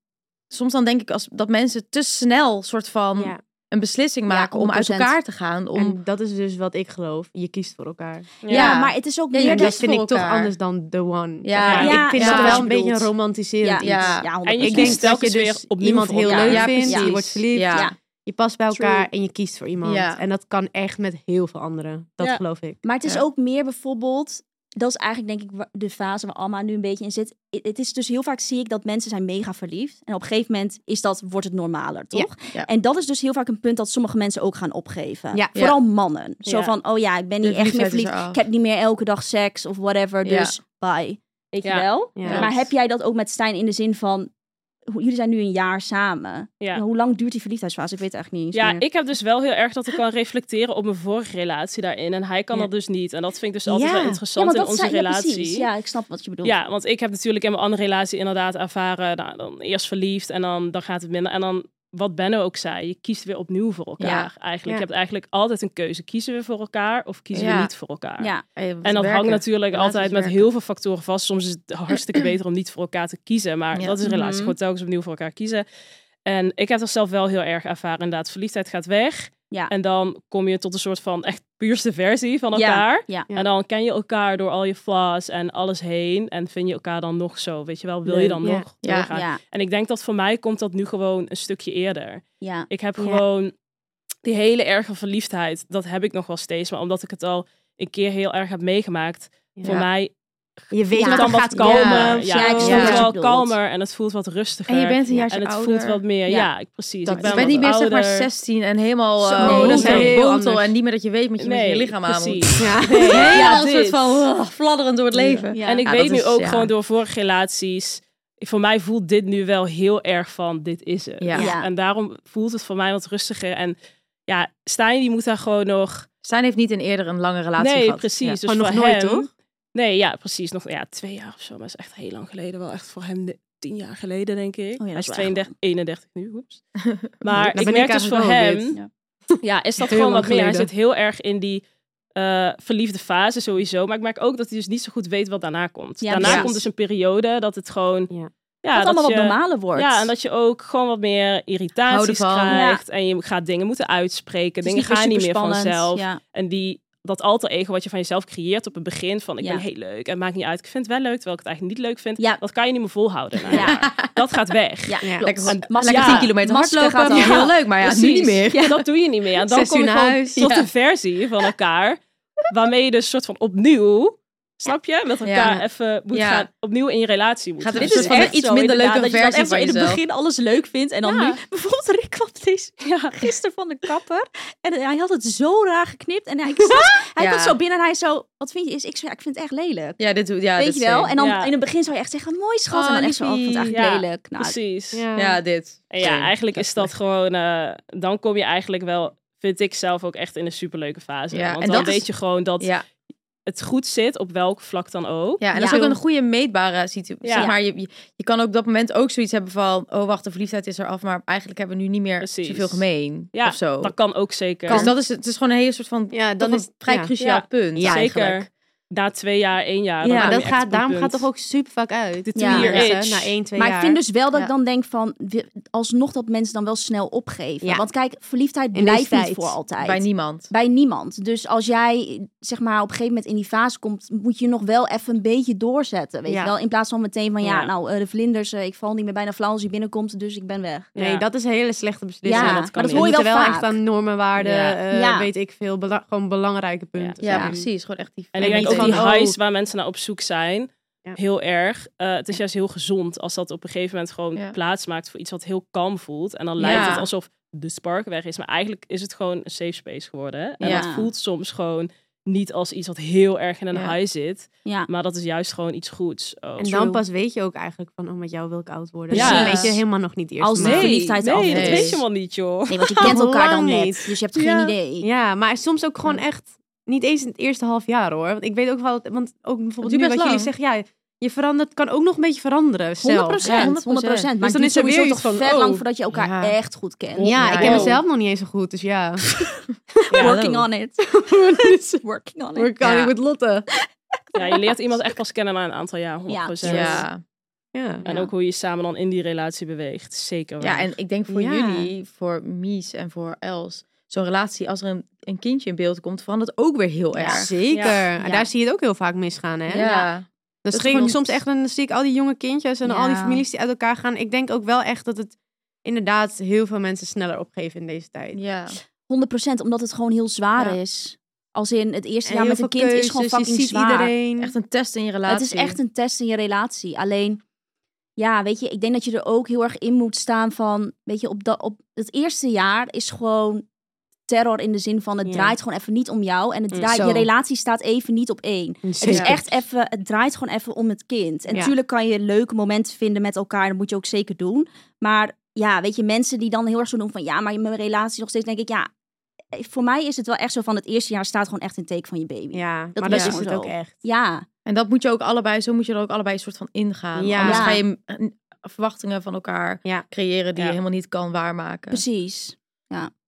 Speaker 3: soms dan denk ik als, dat mensen te snel soort van
Speaker 6: Ja.
Speaker 3: een beslissing
Speaker 5: Ja,
Speaker 3: maken om uit
Speaker 5: 100%.
Speaker 3: elkaar te gaan. Om,
Speaker 6: En dat is dus wat ik geloof. Je kiest voor elkaar.
Speaker 5: Ja, maar het is ook
Speaker 3: Ja, je
Speaker 5: meer
Speaker 6: En
Speaker 3: kiest voor
Speaker 6: dat
Speaker 5: dat...
Speaker 6: vind ik toch
Speaker 3: elkaar.
Speaker 6: anders dan the one.
Speaker 3: Ja,
Speaker 6: Zeg maar,
Speaker 5: ja,
Speaker 6: ik vind
Speaker 5: ja.
Speaker 6: dat wel een
Speaker 5: Ja.
Speaker 6: beetje een romantiserend
Speaker 5: Ja,
Speaker 6: iets.
Speaker 3: Ja.
Speaker 5: ja, 100%.
Speaker 4: En je
Speaker 6: Ik
Speaker 4: kiest
Speaker 6: denk dat je
Speaker 4: telkens
Speaker 6: dus
Speaker 4: weer opnieuw
Speaker 6: iemand
Speaker 4: voor
Speaker 6: heel
Speaker 4: elkaar.
Speaker 6: leuk
Speaker 3: Ja,
Speaker 6: vindt,
Speaker 3: precies.
Speaker 6: je wordt verliefd.
Speaker 3: Ja.
Speaker 5: Ja.
Speaker 6: Je past bij
Speaker 5: True.
Speaker 6: elkaar en je kiest voor iemand.
Speaker 3: Ja.
Speaker 6: En dat kan echt met heel veel anderen. Dat
Speaker 4: Ja.
Speaker 6: geloof ik.
Speaker 5: Maar het is
Speaker 3: Ja.
Speaker 5: ook meer bijvoorbeeld... Dat is eigenlijk denk ik wa- de fase waar Alma nu een beetje in zit. I- Het is dus heel vaak zie ik dat mensen zijn mega verliefd. En op een gegeven moment is dat, wordt het normaler, toch?
Speaker 3: ja.
Speaker 5: En dat is dus heel vaak een punt dat sommige mensen ook gaan opgeven.
Speaker 6: Ja.
Speaker 5: Vooral mannen. Zo
Speaker 4: Ja.
Speaker 5: van, oh ja, ik ben niet
Speaker 3: De
Speaker 5: echt meer
Speaker 3: verliefdheid is
Speaker 5: verliefd.
Speaker 3: eraf.
Speaker 5: Ik heb niet meer elke dag seks of whatever.
Speaker 3: Ja.
Speaker 5: Dus bye. Weet je
Speaker 4: Ja.
Speaker 5: wel?
Speaker 6: Ja.
Speaker 5: Maar heb jij dat ook met Stijn in de zin van... hoe- Jullie zijn nu een jaar samen.
Speaker 4: Ja.
Speaker 5: Hoe lang duurt die verliefdheidsfase? Ik weet het eigenlijk niet. eens
Speaker 4: Ja,
Speaker 5: meer.
Speaker 4: ik heb dus wel heel erg dat ik kan reflecteren op mijn vorige relatie daarin. En hij kan
Speaker 5: Ja.
Speaker 4: dat dus niet. En dat vind ik dus altijd
Speaker 5: Ja.
Speaker 4: wel interessant
Speaker 5: want
Speaker 4: in onze
Speaker 5: zei-
Speaker 4: relatie.
Speaker 5: Ja, precies. ja, ik snap wat je bedoelt.
Speaker 4: Ja, want ik heb natuurlijk in mijn andere relatie inderdaad ervaren, nou, dan eerst verliefd en dan, dan gaat het minder. En dan, wat Benno ook zei, je kiest weer opnieuw voor elkaar eigenlijk.
Speaker 6: Ja.
Speaker 4: Je hebt eigenlijk altijd een keuze. Kiezen we voor elkaar of kiezen
Speaker 3: Ja.
Speaker 4: we niet voor elkaar?
Speaker 5: Ja.
Speaker 4: En dat hangt natuurlijk
Speaker 3: Relaties
Speaker 4: altijd met
Speaker 3: werken.
Speaker 4: heel veel factoren vast. Soms is het hartstikke beter om niet voor elkaar te kiezen. Maar
Speaker 3: Ja.
Speaker 4: dat is een relatie.
Speaker 5: Mhm.
Speaker 4: Gewoon telkens opnieuw voor elkaar kiezen. En ik heb dat zelf wel heel erg ervaren. Inderdaad, verliefdheid gaat weg.
Speaker 5: Ja.
Speaker 4: En dan kom je tot een soort van echt puurste versie van
Speaker 5: Ja.
Speaker 4: elkaar.
Speaker 5: Ja.
Speaker 4: En dan ken je elkaar door al je flaws en alles heen. En vind je elkaar dan nog zo, weet je wel? Wil je
Speaker 6: Leuk,
Speaker 4: dan
Speaker 6: ja.
Speaker 4: nog
Speaker 3: Ja,
Speaker 4: doorgaan?
Speaker 5: Ja,
Speaker 4: En ik denk dat voor mij komt dat nu gewoon een stukje eerder.
Speaker 5: ja.
Speaker 4: Ik heb
Speaker 6: Ja.
Speaker 4: gewoon die hele erge verliefdheid. Dat heb ik nog wel steeds. Maar omdat ik het al een keer heel erg heb meegemaakt.
Speaker 6: Ja.
Speaker 4: Voor mij
Speaker 6: Je weet
Speaker 5: Ja.
Speaker 6: wat
Speaker 4: kan
Speaker 6: er
Speaker 4: wat
Speaker 6: gaat
Speaker 4: kalmer.
Speaker 6: komen.
Speaker 4: Ja,
Speaker 6: of
Speaker 5: ja,
Speaker 6: zo.
Speaker 5: ik snap
Speaker 4: het voelt
Speaker 5: wat je
Speaker 4: wel
Speaker 5: bedoel.
Speaker 4: kalmer en het voelt wat rustiger.
Speaker 8: En je bent een jaartje
Speaker 4: en het
Speaker 8: ouder.
Speaker 4: voelt wat meer.
Speaker 5: Ja.
Speaker 4: Ja, ik, precies.
Speaker 6: Dat
Speaker 4: ik
Speaker 3: Je
Speaker 4: ben
Speaker 6: is-
Speaker 3: bent
Speaker 4: wat
Speaker 3: niet meer zeg
Speaker 4: ouder.
Speaker 3: maar 16 en helemaal eh,
Speaker 6: Nee,
Speaker 3: oh, dat
Speaker 6: dat
Speaker 3: is
Speaker 6: is
Speaker 3: een
Speaker 6: heel
Speaker 3: botel
Speaker 6: anders.
Speaker 3: en niet meer dat je weet met je, met je
Speaker 4: Nee,
Speaker 3: lichaam aan. moet.
Speaker 4: precies.
Speaker 6: Ja.
Speaker 3: Helemaal
Speaker 4: Ja,
Speaker 3: een soort
Speaker 4: dit.
Speaker 3: van oh, fladderend door het leven.
Speaker 5: Ja.
Speaker 4: En ik
Speaker 3: Ja,
Speaker 4: weet
Speaker 3: dat
Speaker 4: nu
Speaker 3: is-
Speaker 4: ook
Speaker 3: ja.
Speaker 4: gewoon door vorige relaties. Voor mij voelt dit nu wel heel erg van dit is het.
Speaker 3: Ja.
Speaker 5: Ja.
Speaker 4: En daarom voelt het voor mij wat rustiger. En ja, Stijn die moet daar gewoon nog.
Speaker 3: Stijn heeft niet in eerder een lange relatie
Speaker 4: nee,
Speaker 3: gehad. Ja.
Speaker 4: precies. Dus
Speaker 6: Maar nog
Speaker 4: voor
Speaker 6: nooit,
Speaker 4: hem-
Speaker 6: toch?
Speaker 4: Nee, ja, precies. Nog ja, twee jaar of zo. Maar dat is echt heel lang geleden. Wel echt voor hem de- tien jaar geleden, denk ik.
Speaker 5: dat
Speaker 4: Hij
Speaker 5: is
Speaker 4: is
Speaker 5: wel
Speaker 4: 32, 31 nu. Oeps. Maar
Speaker 6: ben
Speaker 4: ik
Speaker 6: ik
Speaker 4: merk dus voor
Speaker 6: eigenlijk wel
Speaker 4: hem...
Speaker 6: dit.
Speaker 4: <laughs> Ja.
Speaker 5: Ja.
Speaker 4: is dat
Speaker 6: Heel
Speaker 4: gewoon
Speaker 6: lang
Speaker 4: wat meer. Hij
Speaker 6: geleden.
Speaker 4: zit heel erg in die eh, verliefde fase sowieso. Maar ik merk ook dat hij dus niet zo goed weet wat daarna komt.
Speaker 5: Ja,
Speaker 4: daarna
Speaker 5: precies.
Speaker 4: komt dus een periode dat het gewoon...
Speaker 6: Ja.
Speaker 4: Ja,
Speaker 5: dat het allemaal
Speaker 4: je,
Speaker 5: wat normaler wordt.
Speaker 4: Ja, en dat je ook gewoon wat meer irritaties
Speaker 3: Houden van.
Speaker 4: krijgt. En je gaat dingen moeten uitspreken.
Speaker 5: Het is
Speaker 4: Dingen
Speaker 5: meer
Speaker 4: gaan niet meer
Speaker 5: superspannend.
Speaker 4: vanzelf.
Speaker 5: Ja.
Speaker 4: En die, dat alter ego wat je van jezelf creëert op het begin van ik
Speaker 5: Ja.
Speaker 4: ben heel leuk en maakt niet uit. Ik vind het wel leuk, terwijl ik het eigenlijk niet leuk vind.
Speaker 5: Ja.
Speaker 4: Dat kan je niet meer volhouden. na een
Speaker 5: Ja.
Speaker 3: <laughs>
Speaker 4: jaar. Dat gaat weg.
Speaker 5: Ja,
Speaker 6: Ja.
Speaker 5: klopt.
Speaker 3: Lekker,
Speaker 5: Mas-
Speaker 3: lekker
Speaker 4: ja,
Speaker 3: 10 kilometer
Speaker 5: masker
Speaker 3: hardlopen.
Speaker 5: gaat
Speaker 3: dat is
Speaker 5: al.
Speaker 3: heel leuk, maar ja, nu
Speaker 4: Precies.
Speaker 3: niet meer.
Speaker 4: Ja, Dat doe je niet meer. En dan
Speaker 6: Zes
Speaker 4: kom
Speaker 6: uur
Speaker 4: je
Speaker 6: naar
Speaker 4: gewoon
Speaker 6: huis,
Speaker 4: tot
Speaker 6: ja.
Speaker 4: een versie van elkaar. Waarmee je dus soort van opnieuw, snap je, met elkaar
Speaker 3: Ja.
Speaker 4: even moet
Speaker 3: Ja.
Speaker 4: gaan. Opnieuw in je relatie moet
Speaker 3: Gaat
Speaker 4: gaan.
Speaker 3: dit dus
Speaker 4: Een
Speaker 3: is
Speaker 4: soort van
Speaker 3: echt iets minder
Speaker 4: inderdaad,
Speaker 3: leuke
Speaker 4: dat je dan
Speaker 3: versie
Speaker 4: echt
Speaker 5: Even
Speaker 3: van
Speaker 5: in het
Speaker 3: jezelf.
Speaker 5: begin alles leuk vindt en dan
Speaker 4: Ja.
Speaker 5: nu. <laughs> Bijvoorbeeld, Rick kwam deze
Speaker 4: Ja.
Speaker 5: <laughs> gisteren van de kapper en hij had het zo raar geknipt. En hij, ik zat- hij
Speaker 3: Ja.
Speaker 5: komt zo binnen en hij zo, wat vind je? Is, ik, zo, ja, ik vind het echt lelijk.
Speaker 3: <laughs> Ja, dit doet. Ja,
Speaker 5: Weet
Speaker 3: dit
Speaker 5: je
Speaker 3: is
Speaker 5: wel?
Speaker 3: same.
Speaker 5: En dan
Speaker 4: Ja.
Speaker 5: in het begin zou je echt zeggen, mooi schat.
Speaker 3: Oh,
Speaker 5: en dan echt zo, oh, ik vind het
Speaker 3: liefie.
Speaker 5: eigenlijk
Speaker 4: Ja,
Speaker 5: lelijk. Nou,
Speaker 4: Precies.
Speaker 6: eh, Ja.
Speaker 3: Ja, dit.
Speaker 4: En ja, eigenlijk is dat gewoon, eh, dan kom je eigenlijk wel, vind ik zelf ook echt in een superleuke fase.
Speaker 3: Ja,
Speaker 4: Want
Speaker 3: en
Speaker 4: dan
Speaker 3: dat is-
Speaker 4: weet je gewoon dat
Speaker 3: Ja,
Speaker 4: het goed zit, op welk vlak dan ook.
Speaker 3: ja en dat
Speaker 5: Ja.
Speaker 3: is ook een goede meetbare situatie.
Speaker 4: Ja.
Speaker 3: Zeg maar je, je, je kan ook op dat moment ook zoiets hebben van... oh, wacht, de verliefdheid is eraf... maar eigenlijk hebben we nu niet meer
Speaker 4: Precies.
Speaker 3: zoveel gemeen.
Speaker 4: Ja,
Speaker 3: of
Speaker 6: Oh.
Speaker 3: zo.
Speaker 4: Dat kan ook zeker.
Speaker 3: Dus dat is, het is gewoon een hele soort van...
Speaker 6: Ja,
Speaker 3: dan
Speaker 6: dan
Speaker 3: een
Speaker 6: is
Speaker 3: vrij
Speaker 6: ja.
Speaker 3: cruciaal
Speaker 4: Ja.
Speaker 3: punt
Speaker 6: Ja,
Speaker 4: zeker.
Speaker 3: eigenlijk.
Speaker 4: Na twee jaar, één jaar.
Speaker 3: Ja,
Speaker 4: dan kom
Speaker 6: Maar
Speaker 4: je
Speaker 6: dat
Speaker 4: echt op
Speaker 6: gaat,
Speaker 4: een
Speaker 6: daarom gaat
Speaker 4: punt.
Speaker 6: toch ook super vaak uit. De
Speaker 5: Ja.
Speaker 6: tier
Speaker 4: Ja.
Speaker 6: is, hè, na één, twee
Speaker 5: Maar
Speaker 6: jaar.
Speaker 5: ik vind dus wel dat
Speaker 6: Ja.
Speaker 5: ik dan denk van, we- alsnog dat mensen dan wel snel opgeven.
Speaker 6: Ja.
Speaker 5: Want kijk, verliefdheid
Speaker 6: deze
Speaker 5: blijft niet
Speaker 6: tijd.
Speaker 5: voor altijd.
Speaker 3: Bij niemand.
Speaker 5: Bij niemand. Dus als jij zeg maar op een gegeven moment in die fase komt, moet je nog wel even een beetje doorzetten. Weet
Speaker 6: Ja.
Speaker 5: je wel? In plaats van meteen van ja,
Speaker 4: Ja.
Speaker 5: nou eh, de vlinders, eh, ik val niet meer bijna flauw als hij binnenkomt, dus ik ben weg.
Speaker 6: Nee,
Speaker 4: Ja.
Speaker 6: dat is een hele slechte beslissing.
Speaker 5: Ja,
Speaker 6: En
Speaker 4: dat kan
Speaker 6: we
Speaker 4: niet.
Speaker 5: hoor je
Speaker 6: moeten
Speaker 5: wel
Speaker 6: wel
Speaker 5: vaak.
Speaker 6: echt aan normen, waarden,
Speaker 4: Ja.
Speaker 6: eh,
Speaker 5: Ja.
Speaker 6: weet ik veel, bela- gewoon belangrijke punten.
Speaker 3: Ja,
Speaker 6: zijn.
Speaker 3: precies. Gewoon echt die...
Speaker 4: En ik denk
Speaker 3: niet
Speaker 4: ook die
Speaker 6: van, oh.
Speaker 4: highs waar mensen naar op zoek zijn.
Speaker 6: Ja.
Speaker 4: heel erg. Eh, het is juist heel gezond als dat op een gegeven moment gewoon
Speaker 9: Ja.
Speaker 4: plaats maakt voor iets wat heel kalm voelt. En dan lijkt
Speaker 3: Ja.
Speaker 4: het alsof de spark weg is. Maar eigenlijk is het gewoon een safe space geworden. hè. En
Speaker 5: Ja.
Speaker 4: dat voelt soms gewoon niet als iets wat heel erg in een
Speaker 3: Ja.
Speaker 4: high zit.
Speaker 5: Ja.
Speaker 4: Maar dat is juist gewoon iets goeds. Oh. ook.
Speaker 6: En dan pas weet je ook eigenlijk van, oh, met jou wil ik oud worden.
Speaker 4: Precies.
Speaker 6: Ja. Dan weet je helemaal nog niet eerst.
Speaker 5: Als
Speaker 6: maar-
Speaker 5: de verliefdheid
Speaker 4: nee,
Speaker 5: af
Speaker 4: dat
Speaker 5: is.
Speaker 4: weet je helemaal niet, joh.
Speaker 5: Nee, want je
Speaker 6: <laughs>
Speaker 5: kent elkaar dan
Speaker 6: Lang
Speaker 5: net.
Speaker 6: niet.
Speaker 5: Dus je hebt geen
Speaker 6: Ja.
Speaker 5: idee.
Speaker 6: Ja, maar soms ook gewoon echt niet eens in het eerste half jaar hoor. Want ik weet ook wel, want ook bijvoorbeeld nu
Speaker 9: duurt
Speaker 6: wat
Speaker 9: best
Speaker 6: jullie
Speaker 9: lang.
Speaker 6: zeggen, ja, je verandert, kan ook nog een beetje veranderen. zelf.
Speaker 5: 100 procent. Maar
Speaker 6: Dus
Speaker 5: dan
Speaker 6: dan
Speaker 5: is
Speaker 6: is er
Speaker 5: sowieso
Speaker 6: weer
Speaker 5: toch
Speaker 6: iets van,
Speaker 5: vet
Speaker 6: oh.
Speaker 5: lang voordat je elkaar
Speaker 9: Ja.
Speaker 5: echt goed kent.
Speaker 6: Ja, ik
Speaker 9: Ja.
Speaker 6: ken mezelf nog niet eens zo goed, dus ja.
Speaker 5: Working on
Speaker 6: <laughs>
Speaker 5: it. <laughs> Working on it.
Speaker 6: We're coming with Lotte.
Speaker 4: Ja, je leert iemand echt pas kennen na een aantal jaar, 100%.
Speaker 3: Ja.
Speaker 6: Ja.
Speaker 4: En
Speaker 5: Ja.
Speaker 4: ook hoe je samen dan in die relatie beweegt. Zeker waar.
Speaker 3: ja, en ik denk voor
Speaker 6: Ja.
Speaker 3: jullie, voor Mies en voor Els, zo'n relatie, als er een, een kindje in beeld komt, verandert ook weer heel erg.
Speaker 6: Zeker.
Speaker 5: Ja.
Speaker 6: En daar zie je het ook heel vaak misgaan, hè? Dan
Speaker 3: is
Speaker 6: schrik ik
Speaker 3: gewoon-
Speaker 6: soms echt, dan zie ik al die jonge kindjes en al die
Speaker 5: Ja.
Speaker 6: families die uit elkaar gaan. Ik denk ook wel echt dat het inderdaad heel veel mensen sneller opgeven in deze tijd.
Speaker 3: ja.
Speaker 5: 100 omdat het gewoon heel zwaar is. Als in het eerste
Speaker 6: En
Speaker 5: jaar
Speaker 6: heel
Speaker 5: met
Speaker 6: veel
Speaker 5: een kind is
Speaker 6: keuzes,
Speaker 5: gewoon
Speaker 6: je
Speaker 5: fucking
Speaker 6: ziet
Speaker 5: zwaar.
Speaker 6: iedereen.
Speaker 3: Echt een test in je relatie.
Speaker 5: Het is echt een test in je relatie. Alleen, ja, weet je, ik denk dat je er ook heel erg in moet staan van, weet je, op, dat op het eerste jaar is gewoon terror in de zin van het
Speaker 6: Ja.
Speaker 5: draait gewoon even niet om jou en het draait,
Speaker 6: zo.
Speaker 5: je relatie staat even niet op één. Het is
Speaker 6: Zeker.
Speaker 5: echt even, het draait gewoon even om het kind. En
Speaker 6: Ja.
Speaker 5: natuurlijk kan je leuke momenten vinden met elkaar, dat moet je ook zeker doen. Maar ja, weet je, mensen die dan heel erg zo doen van, ja, maar mijn relatie nog steeds, denk ik, ja, eh, voor mij is het wel echt zo van, het eerste jaar staat gewoon echt een teken van je baby. Ja.
Speaker 6: Ja,
Speaker 5: Dat
Speaker 6: maar
Speaker 5: is
Speaker 6: dat is
Speaker 5: gewoon
Speaker 6: het
Speaker 5: zo.
Speaker 6: ook echt.
Speaker 5: Ja,
Speaker 3: En dat moet je ook allebei, zo moet je er ook allebei een soort van ingaan.
Speaker 6: Ja.
Speaker 3: Anders
Speaker 5: Ja.
Speaker 3: ga je eh, verwachtingen van elkaar
Speaker 6: Ja.
Speaker 3: creëren die
Speaker 4: Ja.
Speaker 3: je helemaal niet kan waarmaken.
Speaker 5: precies.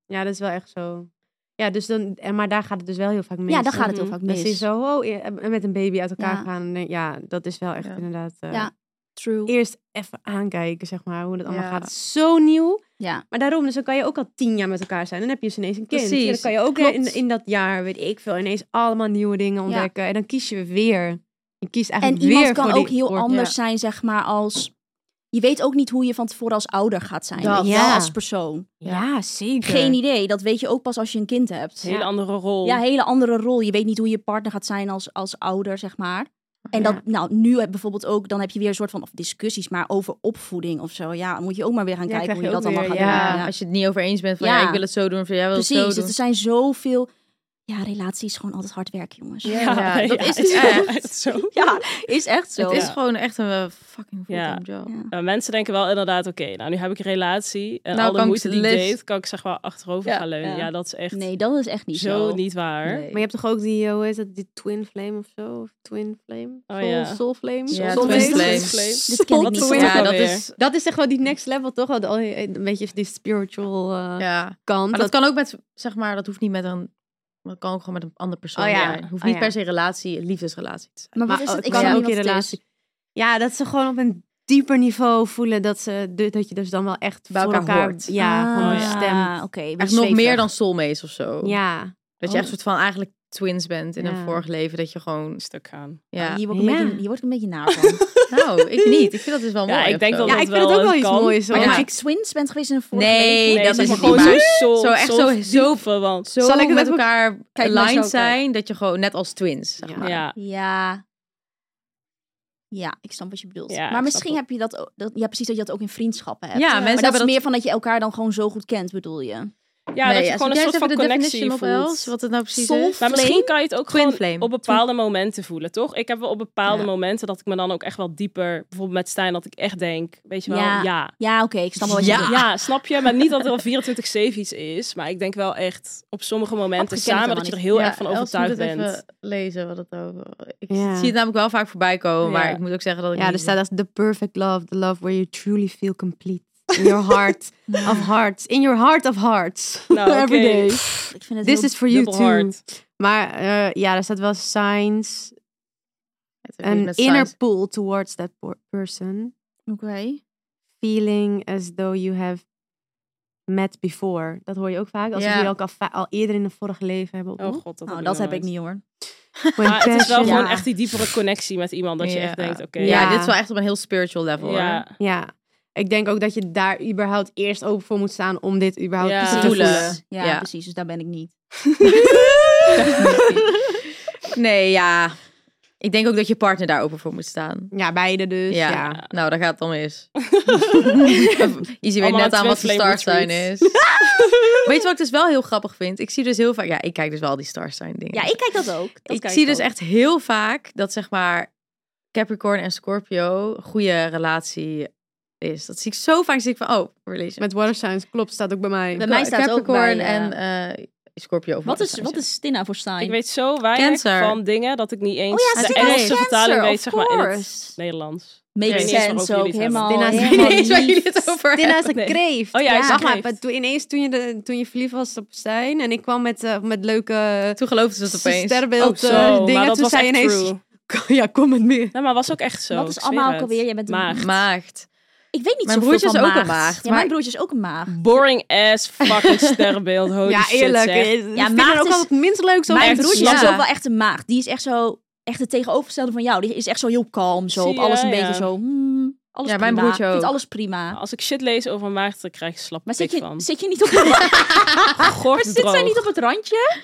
Speaker 6: Ja, dat is wel echt zo. Ja, dus dan, en, maar daar gaat het dus wel heel vaak mis.
Speaker 5: Ja, daar gaat het heel vaak
Speaker 6: Dan zie je
Speaker 5: mis.
Speaker 6: zo, oh, eh, met een baby uit elkaar
Speaker 5: Ja.
Speaker 6: gaan. Nee, Ja, dat is wel echt
Speaker 3: Ja.
Speaker 6: inderdaad. eh,
Speaker 5: Ja. True.
Speaker 6: Eerst even aankijken, zeg maar, hoe dat allemaal
Speaker 3: Ja.
Speaker 6: gaat. Het is zo nieuw.
Speaker 5: Ja.
Speaker 6: Maar daarom, dus dan kan je ook al tien jaar met elkaar zijn. Dan heb je dus ineens een kind.
Speaker 3: Precies,
Speaker 6: Ja, dan kan je ook
Speaker 3: klopt.
Speaker 6: in, in dat jaar, weet ik veel, ineens allemaal nieuwe dingen ontdekken. En dan kies je weer. Je kiest
Speaker 5: En
Speaker 6: eigenlijk weer
Speaker 5: iemand kan
Speaker 6: voor die-
Speaker 5: ook heel
Speaker 6: voor-
Speaker 5: anders zijn, zeg maar, als... Je weet ook niet hoe je van tevoren als ouder gaat zijn.
Speaker 6: Dat.
Speaker 5: weet je
Speaker 6: Ja.
Speaker 5: wel, als persoon.
Speaker 6: Ja, zeker.
Speaker 5: Geen idee. Dat weet je ook pas als je een kind hebt.
Speaker 4: Een hele andere rol.
Speaker 5: Ja, hele andere rol. Je weet niet hoe je partner gaat zijn als, als ouder, zeg maar. En dat, nou, nu heb bijvoorbeeld ook, dan heb je weer een soort van of discussies, maar over opvoeding of zo. Ja, moet je ook maar weer gaan
Speaker 6: Ja,
Speaker 5: kijken
Speaker 6: krijg
Speaker 5: hoe je
Speaker 6: je
Speaker 5: dat
Speaker 6: ook
Speaker 5: allemaal gaat
Speaker 6: weer,
Speaker 3: Ja,
Speaker 5: doen. Ja.
Speaker 3: als je het niet over eens bent van
Speaker 5: Ja.
Speaker 3: ja, ik wil het zo doen of jij wil het zo
Speaker 5: Precies,
Speaker 3: doen.
Speaker 5: het, er zijn zoveel... Ja, relaties is gewoon altijd hard werk, jongens. <laughs> Ja,
Speaker 3: Ja,
Speaker 4: nee,
Speaker 3: dat
Speaker 4: <laughs> ja,
Speaker 3: is
Speaker 4: het
Speaker 3: het
Speaker 4: wel
Speaker 3: echt.
Speaker 4: zo.
Speaker 5: is echt zo.
Speaker 3: Het is
Speaker 4: Ja.
Speaker 3: gewoon echt een eh, fucking
Speaker 4: Ja.
Speaker 3: fulltime job.
Speaker 5: Ja.
Speaker 4: Nou, mensen denken wel inderdaad, oké, nou nu heb ik een relatie. En
Speaker 3: Nou
Speaker 4: alle
Speaker 3: kan ik
Speaker 4: moeite die ik
Speaker 3: les-
Speaker 4: deed, kan ik zeg maar achterover
Speaker 3: Ja,
Speaker 4: gaan leunen.
Speaker 3: ja.
Speaker 4: Ja. dat is echt
Speaker 5: Nee, dat is echt niet zo.
Speaker 4: zo, niet waar.
Speaker 3: Nee.
Speaker 6: Maar je hebt toch ook die, eh, hoe heet dat, die twin flame of zo? Of twin flame?
Speaker 4: Oh,
Speaker 6: soul,
Speaker 4: ja.
Speaker 6: soul flame?
Speaker 3: Ja,
Speaker 6: Soul
Speaker 3: twin flame.
Speaker 5: Dit ken ik
Speaker 6: Wat
Speaker 5: niet.
Speaker 6: een
Speaker 5: zo.
Speaker 6: Ja,
Speaker 4: Ja,
Speaker 3: dat
Speaker 4: dat
Speaker 3: is...
Speaker 6: <laughs> Dat is echt wel die next level, toch? Wel die- eh, Een beetje die spiritual eh,
Speaker 3: Ja.
Speaker 6: kant.
Speaker 3: Maar dat kan ook met, zeg maar, dat hoeft niet met een... Dat kan ook gewoon met een ander persoon
Speaker 6: Oh ja.
Speaker 3: zijn. hoeft
Speaker 6: Oh
Speaker 3: niet
Speaker 6: ja.
Speaker 3: per se relatie, liefdesrelatie te zijn.
Speaker 5: Maar wat
Speaker 6: Maar
Speaker 5: is het?
Speaker 6: het
Speaker 5: Ik
Speaker 6: kan
Speaker 5: weet
Speaker 6: ook
Speaker 5: niet
Speaker 6: in
Speaker 5: wat het is.
Speaker 6: relatie. Ja, dat ze gewoon op een dieper niveau voelen dat, ze, de- dat je dus dan wel echt
Speaker 3: Bij
Speaker 6: voor
Speaker 3: elkaar
Speaker 6: elkaar
Speaker 3: hoort.
Speaker 6: Ja, gewoon
Speaker 4: ja.
Speaker 6: stemt.
Speaker 5: Ah, oké.
Speaker 3: Echt nog meer dan soulmates of zo.
Speaker 6: Ja, Oh.
Speaker 3: Dat je echt soort van eigenlijk twins bent in een
Speaker 6: Ja. Ah,
Speaker 3: vorig leven. Dat je gewoon...
Speaker 4: stuk gaan.
Speaker 3: Ja.
Speaker 5: Hier word, ik een
Speaker 6: Ja.
Speaker 5: beetje, hier word ik een beetje naar van.
Speaker 3: Nou,
Speaker 6: <laughs>
Speaker 3: ik niet. Ik vind dat dus wel
Speaker 4: Ja,
Speaker 3: mooi.
Speaker 4: ik
Speaker 3: of
Speaker 4: denk
Speaker 3: zo.
Speaker 4: dat
Speaker 6: ja
Speaker 4: dat
Speaker 6: ik vind het
Speaker 4: wel
Speaker 6: ook wel
Speaker 4: een
Speaker 6: iets
Speaker 4: kan.
Speaker 6: moois. hoor.
Speaker 5: Maar
Speaker 3: <laughs> ja.
Speaker 5: dat je twins bent geweest in een vorige
Speaker 3: Nee,
Speaker 5: leven.
Speaker 3: dat
Speaker 4: zeg
Speaker 3: is
Speaker 4: maar
Speaker 3: het niet.
Speaker 4: gewoon
Speaker 3: Maar
Speaker 4: zo,
Speaker 3: zo echt zo-
Speaker 4: zo verwant.
Speaker 3: zo
Speaker 6: Zal ik het
Speaker 3: met
Speaker 6: ook-
Speaker 3: elkaar
Speaker 5: Kijk maar
Speaker 3: aligned
Speaker 5: zo, kijk.
Speaker 3: zijn dat je gewoon net als twins. Zeg
Speaker 6: Ja.
Speaker 3: maar.
Speaker 4: Ja,
Speaker 5: Ja. Ja, ik snap wat je bedoelt.
Speaker 4: Ja, ik
Speaker 5: maar
Speaker 4: snap
Speaker 5: misschien
Speaker 4: het.
Speaker 5: heb je dat ook... Dat, ja, precies dat je dat ook in vriendschappen hebt.
Speaker 3: Ja,
Speaker 5: Maar
Speaker 3: mensen
Speaker 5: dat
Speaker 3: hebben
Speaker 5: is
Speaker 3: dat-
Speaker 5: meer van dat je elkaar dan gewoon zo goed kent, bedoel je?
Speaker 4: ja
Speaker 3: Nee,
Speaker 4: dat je
Speaker 3: als
Speaker 4: gewoon een
Speaker 3: jij
Speaker 4: soort
Speaker 3: even
Speaker 4: van
Speaker 3: de
Speaker 4: connectie
Speaker 3: definition op Els,
Speaker 4: voelt.
Speaker 3: wat het nou precies
Speaker 5: Soul
Speaker 3: is.
Speaker 4: Maar
Speaker 5: Flame?
Speaker 4: misschien kan je het ook
Speaker 3: Twin
Speaker 4: gewoon
Speaker 3: flame.
Speaker 4: op bepaalde momenten voelen, toch? Ik heb wel op bepaalde
Speaker 3: Ja.
Speaker 4: momenten dat ik me dan ook echt wel dieper... Bijvoorbeeld met Stijn, dat ik echt denk, weet je wel,
Speaker 5: Ja.
Speaker 4: ja
Speaker 5: Ja, oké, ik snap wel wat je
Speaker 3: Ja.
Speaker 5: bedoelt.
Speaker 4: Ja, snap je? Maar niet dat er al 24-7 iets is. Maar ik denk wel echt op sommige momenten
Speaker 5: Afgekend
Speaker 4: samen
Speaker 5: helemaal
Speaker 4: dat je er heel
Speaker 3: Ja,
Speaker 4: erg van
Speaker 3: Els moet
Speaker 4: overtuigd
Speaker 3: het
Speaker 4: bent.
Speaker 3: even lezen wat het over. Ik
Speaker 6: Ja.
Speaker 3: zie het namelijk wel vaak voorbij komen, maar
Speaker 4: Ja.
Speaker 3: ik moet ook zeggen dat ik.
Speaker 6: Ja,
Speaker 3: niet-
Speaker 6: er staat als the perfect love, the love where you truly feel complete. In your
Speaker 4: <laughs>
Speaker 6: heart of hearts. In your heart of hearts.
Speaker 5: <laughs>
Speaker 4: Nou, oké.
Speaker 6: <laughs> Every day.
Speaker 5: Ik vind het
Speaker 6: This
Speaker 5: heel-
Speaker 6: is for you
Speaker 4: Dubbel
Speaker 6: too.
Speaker 4: hard.
Speaker 6: Maar eh, ja, er staat wel signs.
Speaker 3: Het heeft
Speaker 6: An
Speaker 3: met
Speaker 6: inner
Speaker 3: signs.
Speaker 6: pull towards that por- person.
Speaker 5: Oké.
Speaker 6: feeling as though you have met before. Dat hoor je ook vaak. Als
Speaker 3: Ja.
Speaker 6: we jullie ook al, va- al eerder in een vorige leven hebben
Speaker 4: Oh
Speaker 6: opgeroepen.
Speaker 4: god, dat,
Speaker 5: Nou, dat heb ik
Speaker 4: nooit.
Speaker 5: niet, hoor.
Speaker 6: When
Speaker 4: Maar het is wel
Speaker 6: passion-
Speaker 4: gewoon
Speaker 5: Ja.
Speaker 4: echt die diepere connectie met iemand. Dat je
Speaker 3: Ja.
Speaker 4: echt denkt, oké.
Speaker 3: Ja,
Speaker 6: Ja.
Speaker 3: dit is wel echt op een heel spiritual level. hoor.
Speaker 4: ja.
Speaker 6: Ja. Ik denk ook dat je daar überhaupt eerst open voor moet staan om dit überhaupt
Speaker 4: Ja.
Speaker 6: te
Speaker 4: Te
Speaker 6: voelen.
Speaker 3: voelen.
Speaker 5: Ja,
Speaker 3: Ja.
Speaker 5: precies. Dus daar ben ik niet.
Speaker 3: nee, ja. Ik denk ook dat je partner daar open voor moet staan.
Speaker 6: Ja, beide dus.
Speaker 3: ja.
Speaker 6: Ja.
Speaker 3: nou, daar gaat het dan
Speaker 4: <laughs>
Speaker 3: mis. Izzy weet
Speaker 4: Allemaal
Speaker 3: net aan wat de
Speaker 4: twee
Speaker 3: star
Speaker 4: flavor
Speaker 3: sign is. <laughs>
Speaker 4: treats.
Speaker 3: weet je wat ik dus wel heel grappig vind? Ik zie dus heel vaak... Ja, ik kijk dus wel die star sign dingen.
Speaker 5: Ja, ik kijk dat ook. Dat
Speaker 3: ik
Speaker 5: kijk
Speaker 3: zie
Speaker 5: ook.
Speaker 3: dus echt heel vaak dat zeg maar Capricorn en Scorpio een goede relatie is. Dat zie ik zo vaak. Zie ik van, oh, relation.
Speaker 6: Met Water Signs, klopt, staat ook bij mij.
Speaker 5: Bij mij staat het ook bij,
Speaker 3: Capricorn
Speaker 5: eh,
Speaker 3: en eh, Scorpio. of
Speaker 5: Wat is,
Speaker 3: Water
Speaker 5: wat
Speaker 3: signs,
Speaker 5: is Stinna voor sign?
Speaker 4: Ik weet zo weinig
Speaker 3: Cancer.
Speaker 4: van dingen dat ik niet
Speaker 5: oh
Speaker 4: eens
Speaker 5: ja,
Speaker 4: de
Speaker 5: Stinna is
Speaker 4: Engelse vertaling
Speaker 5: cancer,
Speaker 4: weet,
Speaker 5: of
Speaker 4: zeg maar, in het
Speaker 5: course.
Speaker 4: Nederlands.
Speaker 5: Makes
Speaker 4: Ik weet niet eens
Speaker 5: sense
Speaker 4: waarover
Speaker 5: ook,
Speaker 4: jullie het
Speaker 5: helemaal.
Speaker 4: hebben.
Speaker 6: Stinna is-
Speaker 5: helemaal
Speaker 6: <laughs>
Speaker 3: Ik weet
Speaker 5: <laughs>
Speaker 3: niet waar jullie het
Speaker 5: niets.
Speaker 3: over
Speaker 5: Stinna is
Speaker 4: hebben.
Speaker 5: een
Speaker 4: Nee.
Speaker 5: kreeft.
Speaker 4: Oh ja, hij is
Speaker 6: Wacht
Speaker 4: een
Speaker 6: maar,
Speaker 4: kreeft.
Speaker 6: maar toen, ineens toen je, de, toen je verliefd was op Stijn en ik kwam met, eh, met leuke
Speaker 3: ja. Toen geloofden ze het opeens.
Speaker 6: sterrenbeeld
Speaker 4: Oh, zo,
Speaker 6: eh, dingen.
Speaker 4: maar dat
Speaker 6: toen
Speaker 4: was
Speaker 6: zei
Speaker 4: echt
Speaker 6: ineens,
Speaker 4: true.
Speaker 6: <laughs> ja, kom met meer.
Speaker 4: Nee, maar was ook echt zo.
Speaker 5: Wat is
Speaker 4: ik
Speaker 5: allemaal
Speaker 4: zweer
Speaker 5: ook
Speaker 4: het.
Speaker 5: alweer? Jij bent een
Speaker 4: Maagd.
Speaker 3: Maagd.
Speaker 5: Ik weet niet
Speaker 3: Mijn
Speaker 5: zo
Speaker 3: broertje
Speaker 5: van
Speaker 3: is ook een
Speaker 5: maagd.
Speaker 3: maagd,
Speaker 5: Ja, mijn
Speaker 3: maar-
Speaker 5: broertje is ook een maag.
Speaker 4: Boring ass
Speaker 5: <laughs>
Speaker 4: fucking sterrenbeeld. Holy
Speaker 6: ja,
Speaker 4: shit,
Speaker 6: eerlijk. eh,
Speaker 4: zeg.
Speaker 6: ja,
Speaker 5: maagd
Speaker 6: maar ook
Speaker 5: is-
Speaker 6: al het minst leuk zo.
Speaker 5: Mijn
Speaker 4: echt
Speaker 5: broertje
Speaker 3: slap.
Speaker 5: is ook
Speaker 3: Ja.
Speaker 5: wel echt een maag. Die is echt zo, echt het tegenovergestelde van jou. Die is echt zo heel kalm, zo
Speaker 4: Zie
Speaker 5: op alles
Speaker 4: je,
Speaker 5: een
Speaker 4: ja.
Speaker 5: beetje zo. hmm, alles
Speaker 3: Ja, mijn
Speaker 5: prima.
Speaker 3: broertje
Speaker 5: Vindt
Speaker 3: ook.
Speaker 5: alles prima.
Speaker 4: Als ik shit lees over maagd, dan krijg ik slap
Speaker 5: Maar zit
Speaker 4: pik
Speaker 5: je,
Speaker 4: van.
Speaker 5: zit je niet op het,
Speaker 4: Gort
Speaker 5: zit zij
Speaker 4: droog.
Speaker 5: niet op het randje?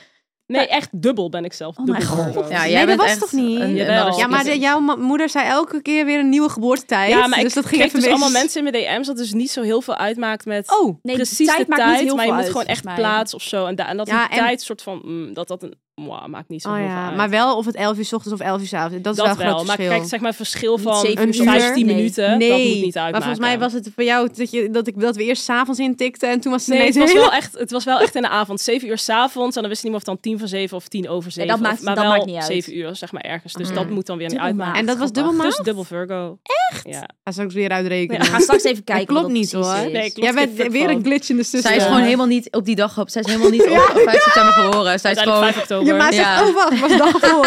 Speaker 4: Nee, echt dubbel ben ik zelf.
Speaker 5: Oh
Speaker 4: dubbel
Speaker 5: mijn
Speaker 4: hormoon.
Speaker 5: god.
Speaker 3: Ja, jij
Speaker 6: Nee, dat
Speaker 3: bent
Speaker 6: was
Speaker 3: echt
Speaker 6: toch niet?
Speaker 3: een- een
Speaker 4: Jawel.
Speaker 3: narcist.
Speaker 6: Ja, maar de- jouw ma- moeder zei elke keer weer een nieuwe geboortetijd.
Speaker 4: Ja, maar
Speaker 6: dus
Speaker 4: ik
Speaker 6: dat ging
Speaker 4: kreeg
Speaker 6: even
Speaker 4: dus
Speaker 6: mis.
Speaker 4: allemaal mensen in mijn DM's dat dus niet zo heel veel uitmaakt met
Speaker 6: Oh,
Speaker 5: Nee,
Speaker 4: precies
Speaker 5: tijd
Speaker 4: de
Speaker 5: maakt niet
Speaker 4: tijd,
Speaker 5: heel
Speaker 4: maar je
Speaker 5: veel
Speaker 4: moet
Speaker 5: uit,
Speaker 4: gewoon echt
Speaker 5: volgens mij.
Speaker 4: plaats of zo. En, da- en dat
Speaker 6: Ja,
Speaker 4: die
Speaker 6: en-
Speaker 4: tijd soort van, mm, dat dat een, mwah, maakt niet zo
Speaker 6: oh
Speaker 4: heel veel
Speaker 6: ja.
Speaker 4: uit.
Speaker 6: Maar wel of het 11 uur 's ochtends of 11 uur 's avonds. Dat is
Speaker 4: dat
Speaker 6: wel een
Speaker 4: wel,
Speaker 6: groot
Speaker 4: maar
Speaker 6: verschil.
Speaker 4: kijk, zeg maar verschil
Speaker 5: Niet
Speaker 4: van
Speaker 5: zeven
Speaker 6: een
Speaker 5: uur.
Speaker 6: uur.
Speaker 4: 15
Speaker 5: Nee.
Speaker 4: minuten,
Speaker 6: nee,
Speaker 4: dat moet niet uitmaken.
Speaker 6: maar volgens mij was het voor jou dat, je, dat, ik, dat we eerst s'avonds intikten en toen was het
Speaker 4: Nee,
Speaker 6: ineens
Speaker 4: het <laughs> was,
Speaker 6: heel-
Speaker 4: wel echt, het was wel echt in de avond. 7 uur s'avonds. En dan wist je niet meer of het dan 10 voor 7 of 10 over 7.
Speaker 5: dat maakt-
Speaker 4: of- maar
Speaker 5: dat
Speaker 4: wel
Speaker 5: maakt niet uit.
Speaker 4: 7 uur, zeg maar ergens. Dus
Speaker 3: Mm.
Speaker 4: dat moet dan weer niet
Speaker 5: Dubbel
Speaker 4: uitmaken.
Speaker 5: maagd.
Speaker 6: En dat was
Speaker 5: Grappig.
Speaker 6: dubbel maag?
Speaker 4: Dus dubbel Virgo. Echt? Ja.
Speaker 6: Ga straks weer uitrekenen.
Speaker 5: We gaan straks even kijken
Speaker 6: klopt
Speaker 5: wat dat
Speaker 6: niet,
Speaker 5: precies
Speaker 6: hoor.
Speaker 5: is.
Speaker 4: Nee, klopt.
Speaker 6: Jij bent
Speaker 4: geen fuck
Speaker 6: weer
Speaker 4: van.
Speaker 6: een glitch in de system.
Speaker 3: Zij is gewoon helemaal niet op die dag op. Zij is helemaal <laughs> niet op 5 september geboren. Zij is
Speaker 4: Uiteindelijk
Speaker 3: gewoon
Speaker 4: 5 oktober.
Speaker 6: maar
Speaker 3: zegt, Ja. oh,
Speaker 6: zegt, oh wacht, was dag voor.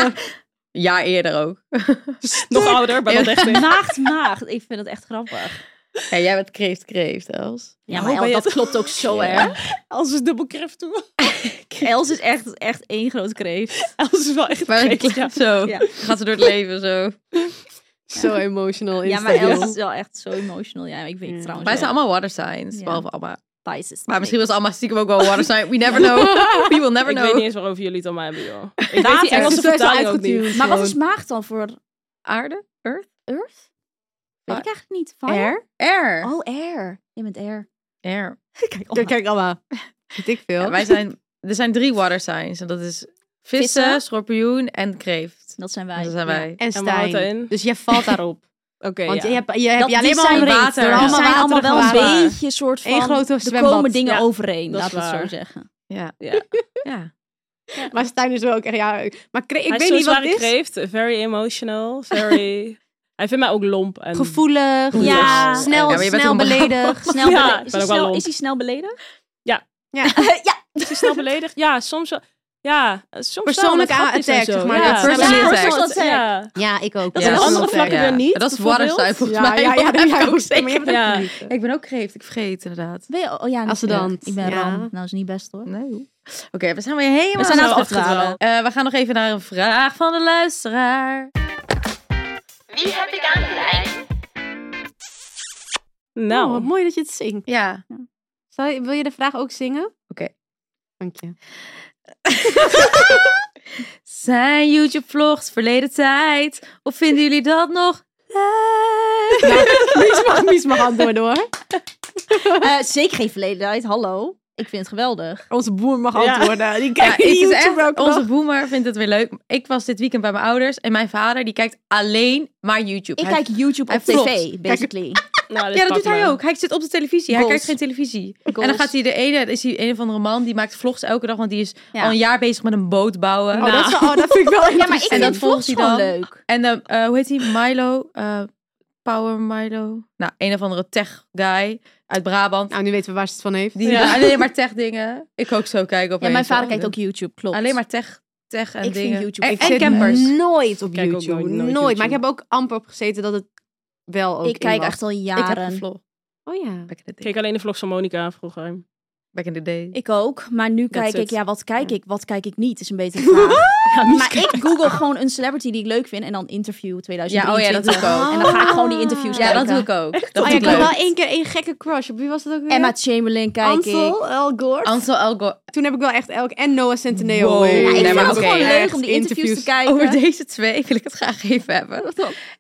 Speaker 3: een jaar eerder ook.
Speaker 4: Nog ouder, maar dat echt in.
Speaker 5: Maagd, maagd. Ik vind het echt grappig.
Speaker 3: Ja, jij bent kreeft, kreeft, Els.
Speaker 5: Ja,
Speaker 4: Oh,
Speaker 5: maar
Speaker 4: ben
Speaker 5: El,
Speaker 4: je
Speaker 5: dat
Speaker 4: het-
Speaker 5: klopt ook zo erg.
Speaker 4: Als is dubbel kreeft toe. <laughs>
Speaker 5: Els is echt, echt één groot kreeft.
Speaker 4: Els is wel echt
Speaker 3: Maar <laughs>
Speaker 4: kreeft, ja.
Speaker 3: zo.
Speaker 5: Ja.
Speaker 3: Gaat ze door het leven <laughs> zo.
Speaker 6: Zo emotional.
Speaker 5: Ja, maar Els
Speaker 6: Instagram.
Speaker 5: is wel echt zo emotional. Ja, ik weet
Speaker 6: Ja.
Speaker 5: trouwens
Speaker 3: Wij
Speaker 5: wel.
Speaker 3: zijn allemaal water signs,
Speaker 5: Ja.
Speaker 3: behalve Amma.
Speaker 5: Pisces.
Speaker 3: Maar misschien was Amma stiekem ook wel een water sign. We never <laughs> know. We will never
Speaker 4: Ik
Speaker 3: know.
Speaker 4: weet niet eens waarover jullie het allemaal hebben, joh. Ik weet die
Speaker 6: Later.
Speaker 4: Engelse
Speaker 6: Ze is wel
Speaker 4: vertaling ook niet.
Speaker 6: uitgetuned
Speaker 5: Maar wat is
Speaker 6: gewoon.
Speaker 5: maagd dan voor
Speaker 3: Aarde? Earth?
Speaker 5: Earth? Weet ik eigenlijk niet. Fire?
Speaker 3: Air? Air.
Speaker 5: Oh, air. Je bent air.
Speaker 3: Air.
Speaker 5: <laughs> Kijk, oh
Speaker 6: Kijk, kijk, Alma. Weet ik veel.
Speaker 3: Ja, wij zijn, er zijn drie water signs. En dat is vissen,
Speaker 5: Vissen?
Speaker 3: schorpioen en kreeft.
Speaker 5: dat zijn wij.
Speaker 3: Dat zijn
Speaker 5: Ja.
Speaker 3: wij.
Speaker 6: en
Speaker 4: En we houden
Speaker 6: Stijn.
Speaker 4: in.
Speaker 6: Dus jij
Speaker 3: <laughs>
Speaker 6: valt daarop.
Speaker 4: Oké,
Speaker 6: Want
Speaker 4: ja.
Speaker 6: je hebt, je hebt
Speaker 5: Dat,
Speaker 6: je
Speaker 5: die
Speaker 6: alleen
Speaker 5: zijn
Speaker 6: maar
Speaker 3: water.
Speaker 5: water.
Speaker 3: Ja.
Speaker 5: Die
Speaker 6: Allemaal
Speaker 5: zijn allemaal wel een
Speaker 6: waterige water.
Speaker 5: beetje soort van...
Speaker 6: Eén grote
Speaker 5: er
Speaker 6: zwembad.
Speaker 5: komen dingen
Speaker 4: Ja,
Speaker 5: overeen,
Speaker 4: dat
Speaker 5: laten we
Speaker 4: is
Speaker 5: het zo
Speaker 4: waar.
Speaker 5: zeggen.
Speaker 3: Ja.
Speaker 4: Ja.
Speaker 3: ja.
Speaker 6: Maar Stijn is wel ook echt... Ja, maar kre- ik
Speaker 4: Hij
Speaker 6: weet
Speaker 4: is
Speaker 6: niet
Speaker 4: zo'n
Speaker 6: wat het
Speaker 4: zware
Speaker 6: is.
Speaker 4: kreeft. Very emotional. Very... Hij vindt mij ook lomp. En...
Speaker 6: Gevoelig.
Speaker 4: Ja.
Speaker 5: Ja.
Speaker 6: Snel,
Speaker 3: Ja, maar je bent
Speaker 6: snel
Speaker 3: ook een-
Speaker 6: beledigd.
Speaker 5: Snel
Speaker 4: Ja,
Speaker 5: bele-
Speaker 4: ik
Speaker 5: is, hij
Speaker 4: ben ook wel
Speaker 5: snel,
Speaker 4: lomp.
Speaker 5: is hij snel beledigd? <laughs>
Speaker 4: Is hij snel beledigd? Ja, soms wel. Ja, soms
Speaker 6: Persoonlijke
Speaker 4: wel, met grapjes en
Speaker 6: attack,
Speaker 4: zo.
Speaker 6: zeg maar.
Speaker 4: Ja,
Speaker 6: Dat
Speaker 4: ja,
Speaker 3: personal
Speaker 4: ja,
Speaker 3: attack.
Speaker 4: personal attack. Ja.
Speaker 6: Ja, ik ook.
Speaker 4: Dat
Speaker 3: Ja,
Speaker 4: is op
Speaker 3: dat
Speaker 4: andere
Speaker 3: is-
Speaker 4: vlakken
Speaker 3: ja.
Speaker 4: weer niet.
Speaker 3: Dat is water sign
Speaker 4: bijvoorbeeld.
Speaker 3: volgens
Speaker 6: Ja,
Speaker 3: mij.
Speaker 6: ja, ja, dat
Speaker 3: heb
Speaker 6: heb
Speaker 3: ik
Speaker 6: ik
Speaker 3: ook
Speaker 6: ook. Maar je
Speaker 3: zeker.
Speaker 6: hebt
Speaker 4: Ja.
Speaker 3: Ik ben ook kreeft. Ik vergeet inderdaad.
Speaker 5: Ben je, oh ja,
Speaker 6: Als ze dan.
Speaker 5: natuurlijk. Ik ben
Speaker 6: Ja.
Speaker 5: ram. Nou, is niet best hoor.
Speaker 3: Nee. Oké, we zijn weer helemaal
Speaker 5: We zijn
Speaker 3: zo
Speaker 5: aan het afdwalen.
Speaker 3: afgedwaald. Eh, we gaan nog even naar een vraag van de luisteraar.
Speaker 1: Wie heb ik aan de lijn?
Speaker 6: Nou,
Speaker 4: Nou,
Speaker 6: wat mooi dat je het zingt.
Speaker 3: Ja.
Speaker 6: Zal je- wil je de vraag ook zingen?
Speaker 3: Oké.
Speaker 6: Dank je.
Speaker 3: Zijn YouTube-vlogs verleden tijd? Of vinden jullie dat nog leuk?
Speaker 6: Mies <laughs> mag, Mies mag antwoorden hoor.
Speaker 5: Eh, zeker geen verledenheid, hallo. Ik vind het geweldig.
Speaker 6: Onze boer <laughs> mag
Speaker 4: Ja.
Speaker 6: antwoorden. Die
Speaker 3: Ja, <laughs>
Speaker 6: kijkt
Speaker 3: het is
Speaker 6: YouTube
Speaker 3: echt,
Speaker 6: elke
Speaker 3: onze
Speaker 6: dag.
Speaker 3: boomer vindt het weer leuk. Ik was dit weekend bij mijn ouders en mijn vader die kijkt alleen maar YouTube.
Speaker 5: Ik
Speaker 3: Hij-
Speaker 5: kijk YouTube
Speaker 3: hij
Speaker 5: op tv,
Speaker 3: flopt. <laughs>
Speaker 5: basically.
Speaker 4: nou, dit
Speaker 3: ja, dat
Speaker 4: pakt
Speaker 3: doet hij
Speaker 4: me.
Speaker 3: ook. Hij zit op de televisie. Hij
Speaker 5: Goals.
Speaker 3: kijkt geen televisie. En
Speaker 5: Goals.
Speaker 3: dan gaat hij de ene, is hij een of andere man die maakt vlogs elke dag, want die is
Speaker 5: Ja.
Speaker 3: al een jaar bezig met een boot bouwen.
Speaker 6: Oh, dat, is wel- oh, dat vind ik <laughs> wel
Speaker 5: Ja, maar ik
Speaker 6: interessant.
Speaker 5: vind
Speaker 3: dat
Speaker 5: dat
Speaker 3: volgt
Speaker 5: vlogs
Speaker 3: hij
Speaker 5: gewoon
Speaker 3: dan.
Speaker 5: leuk.
Speaker 3: En ehm, eh, hoe heet hij? Milo? eh, Power Milo? Nou, een of andere tech guy uit Brabant.
Speaker 6: Nou, nu weten we waar ze het van heeft.
Speaker 3: Die doet alleen maar tech dingen. Ik ook zo kijken op
Speaker 5: Ja, mijn vader kijkt ook YouTube, klopt.
Speaker 3: Alleen maar tech, tech en
Speaker 5: Ik vind
Speaker 3: dingen.
Speaker 5: YouTube-
Speaker 3: En,
Speaker 5: Ik
Speaker 3: en
Speaker 6: zit
Speaker 3: campers.
Speaker 6: nooit op
Speaker 4: Kijk ook
Speaker 6: YouTube.
Speaker 4: nooit-
Speaker 6: Nooit,
Speaker 4: nooit
Speaker 6: Maar ik
Speaker 4: YouTube.
Speaker 6: heb ook amper op gezeten dat het wel ook
Speaker 5: Ik
Speaker 6: in
Speaker 5: kijk
Speaker 6: was.
Speaker 5: echt al
Speaker 3: Ik heb een
Speaker 5: jaren.
Speaker 3: vlog.
Speaker 6: Oh ja.
Speaker 4: Ik keek alleen de vlogs van Monica vroeger.
Speaker 3: Back in the day.
Speaker 5: Ik ook, maar nu kijk
Speaker 4: it.
Speaker 5: ik, ja, wat kijk ik, wat kijk ik niet, is een
Speaker 3: <laughs>
Speaker 5: betere vraag.
Speaker 4: Ja,
Speaker 5: maar ik google gewoon een celebrity die ik leuk vind en dan interview 2023.
Speaker 3: Ja, oh ja, dat doe ik ook.
Speaker 5: En dan ga ik gewoon die interviews
Speaker 3: ja,
Speaker 5: kijken.
Speaker 3: dat doe ik ook. Dat
Speaker 6: Oh, ja,
Speaker 3: vind
Speaker 6: ik
Speaker 3: ik
Speaker 6: had wel
Speaker 3: leuk.
Speaker 6: één keer één gekke crush. Op wie was dat ook weer?
Speaker 5: Emma Chamberlain kijk ik.
Speaker 6: Ansel, Al Gore.
Speaker 3: Ansel Elgo.
Speaker 6: Toen heb ik wel echt elk... En Noah Centineo.
Speaker 3: Wow. Ja, ik
Speaker 5: Ja, ik
Speaker 3: Nee,
Speaker 5: vind
Speaker 3: maar
Speaker 5: het
Speaker 3: oké,
Speaker 5: gewoon leuk
Speaker 6: echt
Speaker 5: om die interviews, te kijken.
Speaker 3: Over deze twee wil ik het graag even hebben.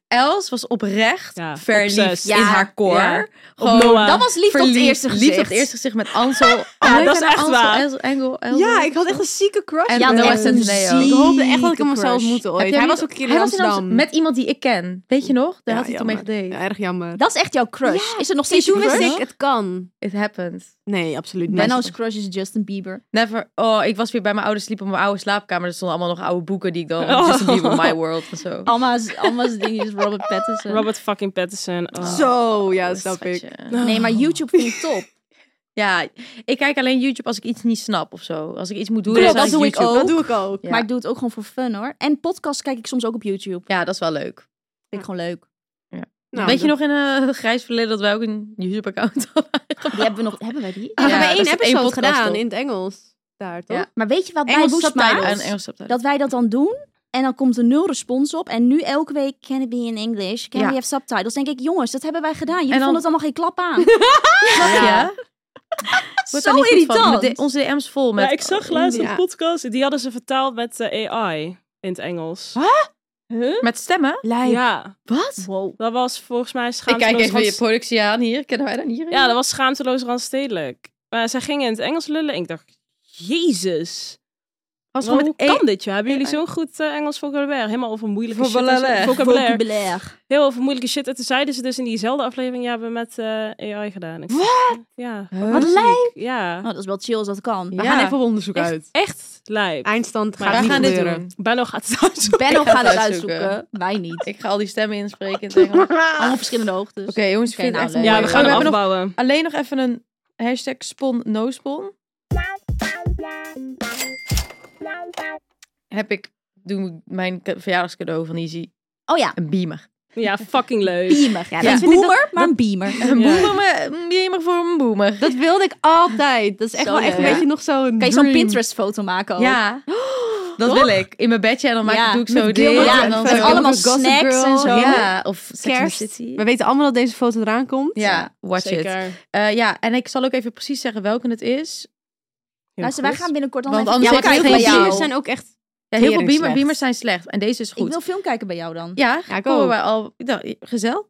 Speaker 3: Els was oprecht
Speaker 4: Ja,
Speaker 3: verliefd
Speaker 4: obsessed.
Speaker 3: in
Speaker 5: Ja.
Speaker 3: haar koor.
Speaker 4: Ja.
Speaker 3: Gewoon
Speaker 4: Noah.
Speaker 5: Dat was lief tot het
Speaker 3: verliefd.
Speaker 5: eerste gezicht.
Speaker 3: Liefd op het eerste gezicht met
Speaker 4: <laughs>
Speaker 3: Ansel. Oh, ik
Speaker 4: dat is
Speaker 3: ben
Speaker 4: echt
Speaker 3: Ansel,
Speaker 4: waar.
Speaker 3: Els, Engel, Els.
Speaker 6: Ja, ik had echt een zieke crush.
Speaker 3: En
Speaker 6: op
Speaker 5: Ja,
Speaker 6: hem.
Speaker 5: dat
Speaker 3: Noah
Speaker 5: was een
Speaker 3: Centineo.
Speaker 6: Ik hoopde echt dat ik
Speaker 5: zieke
Speaker 6: hem zou
Speaker 5: crush.
Speaker 6: ontmoeten
Speaker 3: Heb
Speaker 6: ooit.
Speaker 3: jij
Speaker 6: Hij
Speaker 3: niet-
Speaker 6: was ook een keer in
Speaker 3: Hij was in
Speaker 6: Amsterdam.
Speaker 3: Amsterdam met iemand die ik ken. Weet je nog? Daar
Speaker 6: Ja,
Speaker 3: had hij toen mee
Speaker 6: jammer.
Speaker 3: gedate.
Speaker 6: Ja, erg jammer.
Speaker 5: Dat is echt jouw crush. Is er nog steeds
Speaker 6: Zie,
Speaker 5: een
Speaker 6: toen wist
Speaker 5: crush?
Speaker 6: ik, het kan.
Speaker 3: It happened.
Speaker 6: Nee, absoluut niet.
Speaker 5: Benno's crush is Justin Bieber.
Speaker 3: Never. Oh, ik was weer bij mijn ouders sliep op mijn oude slaapkamer. Er stonden allemaal nog oude boeken die ik dan
Speaker 4: Oh.
Speaker 3: Justin Bieber, My World en zo.
Speaker 5: Alma's, Alma's ding is
Speaker 3: <laughs>
Speaker 5: Robert Pattinson.
Speaker 4: Robert fucking Pattinson. Oh.
Speaker 6: Zo, ja,
Speaker 3: Oh,
Speaker 6: snap ik.
Speaker 3: schatje.
Speaker 5: Nee, maar YouTube vind ik top.
Speaker 3: <laughs> Ja, ik kijk alleen YouTube als ik iets niet snap of zo. Als ik iets moet doen,
Speaker 5: Klopt,
Speaker 3: dan
Speaker 5: dat
Speaker 3: doe ik YouTube.
Speaker 6: Dat doe ik ook.
Speaker 3: Ja.
Speaker 5: Maar ik doe het ook gewoon voor fun hoor. En podcasts kijk ik soms ook op YouTube.
Speaker 3: Ja, dat is wel leuk.
Speaker 5: Vind ik gewoon leuk.
Speaker 6: Nou,
Speaker 3: Weet je
Speaker 6: dat-
Speaker 3: nog in eh, het grijs verleden dat wij ook een YouTube-account <laughs> hadden?
Speaker 5: Die hebben we nog. Hebben wij die?
Speaker 6: Ja, we
Speaker 3: Ja,
Speaker 6: hebben
Speaker 3: dat
Speaker 6: één
Speaker 3: is één
Speaker 6: episode
Speaker 3: podcast
Speaker 6: gedaan
Speaker 3: op.
Speaker 6: in het Engels. Daar, toch?
Speaker 3: Ja.
Speaker 5: Maar weet je wat bij
Speaker 3: Engels
Speaker 5: Boos
Speaker 3: subtitles.
Speaker 5: maakt?
Speaker 3: En Engels subtitles.
Speaker 5: Dat wij dat dan doen en dan komt er nul respons op. En nu elke week can it be in English? Can
Speaker 3: Ja.
Speaker 5: we have subtitles? Denk ik, jongens, dat hebben wij gedaan. Jullie
Speaker 3: En dan-
Speaker 5: vonden het allemaal geen klap aan.
Speaker 3: ja. Wordt
Speaker 5: Zo
Speaker 3: daar niet goed van.
Speaker 5: irritant.
Speaker 3: Met de- onze DM's vol met...
Speaker 4: Ja, ik zag laatst
Speaker 6: Ja.
Speaker 4: een podcast. Die hadden ze vertaald met eh, AI in het Engels.
Speaker 3: Met stemmen?
Speaker 4: Ja,
Speaker 3: Wat?
Speaker 5: Wow.
Speaker 4: dat was volgens mij
Speaker 3: Ik
Speaker 4: schaamteloos.
Speaker 3: kijk even je
Speaker 4: randst-
Speaker 3: productie aan hier. Kennen wij dat hier?
Speaker 4: Ja, dat was schaamteloos randstedelijk. Maar zij gingen in het Engels lullen. En ik dacht, jezus.
Speaker 3: was
Speaker 4: Hoe
Speaker 3: gewoon met e- één...
Speaker 4: kan dit? joh? Hebben jullie
Speaker 3: AI?
Speaker 4: zo'n goed eh, Engels vocabulaire? Helemaal over moeilijke shit. en zo-
Speaker 3: Vocabulaire.
Speaker 4: Vocabulaire.
Speaker 5: Vocabulaire.
Speaker 4: Heel over moeilijke shit. En toen zeiden ze dus in diezelfde aflevering... Ja, we hebben met eh, AI gedaan. Wat? Ja.
Speaker 5: Wat lijp.
Speaker 4: Ja.
Speaker 5: Oh, dat is wel chill als dat kan.
Speaker 6: We
Speaker 3: Ja.
Speaker 6: gaan even op onderzoek
Speaker 4: Echt-
Speaker 6: uit.
Speaker 4: Echt lijp.
Speaker 6: Eindstand
Speaker 4: Maar
Speaker 6: gaat
Speaker 4: wij
Speaker 6: niet
Speaker 3: gaan dit
Speaker 6: gebeuren.
Speaker 3: doen.
Speaker 4: Benno gaat het uitzoeken.
Speaker 5: Benno
Speaker 3: ga
Speaker 5: gaat het
Speaker 3: het
Speaker 5: uitzoeken.
Speaker 3: uitzoeken.
Speaker 5: Wij niet.
Speaker 3: Ik ga al die stemmen inspreken. in <laughs> het Engels. Oké,
Speaker 5: Allemaal verschillende hoogtes.
Speaker 3: jongens, ik
Speaker 5: Oké,
Speaker 3: vind het
Speaker 5: nou,
Speaker 3: echt
Speaker 5: leuk.
Speaker 3: mooi.
Speaker 4: Ja, we gaan
Speaker 3: Oh,
Speaker 4: hem
Speaker 3: hebben nog
Speaker 4: afbouwen.
Speaker 3: alleen nog even een hashtag spon, no spon. Heb ik, doe mijn k- verjaardagscadeau van Easy,
Speaker 5: Oh ja,
Speaker 3: een beamer.
Speaker 4: Ja, fucking leuk.
Speaker 5: beamer. Ja,
Speaker 3: Ja.
Speaker 5: Een boomer, maar een beamer.
Speaker 3: Een
Speaker 4: Ja.
Speaker 3: boemer, maar een beamer voor een boemer.
Speaker 6: Dat wilde ik altijd. Dat is echt
Speaker 5: Zo
Speaker 6: wel echt een
Speaker 5: leuk.
Speaker 6: beetje nog zo'n
Speaker 5: Kan je zo'n
Speaker 6: dream.
Speaker 5: Pinterest-foto maken ook?
Speaker 3: ja, dat wil ik. In mijn bedje en dan maak
Speaker 5: Ja,
Speaker 3: ik, doe ik
Speaker 6: met
Speaker 3: zo dit.
Speaker 6: Gilmore
Speaker 5: Ja,
Speaker 3: en dan
Speaker 5: met
Speaker 3: zo-
Speaker 5: allemaal
Speaker 6: Gossip
Speaker 5: snacks
Speaker 6: Girl.
Speaker 5: en zo.
Speaker 3: Ja, of Sex in the
Speaker 6: Kerst.
Speaker 3: City.
Speaker 6: We weten allemaal dat deze foto eraan komt.
Speaker 3: Ja, watch it.
Speaker 4: Zeker.
Speaker 3: Eh, ja, en ik zal ook even precies zeggen welke het is.
Speaker 4: Heel
Speaker 5: Luister, wij
Speaker 4: goed.
Speaker 5: gaan binnenkort al
Speaker 3: Want
Speaker 5: even
Speaker 3: anders
Speaker 5: film
Speaker 3: Ja, maar kijk,
Speaker 6: Heel
Speaker 5: kijken
Speaker 6: veel
Speaker 5: bij
Speaker 3: geen
Speaker 6: beamers
Speaker 5: jou.
Speaker 6: zijn ook echt...
Speaker 3: Ja, heel veel
Speaker 6: Tering
Speaker 3: beamer,
Speaker 6: slecht.
Speaker 3: beamers zijn slecht. En deze is goed.
Speaker 5: Ik wil film kijken bij jou dan.
Speaker 3: Ja,
Speaker 6: Ja, ik
Speaker 3: komen
Speaker 6: ook.
Speaker 3: wij al. Nou, gezel.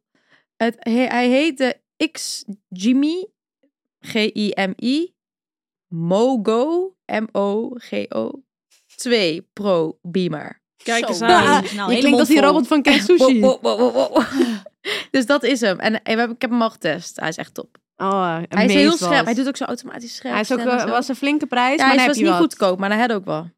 Speaker 3: Het, hij, hij heette X Jimmy G-I-M-I Mogo M-O-G-O 2 Pro Beamer.
Speaker 4: Kijk eens
Speaker 5: Zo.
Speaker 4: aan.
Speaker 5: Nou,
Speaker 6: Je
Speaker 5: hele
Speaker 6: klinkt als die
Speaker 5: mond vol.
Speaker 6: robot van
Speaker 3: <laughs>
Speaker 6: Ken Sushi.
Speaker 3: Wow, wow, wow, wow, wow. <laughs> dus dat is hem. En, eh, we hebben, ik heb hem al getest. Hij is echt top.
Speaker 6: Oh,
Speaker 3: Hij is heel
Speaker 6: amazed
Speaker 3: scherp.
Speaker 6: was.
Speaker 3: Hij doet ook zo automatisch scherp.
Speaker 6: Hij is ook,
Speaker 3: stemmen en
Speaker 6: eh,
Speaker 3: zo.
Speaker 6: was een flinke prijs,
Speaker 3: ja,
Speaker 6: maar
Speaker 3: hij
Speaker 6: dan
Speaker 3: was
Speaker 6: heb
Speaker 3: niet
Speaker 6: je wat.
Speaker 3: goedkoop, maar hij had ook wel.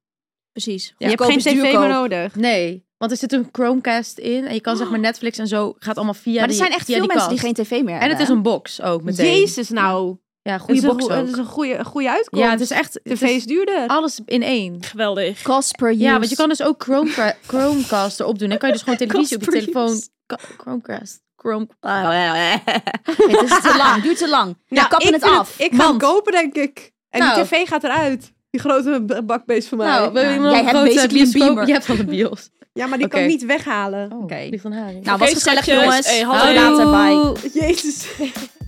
Speaker 5: Precies.
Speaker 6: Je hebt
Speaker 5: Goedkoop
Speaker 6: geen
Speaker 5: is
Speaker 6: tv
Speaker 5: duurkoop.
Speaker 6: meer nodig.
Speaker 3: Nee, want er zit een Chromecast in en je kan zeg <gasps> maar Netflix en zo gaat allemaal via
Speaker 5: Maar er
Speaker 3: die
Speaker 5: zijn echt
Speaker 3: via
Speaker 5: veel
Speaker 3: die
Speaker 5: mensen die
Speaker 3: kast.
Speaker 5: geen tv meer hebben.
Speaker 3: En het is een box ook meteen.
Speaker 6: Jezus nou.
Speaker 3: Ja,
Speaker 6: Het is
Speaker 3: goede
Speaker 6: een
Speaker 3: box
Speaker 6: goe- Het
Speaker 3: ook.
Speaker 6: is een goede, goede uitkomst.
Speaker 3: Ja, het is echt het
Speaker 6: TV is
Speaker 3: is Ah,
Speaker 6: duurder.
Speaker 3: alles in één.
Speaker 4: Geweldig.
Speaker 5: Cost per use.
Speaker 3: Ja, want je <laughs> kan dus ook Chromecra- Chromecast erop doen. Dan kan je dus gewoon televisie op je
Speaker 5: Cast per
Speaker 3: telefoon. Ka- Chromecast. Chrome.
Speaker 10: Oh, <laughs>
Speaker 5: Het is te lang, duurt te lang. Nou, kappen
Speaker 6: ik
Speaker 5: het
Speaker 6: vind
Speaker 5: af.
Speaker 6: ik ga hem
Speaker 3: Want-
Speaker 6: kopen, denk ik. En
Speaker 3: Nou.
Speaker 6: die tv gaat eruit. Die grote b- bakbeest van mij.
Speaker 3: Nou, we hebben
Speaker 5: jij
Speaker 3: nog een Oh,
Speaker 5: hebt
Speaker 3: grote
Speaker 5: basically een
Speaker 3: bioscoop. <laughs>
Speaker 5: beamer.
Speaker 3: Je hebt van de bios.
Speaker 6: ja, maar die
Speaker 3: oké.
Speaker 6: kan ik niet weghalen.
Speaker 3: Oké.
Speaker 5: Nou, was gezellig
Speaker 4: schatjes.
Speaker 5: jongens.
Speaker 4: Hey, hallo.
Speaker 5: Tot later, bye.
Speaker 6: Jezus.